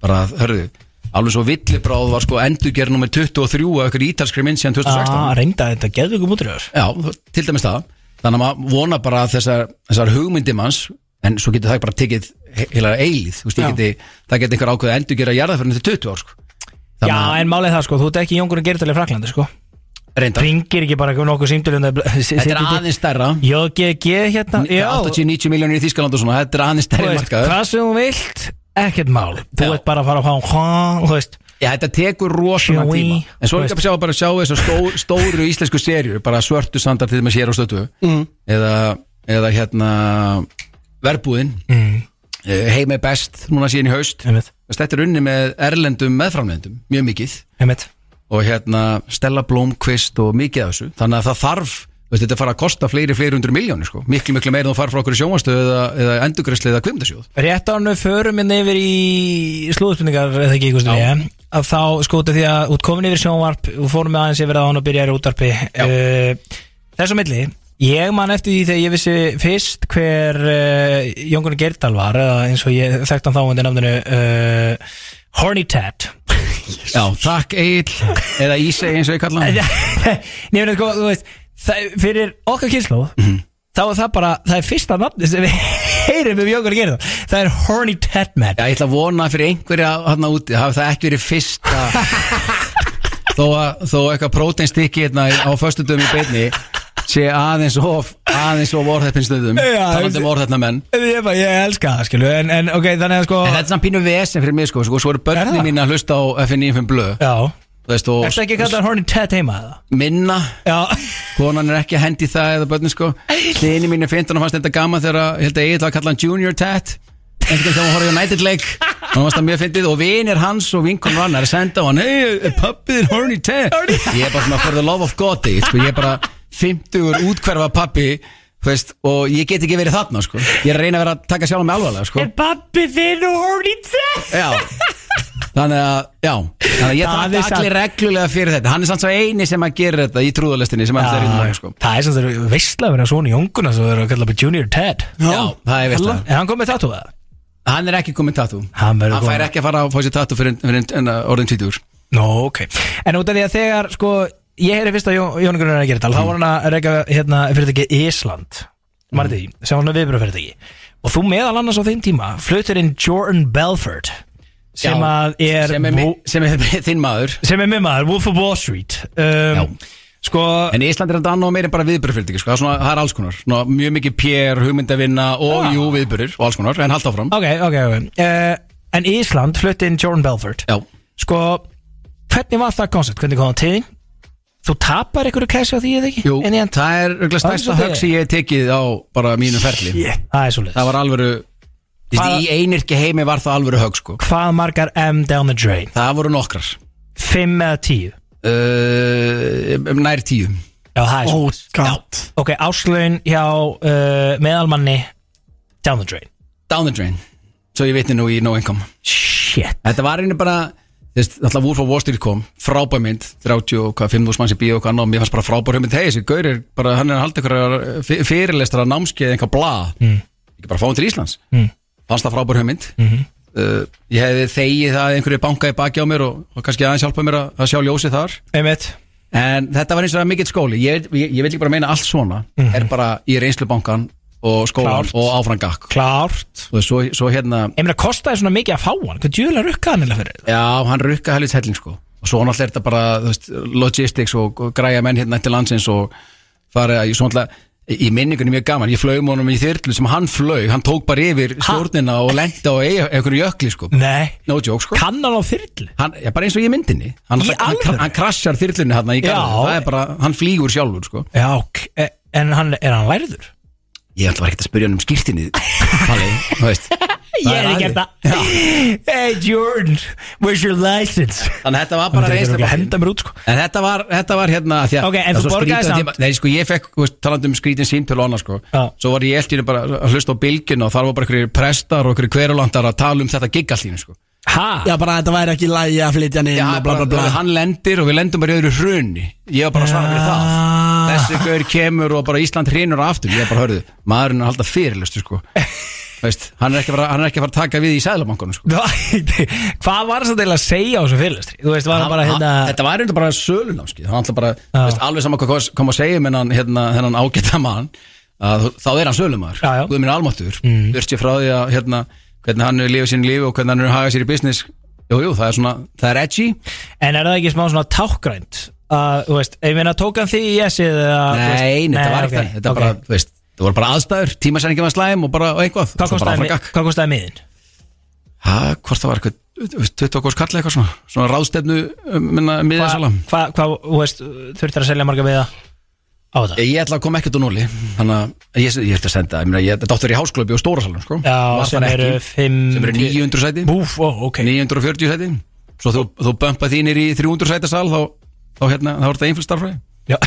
Speaker 12: bara hörðu, alveg svo villibráð var sko endurgerð nummer 23 af ykkur ítalskri mynd síðan
Speaker 7: Ah,
Speaker 12: 2016
Speaker 7: reynda þetta, geðu ykkur mútrið
Speaker 12: Já, þú- til dæmis það þannig að maður vona bara að þessar, þessar hugmyndum hans en svo getur það bara tekið he- heila eilíð, þú veist, ég
Speaker 2: Já.
Speaker 12: geti það geti einhver ákveð að endurgera jarðaförnum til 20 ár sko.
Speaker 7: Já,
Speaker 12: þannig að
Speaker 7: en málið er það sko, þú ert ekki Jóngur að gera til í Fraklandi sko
Speaker 12: reynda
Speaker 7: Ringir ekki bara nokkuð um símdölum
Speaker 12: Þetta er aðeins stærra
Speaker 7: JGG hérna Já,
Speaker 12: 80-90 miljónir í Þískaland og svona Þetta er aðeins
Speaker 7: þú
Speaker 12: stærri
Speaker 7: veist,
Speaker 12: markaður
Speaker 7: hvað sem þú vilt, ekkert mál Þú
Speaker 12: Já.
Speaker 7: ert bara að fara að fá hún, þú veist
Speaker 12: Já, þetta tekur rosalega
Speaker 7: Sjói.
Speaker 12: tíma En svo er
Speaker 7: Veist.
Speaker 12: ekki að sjá bara sjá þessar stó, stóru íslensku serjur Bara svörtu sandar til þeim að sér á stötu eða, eða hérna Verbúðin
Speaker 7: mm,
Speaker 12: eh, Heim er best, núna síðan í haust
Speaker 7: Einmitt,
Speaker 12: Þess, Þetta er unni með erlendum meðframlendum Mjög mikið
Speaker 7: einmitt
Speaker 12: Og hérna Stella Blomqvist og mikið af þessu Þannig að það þarf þú veist, Þetta fara að kosta fleiri, fleiri hundru miljónir sko. Miklu, miklu meira en þú fara frá okkur sjónvastöð Eða, eða endugræsli eða kvimdasjóð
Speaker 7: Rétt ánum förum minn yfir í slúðspurningar eða ekki, Gusti B að þá skóta því að út komin yfir sjónvarp og fórum við aðeins yfir að hann og byrjaði útvarpi uh, þess á milli ég man eftir því þegar ég vissi fyrst hver uh, Jóngunni Geirdal var eða eins og ég þekkt hann þá undir nafninu uh, Horny Tat
Speaker 12: Já, takk Egil Eða Ísei eins og ég kalla hann
Speaker 7: nefnir sko, þú veist það, fyrir okkar kynslu þá er það bara, það er fyrsta nafni sem við heyrum um Jóngunni Geirdal það er Horny Tat Man
Speaker 12: Já, ég ætla að vona fyrir einhverja hann úti hafi það ekki verið fyrsta þó að þó eitthvað próteinstykki hérna í- á föstudum í beinni sé aðeins of aðeins of orðheppin stundum
Speaker 7: Já,
Speaker 12: talandi um orðheppna menn
Speaker 7: Ég, bara, ég elska það, skilu, en, en ok, þannig að sko
Speaker 12: En þetta er samt pínu vesen fyrir mig sko, sko svo eru
Speaker 7: Er það?
Speaker 12: börnin mín að hlusta á FN95 blöð
Speaker 7: Já
Speaker 12: Þú veist, og
Speaker 7: Ertu ekki að kalla það Horny Ted heima eða?
Speaker 12: minna
Speaker 7: Já
Speaker 12: konan er ekki að hendi það eða börnin sko Hlini mín er 15 og fannst þetta gaman þegar að- ég held að Egil var að kalla hann Junior Tat einhvern veginn þegar hún horfði á United leik og hann varst það mjög fyndið og vinir hans og vinkon hann er að senda á hann hei, pappið er horny Tat ég er bara svona for the love of God Egil, sko. ég er bara 50 útkverfa pappi þú veist, og ég get ekki verið þarna sko. ég er að reyna að vera að taka sjálf mig alvarlega sko.
Speaker 7: pappi þinn Horny Ted?
Speaker 12: Já Þannig að, já Þannig að ég
Speaker 7: Það er
Speaker 12: þakka allir
Speaker 7: satt-
Speaker 12: reglulega fyrir þetta Hann er samt svo eini sem að gera þetta í trúðalestinni sem alltaf er í dag, sko
Speaker 7: Það er sem þeir veistla að vera svona í unguna sem þeir eru að kalla bara Junior Ted
Speaker 12: Já, það er veist það
Speaker 7: En hann kom með tattoo eða?
Speaker 12: Hann er ekki komið tattoo
Speaker 7: Hann verður
Speaker 12: Hann fær
Speaker 7: kominn.
Speaker 12: ekki að fara að fá sér tattoo fyrir, fyrir, fyrir orðin 20 úr
Speaker 7: Nó, ok En út af því að þegar, sko, ég heyri fyrst að Jón Gunnar er að gera tal
Speaker 12: Mm.
Speaker 7: Þá var hann að reyka hérna fyrirtæki Ísland
Speaker 12: Mm.
Speaker 7: Marði, sem var hann að viðbjörn fyrirtæki Og þú meðal annars á þeim tíma fluttir inn Jordan Belford sem
Speaker 12: Já,
Speaker 7: að er
Speaker 12: sem er mi- sem er þinn maður
Speaker 7: sem er minn maður, Wolf of Wall Street um, sko
Speaker 12: En Ísland er þetta annað og meira bara viðbörfyrirtæki sko. það, er svona, það er alls konar, Ná, mjög mikið pér, hugmyndavinna og
Speaker 7: Ah.
Speaker 12: jú viðbörur og alls konar, en halda áfram
Speaker 7: Ok, ok, ok uh, En Ísland flutti inn Jordan Belford
Speaker 12: Já
Speaker 7: Sko, hvernig var það koncept? Hvernig kom það til? þín? Þú tapar einhverju cash á því eða ekki? Jú,
Speaker 12: það er örugglega stærsta högg sem ég hef tekið á bara mínu ferli
Speaker 7: Shit, það er svolítið
Speaker 12: Það var alvöru, Þú veist,
Speaker 7: Hvað-
Speaker 12: í einirki heimi var það alvöru högg sko.
Speaker 7: Hvað margar M down the drain?
Speaker 12: Það voru nokkrar
Speaker 7: 5 eða 10?
Speaker 12: uh, Nær 10
Speaker 7: Já, það er svolítið
Speaker 2: God
Speaker 7: Ok, áslögin hjá uh, meðalmanni down the drain
Speaker 12: Down the drain Svo ég vitni nú í No Income
Speaker 7: Shit
Speaker 12: Þetta var einu bara þú veist, Náttúrulega Wolf of Wall Street kom Frábær mynd 30 og hvað 5.000 manns í bíó og hvað annað og Mér fannst bara frábær hugmynd Hei, þessi gaur er bara Hann er að halda ykkur fyrirlestra námskeið Einhvað bla
Speaker 7: Mm.
Speaker 12: Ekki bara fá hann til Íslands
Speaker 7: Mm.
Speaker 12: Fannst það frábær hugmynd
Speaker 7: Mhm.
Speaker 12: uh, Ég hefði þegið það að Einhverju bankaði baki á mér Og, og kannski aðeins hjálpa mér að, að sjá ljósið þar
Speaker 7: Einmitt
Speaker 12: En þetta var eins og það mikill skóli Ég, ég, ég vil ekki bara meina allt svona
Speaker 7: Mhm.
Speaker 12: Er bara í reynslubankan Og skólan
Speaker 7: Klárt.
Speaker 12: og áfrangak
Speaker 7: Klárt
Speaker 12: Svo, svo hérna
Speaker 7: Ég meina, kostaði svona mikið að fá hann Hvað djúlega rukkaði hann eiginlega fyrir?
Speaker 12: Já, hann rukka helvits helling sko og svo náttúrulega er þetta bara þú veist, logistics og og græja menn hérna til landsins og fara í svona í minningunni mjög gaman, ég flög honum í þyrlu sem hann flög, hann tók bara yfir stjórnina og lendi á ei- einhverju jökli sko
Speaker 7: Nei
Speaker 12: No joke sko
Speaker 7: Kann hann á þyrlu?
Speaker 12: Hann, já, bara eins og ég í myndinni Hann,
Speaker 7: Í
Speaker 12: hann,
Speaker 7: alvöru?
Speaker 12: hann krassjar þyrlunni hann í
Speaker 7: Já.
Speaker 12: garðinu Það er bara, hann flýgur sjálfur sko
Speaker 7: Já, ok, e- en hann, er hann læriður?
Speaker 12: Ég ætla bara ekkert að spyrja hann um skýrtinni Palli, þú veist
Speaker 7: Ég
Speaker 12: Það er
Speaker 7: hefði gert
Speaker 12: aðeins.
Speaker 7: það Hey Jordan, where's your license?
Speaker 12: Þannig að þetta var bara
Speaker 7: Þetta er örugglega
Speaker 12: reynslubankinn.
Speaker 7: henda mér út sko
Speaker 12: En þetta var, þetta var hérna því að
Speaker 7: Ok, en
Speaker 12: það er
Speaker 7: þú
Speaker 12: svo
Speaker 7: borgaði
Speaker 12: skrýtið að
Speaker 7: samt?
Speaker 12: ég- Nei, sko, ég fekk, þú veist, talandi um skrítin símtöl og annað, sko
Speaker 7: Já.
Speaker 12: Svo var ég eldir bara að hlusta á bylginu og þar var bara einhverjir prestar og einhverjir hverulandar að tala um þetta gig allt í einu, sko
Speaker 7: Ha?
Speaker 2: Já, bara að þetta væri ekki lægi að flytja hann inn
Speaker 12: Já,
Speaker 2: og bla bla bla
Speaker 12: Hann lendir og við lendum bara í öðru hrunni Ég var bara að svara fyrir það Þessi gaur kemur og bara Ísland hrinur aftur Ég bara hörðu, maðurinn er að halda fyrirlustu, sko Veist, hann er ekki að fara- hann er ekki að fara að taka við í sæðlabankunum, sko
Speaker 7: Hvað var það eiginlega að segja á þessu fyrirlestri? Þú veist, var hann bara
Speaker 12: Hann-
Speaker 7: hérna
Speaker 12: hann- Þetta var reynda bara sölunámskið Hann ætla bara, þú veist, alveg saman hvað kom- kom að segja með hann, hérna, þennan ágæta mann að þá er hann sölumar
Speaker 7: Já, já.
Speaker 12: Guð minn almáttur, mm. ég frá því að hérna, hvernig hann er lífið sín lífi og hvernig hann er að haga sér í business Jú, jú, það er svona, það er edgy
Speaker 7: En er það ekki smá svona tákgrænt? Að, Þú veist, ég meina, tók hann því í jesið eða þú veist-
Speaker 12: Nei, nei, þetta var
Speaker 7: ok,
Speaker 12: ekki það Þetta
Speaker 7: ok.
Speaker 12: bara, þú veist, það voru bara aðstæður tímasæningi var slæm og bara og eitthvað
Speaker 7: Hvað kostaði mi- Hvað kostaði miðin?
Speaker 12: Hæ, hvort það var eitthvað, 20 ákvæmst kallið eitthvað svona Svona ráðstefnu, um, minna, miðjasalam
Speaker 7: Hvað, hvað, þú veist, þurftir að selja marga miða? á þetta?
Speaker 12: Ég, ég ætla að koma ekkert úr núli Þannig að ég, ég ætla að senda ég meina, ég- Þetta áttur í hásklöpi og stóra salum sko.
Speaker 7: Já,
Speaker 12: Var
Speaker 7: sem
Speaker 12: það ekki.
Speaker 7: eru fimm
Speaker 12: Sem eru 900 sæti
Speaker 7: Búf, ó, ok
Speaker 12: 940 sæti Svo þú, þú bömpa þínir í 300 sæta sal Þá, þá, hérna, þá er þetta einfjöld starfræði
Speaker 7: Já.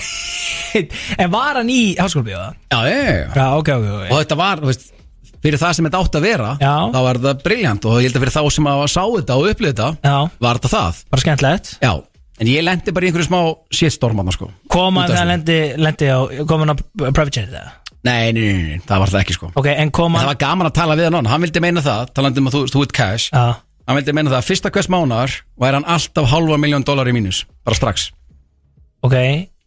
Speaker 7: En var hann í háskólabíða?
Speaker 12: Já, ég, ég.
Speaker 7: Já, ok, ok, ok
Speaker 12: Og þetta var, þú veist Fyrir það sem þetta átt að vera
Speaker 7: Já.
Speaker 12: Þá var þetta briljant Og ég held að fyrir þá sem að sá þetta og upplið þetta
Speaker 7: Já,
Speaker 12: Var þetta það
Speaker 7: bara skemmtilegt
Speaker 12: Já En ég lendi bara í einhverju smá shitstormanna sko
Speaker 7: Kom
Speaker 12: Út
Speaker 7: hann
Speaker 12: af
Speaker 7: þegar
Speaker 12: þessu.
Speaker 7: lendi, lendi á, kom hann á private jet það?
Speaker 12: Nei, nei, nei, nei, það var það ekki sko
Speaker 7: Ok, en kom
Speaker 12: En
Speaker 7: hann
Speaker 12: það var gaman að tala við hann Hann vildi meina það, talandi um að þú, þú ert cash
Speaker 7: Já,
Speaker 12: hann vildi meina það að fyrsta hvers mánar væri hann alltaf halva miljón dólar í mínus bara strax,
Speaker 7: ok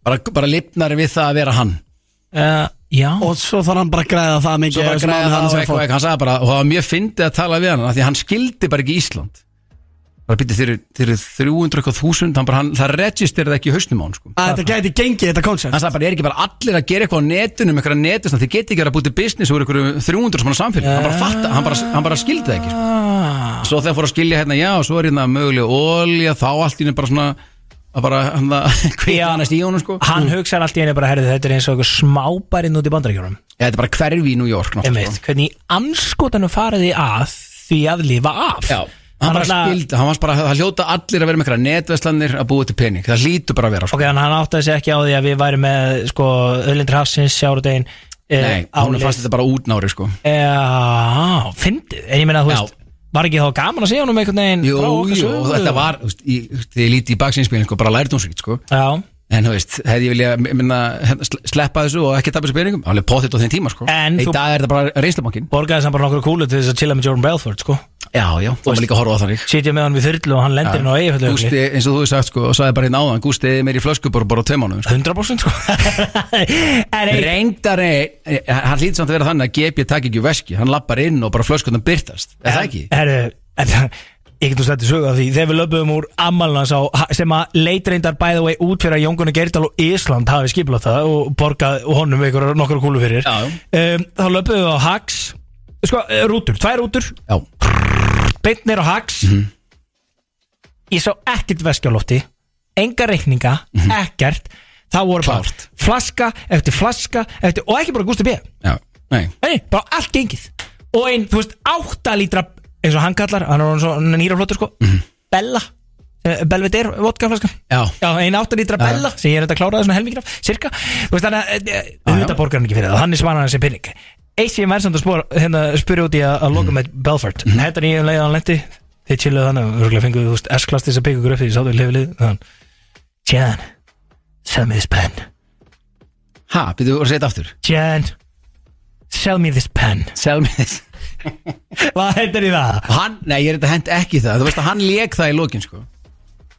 Speaker 12: bara, bara lifnari við það að vera hann
Speaker 7: uh, Já,
Speaker 2: Og svo þarf hann bara að græða það
Speaker 12: svo
Speaker 2: mikið
Speaker 12: bara
Speaker 2: á þessum
Speaker 12: græði
Speaker 2: mánuði
Speaker 12: það
Speaker 2: hann
Speaker 12: og
Speaker 2: sem
Speaker 12: eitthvað,
Speaker 2: fór.
Speaker 12: eitthvað, hann sagði bara og það var mjög fyndið að tala við hann af því að hann skildi bara ekki Ísland bara býtti þeir þeir eru 300 eitthvað þúsund hann bara, hann, það registerði ekki í hausnum á hann sko.
Speaker 2: Að Þetta gæti gengið þetta koncept
Speaker 12: hann sagði bara, er ekki bara allir að gera eitthvað á netinu með eitthvað netus, þið geti ekki verið að búti business úr eitthvað 300 svona samfélag hann bara fatta, hann bara, hann bara skildi það ekki sko.
Speaker 7: Ah.
Speaker 12: svo þegar fór að skilja hérna, já, svo er hérna möguleg olja, þá allt í henni bara svona að bara, hann það,
Speaker 7: Já.
Speaker 12: kveitlanast í honum sko
Speaker 7: hann hugsaði allt í henni bara herði Þetta er eins og eitthvað smábærinn út í bandarækjörnum
Speaker 12: Já, þetta er bara hverfi í New York náttúrulega, sko.
Speaker 7: Einmitt, hvernig í anskotanum fariði að því að lifa af
Speaker 12: sko. Já, hann bara
Speaker 7: náttúrulega-
Speaker 12: skildi, hann var bara, það hljóta allir að vera með einhverja netverslanir að búa til pening Það hlýtu bara að vera, sko
Speaker 7: Ok, þannig að hann áttaði sig ekki á því að við væri með sko, öðlindur hafsins, eh, sjáruðegin
Speaker 12: Nei, hún fannst þetta bara útnári, sko
Speaker 7: Já, fyndið, en ég meina þú
Speaker 12: Já.
Speaker 7: veist Var ekki þá gaman að segja honum einhvern veginn
Speaker 12: Jú,
Speaker 7: frá okkar
Speaker 12: jú,
Speaker 7: sögu?
Speaker 12: og þetta var þú veist, í- Þegar ég líti í baksinspilin, sko, bara lærið hún svo sko.
Speaker 7: Já
Speaker 12: En þú veist, hefði ég vilja minna, sleppa þessu og ekki tapja þessu peningum Alveg potið á þeim tíma, sko
Speaker 7: En
Speaker 12: Í
Speaker 7: þú-
Speaker 12: dag er þetta bara reynslabankin
Speaker 7: Borgaði saman bara nokkur kúlu til þess að chilla með Jordan Belfort sko
Speaker 12: Já, já, það var líka að horfa á þannig
Speaker 7: Sitja með hann við þyrlu og hann lendir inn á eigafjöldu
Speaker 12: Gústi, eins og þú hefur sagt, sko, og sagði bara hérna áðan Gústi er meir í flösku bara, bara á tömánum, sko
Speaker 7: 100% sko
Speaker 12: Reyndar er, eh, hann hlýtur samt að vera þannig að GB takk ekki úr veski Hann lappar inn og bara flöskunum byrtast Er það ekki?
Speaker 7: um, Herru, þetta- ég getur stætti sögu af því Þegar við löpum úr ammalans á sem að leitreindar by the way út fyrir að Jóngunni Geirdal og Ísland hafi skiplað það og borgað honum ykkur nokkur kúlu fyrir
Speaker 12: Já,
Speaker 7: um, Þá löpum við á Hax sko, eh, rútur, tvær rútur
Speaker 12: Já
Speaker 7: Beint neyra á Hax Ég sá ekkert veski á lofti Enga reikninga, ekkert Það voru bara flaska eftir flaska eftir, og ekki bara Gústi B
Speaker 12: Já, nei
Speaker 7: Nei, bara allt gengið Og einn, þú veist, átta lítra eins og hann kallar, hann er orðinn svo nýraflótur sko Bella eh, Belvedere vodkaflaskan
Speaker 12: Já,
Speaker 7: Já, ein átta lítra Bella sem ég er þetta að klára það svona helmingir af cirka, þú veist þannig að eh, auðvitað borgar hann ekki fyrir það, hann er svaran hans sem pinning Eisi er verðsamt að spora, hérna, spyrja út í að, að loka með Belfort,
Speaker 12: Mhm.
Speaker 7: mm. hættan ég um leiðan hann lendi þeir chilluðu þannig, örgulega fenguðu þú veist S-klass til þess að byggja ykkur upp því, sáttu við lifið lið þannig, Jan sell me this pen
Speaker 12: ha, byrðu að segja þetta aftur
Speaker 7: Jan, sell me this pen
Speaker 12: sell me this
Speaker 7: Hvað hendur í það?
Speaker 12: Hann, nei, ég er þetta hent ekki í það Þú veist að hann lék það í lokin, sko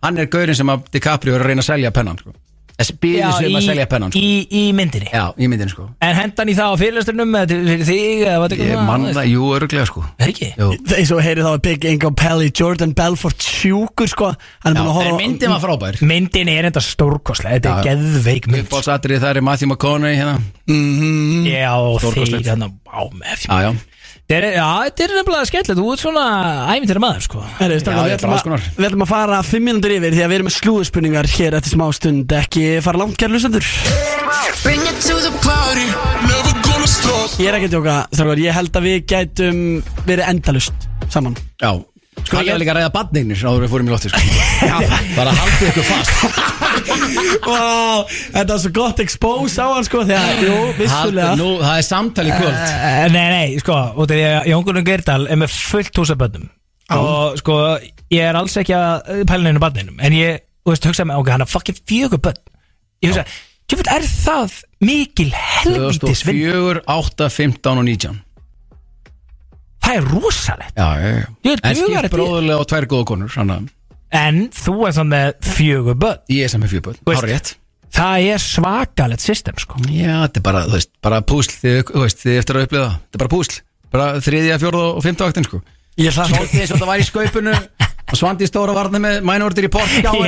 Speaker 12: Hann er gaurinn sem að DiCaprio er að reyna að selja pennan, sko Þessi býður sem að selja pennan, sko
Speaker 7: í, í myndinni
Speaker 12: Já, í myndin, sko
Speaker 7: En hendan í það á fyrirlesturinnum eða til- fyrir þig eða hvað
Speaker 12: Ég manna, jú, öruglega, sko
Speaker 7: Ekki?
Speaker 12: Jú
Speaker 2: Það er svo heyrið þá að Big Ingo Pelli Jordan Belfort sjúkur sko Hann er búin að horfa á-
Speaker 12: frábær
Speaker 7: Myndin er enda stórkoslega, þetta er
Speaker 12: Já.
Speaker 7: geðveik mynd
Speaker 12: Uppbólsatrið það er Matthew McConaughey hérna
Speaker 7: Já, og
Speaker 12: Stórkostlegt.
Speaker 7: þeir hann á með
Speaker 12: Já, já
Speaker 7: Þetta er- Já, þetta er nefnilega skemmtilegt, þú ert svona æmyndir maður sko
Speaker 2: Herri, strákar,
Speaker 12: Já,
Speaker 2: við
Speaker 12: ég er
Speaker 2: ætlum
Speaker 12: bara
Speaker 2: að-
Speaker 12: alls konar.
Speaker 2: Við ætlum að fara fimm minútur yfir því að við erum með slúðspurningar hér eftir smá stund ekki fara langt kæra lusendur
Speaker 1: Bring it to the party Never gonna stop
Speaker 2: Ég er ekki að djóka, þrjókar, ég held að við gætum verið endalust saman
Speaker 12: Já Sko, hann er líka að ræða badneignir áður en við fórum í lotti, sko Bara haldið ykkur fast
Speaker 2: Vá, þetta er svo gott expose á hann sko þegar, jú, vissulega
Speaker 12: Haldið- Nú, það er samtali kvöld
Speaker 7: Eh, Nei, nei, sko, út af því að Jón Gunnar Geirdal er með fullt hús af bönnum Og sko, ég er alls ekki að pæla neina barninum En ég, þú veist, hugsaði mig, ok, hann er fucking fjögur bönn Ég hugsaði, tjöfull, er það mikil helvítis vinn
Speaker 12: 2004, 8, 15 og 19
Speaker 7: Það er rosalegt
Speaker 12: Já, já, já
Speaker 7: Ég er dugar
Speaker 12: En skipt
Speaker 7: þetta í-
Speaker 12: bróðulega á tvær góða konur Þannig að
Speaker 7: En þú er samt með fjögur börn
Speaker 12: ég er sem með fjörböld
Speaker 7: Þú veist-
Speaker 12: Hár rétt
Speaker 7: Það er svakalegt system sko
Speaker 12: Já, þetta er bara, þú veist, bara púsl Þið, þú veist, þið eftir að upplifa það Þetta er bara púsl Bara þriðja, fjórða og fymta vaktin, sko
Speaker 2: Ég hlakka
Speaker 12: Svolítið eins og þetta var í skaupinu og Svandi stóra varna með mænordir í port Já,
Speaker 7: Já,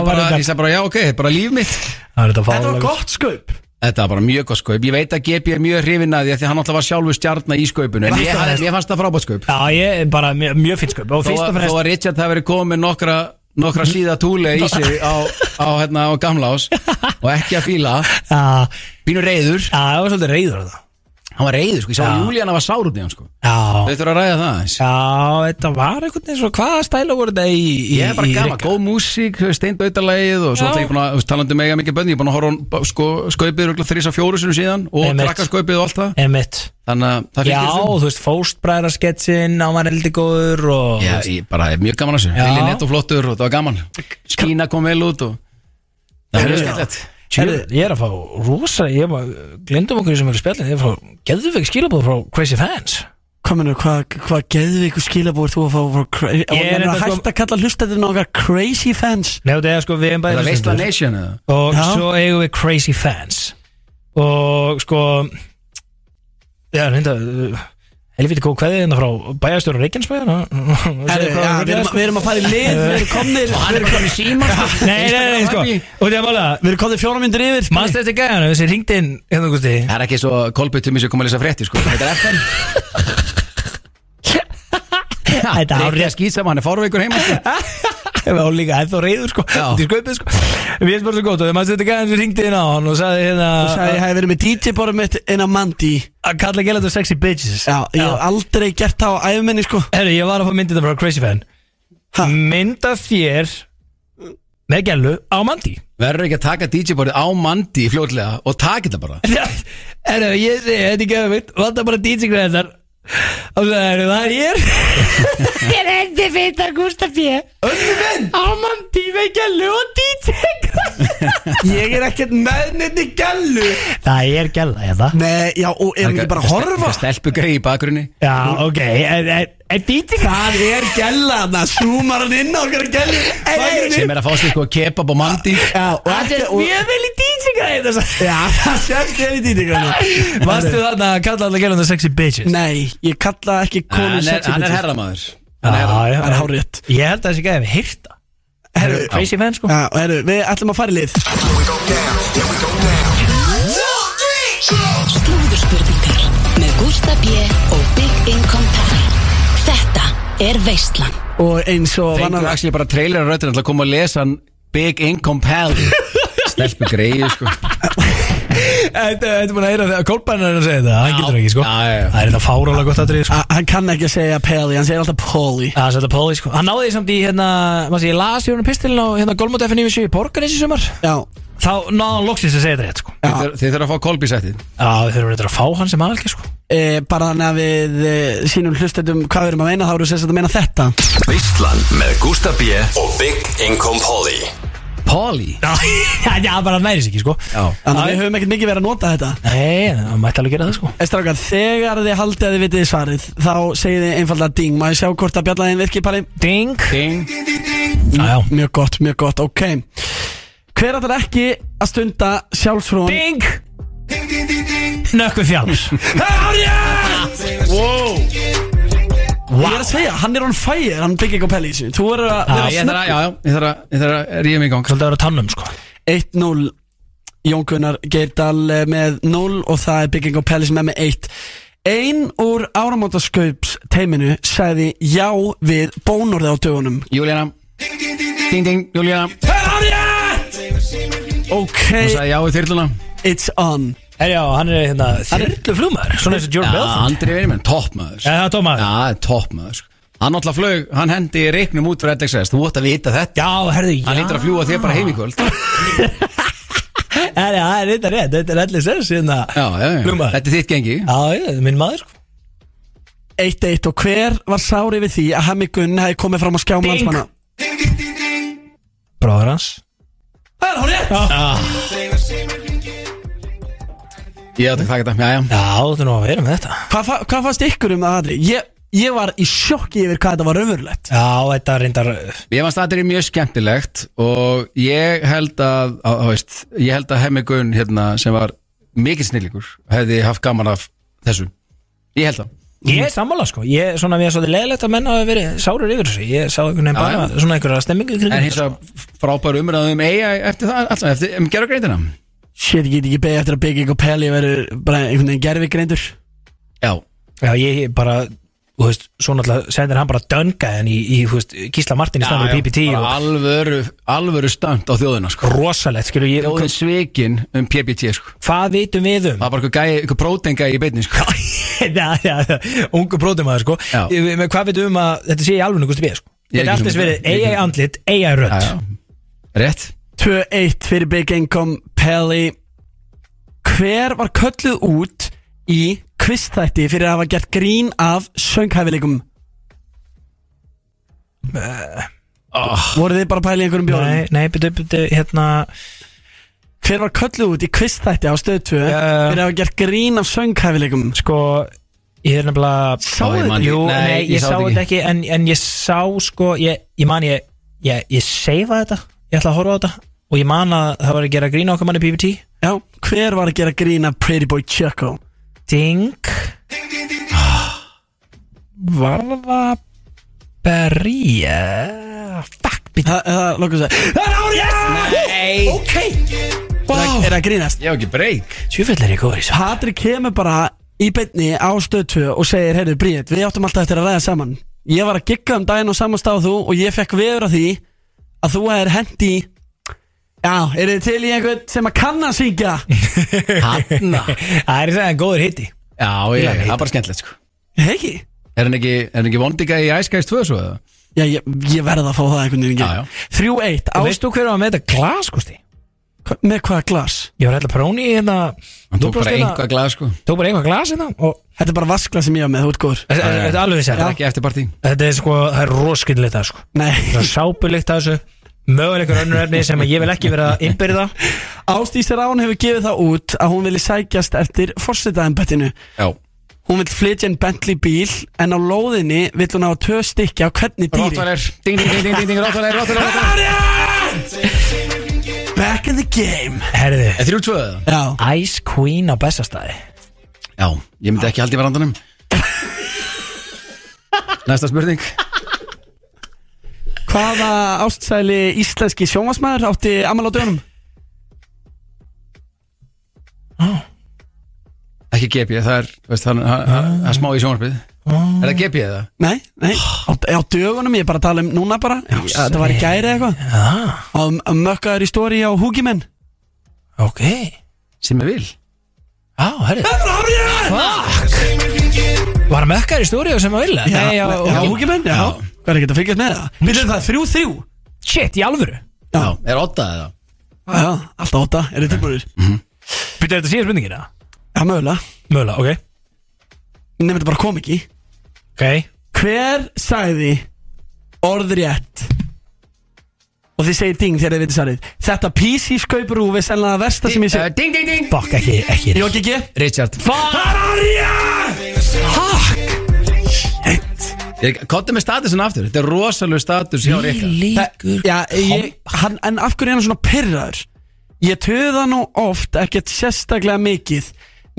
Speaker 12: ég bara, ég sagði bara, já, ok, þetta er bara líf mitt
Speaker 7: Þetta
Speaker 2: Þetta var gott skaup
Speaker 12: Þetta var bara mjög gott skaup Ég veit að Gepi er mjög hrifin að því að því að hann alltaf var sjálfu stjarna í skaupinu En ég, hafði- ég fannst það frábært skaup
Speaker 7: Já, ég er bara mjög, mjög finn sko Og
Speaker 12: Þó
Speaker 7: fyrst og
Speaker 12: að þó
Speaker 7: fremst
Speaker 12: að Richard hafi verið komið með nokkra nokkra síða túle í sig á, á, hérna, á gamla ás og ekki að fíla
Speaker 7: Já,
Speaker 12: Pínu reyður,
Speaker 7: já, það var svolítið reyður á það
Speaker 12: hann var reyður sko. Ég sá að
Speaker 7: Já.
Speaker 12: Júlíana var sár út í hann sko.
Speaker 7: Já,
Speaker 12: Þau þurfa að ræða það aðeins
Speaker 7: já, þetta var einhvern veginn svo Hvaða stæla voru þetta í, í
Speaker 12: Ég er bara
Speaker 7: í
Speaker 12: gaman,
Speaker 7: Rikka?
Speaker 12: góð músík, steindautalagið og svo
Speaker 7: Já.
Speaker 12: ætla ég búin að, þú veist, talandi um mega mikið bönni, ég er búin að horfa hún sko, skaupið þrýsa fjóru sinum síðan og
Speaker 7: Einmitt.
Speaker 12: krakka skaupið og allt það
Speaker 7: Einmitt
Speaker 12: Þannig að það
Speaker 7: Já,
Speaker 12: fylgir um.
Speaker 7: þú veist, fóstbræðarsketsin Hann var eldi góður og
Speaker 12: Já, ég bara er mjög gaman að þessu
Speaker 7: Já.
Speaker 12: Lili nett og flottur og það var gaman Skína kom vel út og Það er skemmtilegt
Speaker 7: Herru, Ég er að fá rosa Ég er bara, glindum okkur í sem eru spjallin Ég er að fá, geðu við skilabóð frá Crazy Fans
Speaker 2: Kominu, hvað hva geðu ykkur skilabúr þú að fá frá cra- og
Speaker 7: Ég
Speaker 2: ég
Speaker 7: er
Speaker 2: er að
Speaker 7: þetta sko-
Speaker 2: hætta að kalla hlustatinn okkar crazy fans
Speaker 7: Nei, þetta er sko, við erum
Speaker 12: Er
Speaker 7: bæði
Speaker 12: það
Speaker 7: hlustendur.
Speaker 12: veistla nation eða?
Speaker 7: og
Speaker 2: Já.
Speaker 7: svo eigum við Crazy Fans og sko já, reynda uh, helviti góð kveðið hérna frá bæjarstjóra Reykjanesbæðin
Speaker 2: Herru, já, Við
Speaker 7: sko.
Speaker 2: erum- við erum að fara í lið, við erum komnir Við erum komnir síma
Speaker 7: Nei, nei, nei, sko og það er mála
Speaker 2: Við erum komnir fjóra myndir yfir sko.
Speaker 7: mannst þetta gæðan þessi ringdi inn hérna gústi
Speaker 12: Það er ekki svo kolbið til mér sem kom að lesa frétti sko Þetta er FN
Speaker 7: Þetta er
Speaker 12: er ekki
Speaker 7: hárrétt.
Speaker 12: að skýt saman, hann er fárveikur heima sko.
Speaker 7: Það var líka ennþá reyður sko
Speaker 12: Já.
Speaker 7: Þetta er sköpið sko Við erum bara svo gótt og mannst þetta gæðan sem ringdi inn á hann og sagði hérna
Speaker 2: Þú sagði ég
Speaker 7: að-
Speaker 2: hef verið með DJ-borðum mitt inn á Mandi
Speaker 7: að kalla gælandu sexy bitches
Speaker 2: Já, ég hef aldrei gert það á æfuminni sko
Speaker 7: Herru, ég var að fá myndið það frá Crazy Fan
Speaker 2: Ha?
Speaker 7: Mynda þér Með gælu á mandi
Speaker 12: Verður ekki að taka DJ-borðið á mandi fljótlega og taka þetta bara
Speaker 7: Herru, ég segi, þetta er geðvitt Vanda bara DJ-græðar Og það eru það er ég
Speaker 5: Ég er endi fyrta Gústa B Önnu minn Ámandi með gælu og dítek Ég er ekkert með nýtt í gælu
Speaker 7: Það er gæla, eða?
Speaker 2: Nei, já, og
Speaker 7: er ekki bara að horfa?
Speaker 12: Stelpu greið í bakgrunni
Speaker 7: Já, ok, er, er, er dítek?
Speaker 2: Það er gæla, það súmar hann inn á okkar gælu
Speaker 12: sem er að fá sér sko kebab og mandi
Speaker 7: Ah,
Speaker 2: Já, og ekki og-
Speaker 7: vel í dítek-græði þess
Speaker 2: Já, það sést ég í dýtingarinn
Speaker 7: Varstu þarna að kalla alla gerðan það sexy bitches?
Speaker 2: Nei, ég kalla ekki konu
Speaker 12: Hann er- hann er herramaður
Speaker 7: Hann er,
Speaker 2: hann er hárétt.
Speaker 7: Ég held að þessi gæði við hýrta Herru, crazy fan sko
Speaker 2: Já, herru, við ætlum að fara í lið
Speaker 6: Slúðurspurningar með Gústa B og Big Income Pally Þetta er veislan
Speaker 2: Og eins og
Speaker 12: Fengur
Speaker 2: vannar
Speaker 12: Axel bara trailer að röttin Það kom að lesa hann Big Income Pally Stelpu greið sko
Speaker 7: Eh, Þetta er búin að heyra þegar Kolbænar er að segja þetta Hann getur ekki sko Það er þetta fáróla gott aðrið sko
Speaker 2: Hann kann ekki að segja Peli, hann segir alltaf Poli
Speaker 7: Það er þetta Póli sko Hann náði því samt í hérna maður sé, Ég las í honum pistilin á hérna Golmóti F97 í Borgarnes í sumar
Speaker 2: Já,
Speaker 7: Þá náði hann loksins að segja þetta rétt sko
Speaker 12: Þið þurfa- þið þurfa að fá kolbísættið
Speaker 7: Já, þeir eru reyndar að fá hann sem aðalki sko
Speaker 2: e, bara þannig að við e, sínum hlustetum hvað við erum að meina Þá eru sérst að meina þetta
Speaker 13: Veistlan með Gústa B og Big Income Polly
Speaker 12: Póli
Speaker 7: Já, já, bara næris ekki sko
Speaker 12: Já
Speaker 2: Þannig að við höfum ekkert mikið verið að nota þetta
Speaker 7: Nei, hann mætti alveg gera það sko
Speaker 2: En Eh, Strákar, þegar þið haldið að þið vitið svarið Þá segið þið einfallega ding Má ég sjá hvort að bjallaðin virki, Pali?
Speaker 7: Ding
Speaker 12: Ding
Speaker 7: Já, já
Speaker 2: Mjög gott, mjög gott, ok Hver ætlar ekki að stunda sjálfsfrón
Speaker 7: Ding Nökkvi fjálms
Speaker 2: Ég er að segja, hann er on fire, hann byggir ekki á pelli í þessu Þú eru að
Speaker 12: Já, Ah, ég
Speaker 2: vera
Speaker 12: þarf að, já, já, ég þarf að, ég þarf að ríða mig í gang
Speaker 7: Svolítið að vera á tannum sko
Speaker 2: 1-0 Jón Gunnar Geirdal eh, með 0 og það er bygging á pelli sem er með 1 Ein úr áramótaskaups teiminu sagði já við bónorði á dögunum
Speaker 12: Júlíana Ding, ding, Júlíana Hún
Speaker 2: Ok,
Speaker 12: sagði já í þyrluna
Speaker 2: it's on
Speaker 7: Herjá, hann er hérna Þyrlu flugmaður Svona eins og
Speaker 12: Já,
Speaker 7: Jordan Belfort
Speaker 12: Andri verið menn, toppmaður
Speaker 7: Já, það er
Speaker 12: Já,
Speaker 7: tómaður
Speaker 12: það er toppmaður sko. Hann alltaf flög, hann hendi reiknum út fyrir LXS Þú ótt að vita þetta
Speaker 7: Já, herðu, já
Speaker 12: Hann lítur að fljúa þér bara heim í kvöld Já,
Speaker 7: Það er það er þetta rétt, þetta er allir sér síðan að
Speaker 12: já, já
Speaker 7: Flugmaður.
Speaker 12: Þetta er þitt gengi
Speaker 7: Já, já, þetta er minn maður sko
Speaker 2: 1-1 og hver var sári við því að Hemmi Gunn hefði komið fram á skjám
Speaker 7: Ding.
Speaker 2: landsmanna
Speaker 7: Bráður hans
Speaker 2: Það er hún rétt
Speaker 12: Ég átti að taka þetta, já, já
Speaker 7: Já, þú nú að vera með þetta
Speaker 2: Hvað, fa- hvað fannst ykkur um það aðri? Ég, ég var í sjokki yfir hvað þetta var raunverulegt
Speaker 7: Já, þetta er reyndar uh,
Speaker 12: Ég fannst þetta er mjög skemmtilegt og ég held að, að, að veist, ég held að Hemmi Gunn hérna, sem var mikil snillingur hefði haft gaman af þessu Ég held það
Speaker 7: Ég er sammála sko Ég, svona, mér er svolítið leðilegt að menna að hafa verið sárir yfir þessu Ég sá einhvern veginn
Speaker 12: Já,
Speaker 7: bara svona einhverja stemmingu í
Speaker 12: En
Speaker 7: kringum
Speaker 12: hins að frábæru umræðum eiga um eftir það, alltaf, eftir um gerðugreitina
Speaker 2: Shit, ég get ekki beðið eftir að byggja ykkur peli og verður bara einhvern veginn gerfi greindur
Speaker 12: Já,
Speaker 7: Já, ég ég bara, þú veist, svo náttúrulega sendir hann bara dönga en í, í þú veist, Kísla Martin í stannum í PPT
Speaker 12: bara
Speaker 7: og
Speaker 12: alvöru, alvöru stönd á þjóðina sko.
Speaker 7: rosalegt, skilur ég
Speaker 12: Þjóðin svikin um PPT sko.
Speaker 7: Hvað vitum við um?
Speaker 12: Það var bara eitthvað gæi- eitthvað prótenga í beinni sko.
Speaker 7: Já, já, já, ungu brótumæður sko
Speaker 12: Já.
Speaker 7: Ég- með Hvað veitum við um að þetta sé í alveg Gusti B sko Þetta
Speaker 12: Ég er
Speaker 7: er
Speaker 12: ekki
Speaker 7: alltaf
Speaker 12: sammála.
Speaker 7: verið
Speaker 12: Ég er
Speaker 7: AI
Speaker 12: ekki-
Speaker 7: andlit, AI rödd
Speaker 12: Já, já. Rétt
Speaker 2: 2-1 fyrir Big Income Peli Hver var kölluð út í kvistþætti fyrir að hafa gert grín af sönghæfileikum? Voruð þið bara að pæla í einhverjum
Speaker 7: Nei,
Speaker 2: bjóðum?
Speaker 7: nei, byrju, byrju, hérna
Speaker 2: Hver var kölluð út í kvistþætti á stöð 2
Speaker 7: Já.
Speaker 2: fyrir að hafa gert grín af sönghæfileikum?
Speaker 7: Sko, ég er nefnilega
Speaker 12: Sá ég man-
Speaker 7: Jú,
Speaker 12: Nei,
Speaker 7: nei,
Speaker 12: ég
Speaker 7: ég
Speaker 12: sá
Speaker 7: sá
Speaker 12: þetta
Speaker 7: þetta ekki En, en ég sá sko, ég, ég man ég Ég, ég seifa þetta, ég ætla að horfa á þetta Og ég man að það var að gera grína okkar manni í PPT
Speaker 2: Já, hver var að gera grín af Pretty Boy Choco?
Speaker 7: Ding Varða Berri eh, Fuck bitch.
Speaker 2: Það, það, lokum sér Það er árið
Speaker 12: Nei.
Speaker 2: Ok wow. Er það grínast
Speaker 12: Ég hef ekki breyk
Speaker 7: Tjúfell er ég góður í svo
Speaker 2: Patrik kemur bara í beinni á stöðtu og segir Heyrðu Bríett, við áttum alltaf eftir að ræða saman Ég var að gigga um daginn og saman stáð þú og ég fekk veður af því að þú hefur hendi Já, er þið til í einhvern sem að kann að syngja?
Speaker 12: Hanna
Speaker 7: Það er það en góður hitti
Speaker 12: Já, ég, það er bara skemmtilegt sko.
Speaker 2: Hegi?
Speaker 12: Er hann ekki, er hann ekki vondiga í Ice Guys 2 svo eða?
Speaker 2: Já, ég, ég verð að fá það einhvern
Speaker 12: Já, já.
Speaker 2: veginn Þrjú eitt
Speaker 7: Ástu hver var með þetta glas, Gusti?
Speaker 2: Hva- Með hvaða glas?
Speaker 7: Ég var ætla próni í hérna Hann
Speaker 2: tók bara eitthvað
Speaker 12: glas sko
Speaker 7: Tók bara einhvað glas hérna og
Speaker 2: Þetta er bara vaskla sem ég haf með, þú ert góður
Speaker 7: Þetta þetta-
Speaker 12: Eh,
Speaker 7: þetta er alveg þess að
Speaker 2: Já.
Speaker 12: eftirparti
Speaker 7: Þetta er sko, það er roskillikt það sko
Speaker 2: Nei
Speaker 7: Það er sápulikt að þessu Möguleikur önnur efni sem að ég vil ekki vera að innbyrða
Speaker 2: Ásdís Rán hefur gefið það út að hún vilji sækjast eftir forsetaðanbettinu
Speaker 12: Já
Speaker 2: Hún vil flytja en Bentley bíl en á lóðinni vil hún hafa tvö stykki á hvernig dýri
Speaker 12: Rottweiler. Ding, ding, ding, ding, ding, ding, Rottweiler, Rottweiler,
Speaker 2: Back in the game
Speaker 7: Herðu
Speaker 12: Eh, Þrjú tvöðu
Speaker 2: Já
Speaker 7: Ice Queen á bestastæði
Speaker 12: Já, ég myndi ekki haldi í varandanum Næsta spurning
Speaker 2: Hvaða ástsæli íslenski sjónvarsmaður átti amal á dögunum?
Speaker 12: Ekki GP, það er, veist, hann, hann, hann, hann smá í sjónvarpið Er það GP eða?
Speaker 2: Nei, nei, á, á dögunum, ég er bara að tala um núna bara Já, Það var í gæri eða
Speaker 7: eitthvað
Speaker 2: Og mökkaður í stóri á húkimenn
Speaker 7: Ok
Speaker 12: Sem ég vil
Speaker 7: Já, herðu Var hann með ökkar í stúdíu sem að vilja?
Speaker 2: Já, já, já,
Speaker 7: ok.
Speaker 2: húkimenn, já Hvað er ekki að fylgjast með það? Við það þrjú þrjú
Speaker 7: Shit, í alvöru
Speaker 2: Já,
Speaker 12: er óta eða?
Speaker 2: Já, já, alltaf óta, eru þið tilbúinir?
Speaker 7: Byrja þetta síðan spurningir eða?
Speaker 2: Já, mögulega
Speaker 7: Mögulega, ok
Speaker 2: Nefnir þetta bara kom ekki
Speaker 7: Ok
Speaker 2: Hver sagði orðrétt Og þið segir ding þegar þið veitir svarið Þetta PC skaupur úr við sennilega að versta sem ég sé
Speaker 12: Eh, Ding, ding, ding
Speaker 7: Fuck, ekki, ekki
Speaker 2: Jó, ekki, ekki
Speaker 12: Richard Fuck Kottu með statusin aftur Þetta er rosalega status hjá Rikka
Speaker 2: Líkur Já, ég, hann, en af hverju er hann svona pyrraður? Ég töða nú oft ekkert sérstaklega mikið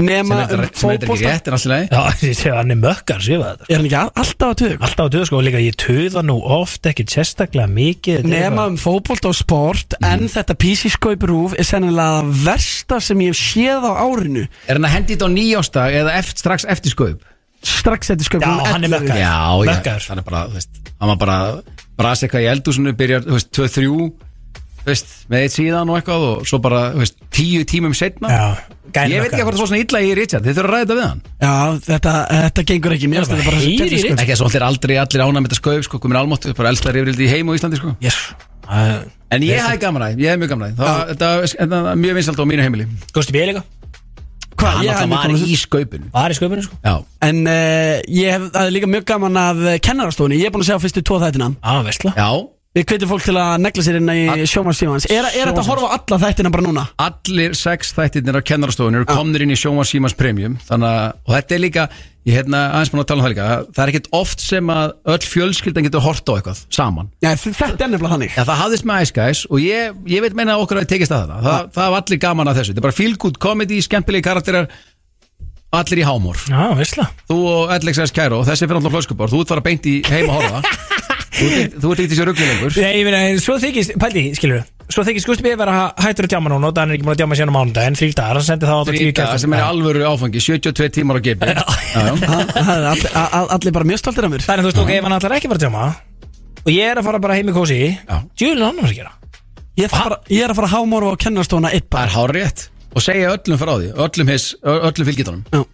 Speaker 2: Nema um
Speaker 12: Sem er- sem er ekki rétt, en allt í lagi.
Speaker 7: Já, ég segi hann er mökkar, séu það
Speaker 2: Er hann ekki alltaf að töða?
Speaker 7: Alltaf að töða sko, og líka ég töða nú oft ekkert sérstaklega mikið þetta er
Speaker 2: Nema um fótbolt og sport En þetta PC skaupur úr er sennilega að versta sem ég hef séð á árinu
Speaker 12: Er hann að hendi þetta á nýjóstag eða eft, strax eftir skaup?
Speaker 2: Strax eftir skaupur úr 11.
Speaker 12: Já, já, hann er bara, þú veist Hann var bara brasi eitthvað í eldúsinu Byrjar, þú veist, 2-3 þú veist, Með eitt síðan og eitthvað Og svo bara, þú veist, tíu tímum setna
Speaker 7: Já,
Speaker 12: Ég veit ekki hvað það var svona illa í Richard Þið þurfum að ræða þetta við hann
Speaker 2: Já, þetta, þetta gengur ekki mér finnst þetta bara svo
Speaker 12: Ekki að svo allir aldrei allir ána með þetta skaup sko, komin almátt, bara elsta reyfrildi í heim og Íslandi sko.
Speaker 7: yes.
Speaker 12: En ég hef gaman að, ég hef mjög gaman að Það þetta var- þetta var mjög vinsalt á mínu heimili
Speaker 7: Góðstu bíl eitthvað?
Speaker 2: Hvað,
Speaker 12: Hann
Speaker 2: ég
Speaker 12: alltaf
Speaker 2: hef mjög
Speaker 12: var
Speaker 2: gaman að
Speaker 12: í skaupinu
Speaker 7: Var í skaupinu sko
Speaker 12: Já
Speaker 2: En uh, ég hef það er líka mjög gaman af eh, kennarastofunni Ég er búin að segja á fyrstu tvo þættina
Speaker 7: Á, veistla
Speaker 12: Já
Speaker 2: Við hvetjum fólk til að negla sér inn í sjómarsímans Er, er þetta að horfa á alla þættina bara núna?
Speaker 12: Allir sex þættirnir á kennarastofunir
Speaker 7: Ah.
Speaker 12: eru komnir inn í Sjóma Símans Premium þannig að, og þetta er líka, ég hérna aðeins búin að tala um það líka, það er ekkert oft sem að öll fjölskyldan getur hort á eitthvað saman
Speaker 2: Já, þetta er nefnilega þannig
Speaker 12: Já, það hafðist með Ice Guys og ég, ég veit meina að okkur að tekist að það
Speaker 7: Ah.
Speaker 12: það, það var allir gaman að þessu, þetta er bara feel good comedy skemmtilegi karakterar, allir í hámór
Speaker 7: Já, veistla
Speaker 12: Þú og Alex S. Cairo, þessi fyrir alltaf flöskubor þú ert fara beint í heima horfa Þú ert- þú ert ekkert í sér ruggli lengur
Speaker 7: Nei, ég meina, svo þykist, pældi, skilur Svo þykist Gusti B. vera hættur að djáma núna og það er ekki búin að djáma síðan á mánudaginn, þrýr dagar, hann sendi það á
Speaker 12: Þrír dagar sem er alvöru áfangi, 72 tímar á GB Já, já.
Speaker 2: Það er all, all, allir bara mjög stoltir af mér
Speaker 7: Það er þú veist, ok, ef hann ætlar ekki að fara að djáma og ég er að fara bara heim í kósi djúlinn hann var að gera
Speaker 2: Ég er bara- ég er að fara að hámorfa á kennarastofuna eitt
Speaker 12: Það
Speaker 2: bara
Speaker 12: er hár rétt Og segja öllum frá því, öllum, his, öllum fylgjitunum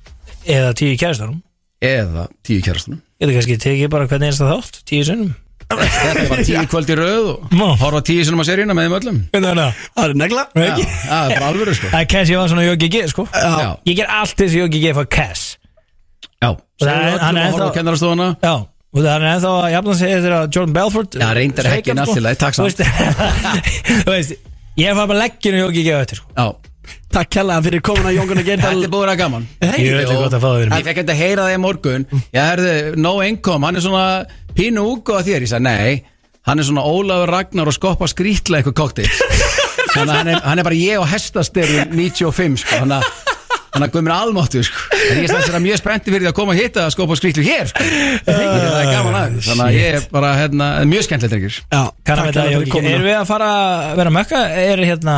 Speaker 7: Eða tíu kæristunum
Speaker 12: Eða tíu kærastunum
Speaker 7: Ég veit kannski tekið bara hvernig einsta þátt, tíu sinnum
Speaker 12: Þetta var tíu kvöld í röð og
Speaker 7: Má.
Speaker 12: horfa tíu sinum á seríuna með þeim öllum
Speaker 7: Hvernig er það?
Speaker 2: Það er negla
Speaker 7: Nei,
Speaker 12: Já,
Speaker 7: ekki.
Speaker 12: já, það er bara alvöru sko
Speaker 7: Það er Cass Jóhansson og Jóki G sko
Speaker 12: Já,
Speaker 7: Ég ger allt til þessi Jóki G fá Cass
Speaker 12: já
Speaker 7: Það
Speaker 12: Segja
Speaker 7: er- hann er
Speaker 12: öllum að horfa á
Speaker 7: ennþá-
Speaker 12: kennarastofuna
Speaker 7: Já Og það er ennþá að jafna sig eftir að Jordan Belfort
Speaker 12: Já, reyndar er hekkinn allt í lagi, takk samt.
Speaker 7: samt Þú veist Ég fara bara legginu Jóki G á eftir sko
Speaker 12: Já,
Speaker 2: Takk kjalla fyrir komin að Jónguna Gerdal
Speaker 12: þetta er búin að vera gaman
Speaker 7: Ég veit ekki gott að fá það
Speaker 12: Ég
Speaker 7: verið
Speaker 12: fekk ekki að heyra það í morgun Já, herðu, no income, hann er svona pínu úgu að þér Ég sagði, nei, hann er svona Ólafur Ragnar og skoppa skrýtla eitthvað kokteil Þannig að hann er, hann er bara ég og hestasterjum 95 sko. Þannig að hann er guðmur almáttu sko. En ég sagði sér að mjög spennti fyrir því að koma að hitta að skoppa skrýtlu hér sko. Það er gaman að þessu. Þannig að ég er bara, hérna, mjög skemmtilegt ykkur
Speaker 2: Já,
Speaker 7: Kannan
Speaker 2: takk
Speaker 7: veit að
Speaker 2: kjalla
Speaker 7: Jóki
Speaker 2: fyrir
Speaker 7: G
Speaker 2: komin
Speaker 7: Erum við að fara að vera mökka Er hérna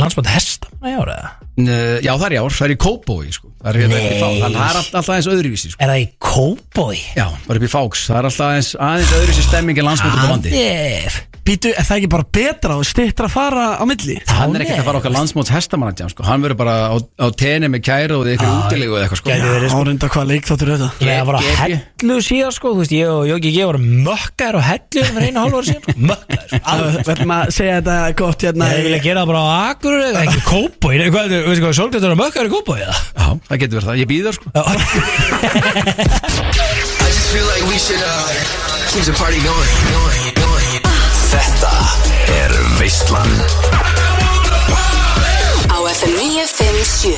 Speaker 7: landsbótt hesta Nei, ára
Speaker 12: Já, það er í ár, það er í Kópói sko. Það er, hérna, upp í Fá- þannig að það er allt- alltaf aðeins öðruvísi sko.
Speaker 7: Er það í Cowboy?
Speaker 12: Já, bara upp í fáks, það er alltaf aðeins, aðeins öðru sér stemming en landsmótur
Speaker 7: Aðeir
Speaker 2: Býtu, er það ekki bara betra og stittra að fara á milli?
Speaker 12: Hann er ekkert að fara okkar landsmóts hestamannatján sko. Hann verður bara á, á tenni með kæru og eitthvað útilegu eða eitthvað sko.
Speaker 2: Árunda hvað leik þáttur þetta
Speaker 7: Ég var á hellu síðan sko, þú veist, ég og Jóki G vorum mökkar og hellu fyrir einu hálf ára síðan sko, mökkar sko, alveg.
Speaker 2: Við ætlum að segja þetta gott hérna
Speaker 7: Ég vilja gera það bara á Akureyri eða ekki Kópói, Nei, hvað er þetta, sólgjöndar og mökkar í Kópói eða?
Speaker 12: Já, það getur verið það, ég býð þar sko
Speaker 1: I just feel like we should uh, keep the party going. going, going.
Speaker 13: Þetta er Veislan
Speaker 6: Á FM 957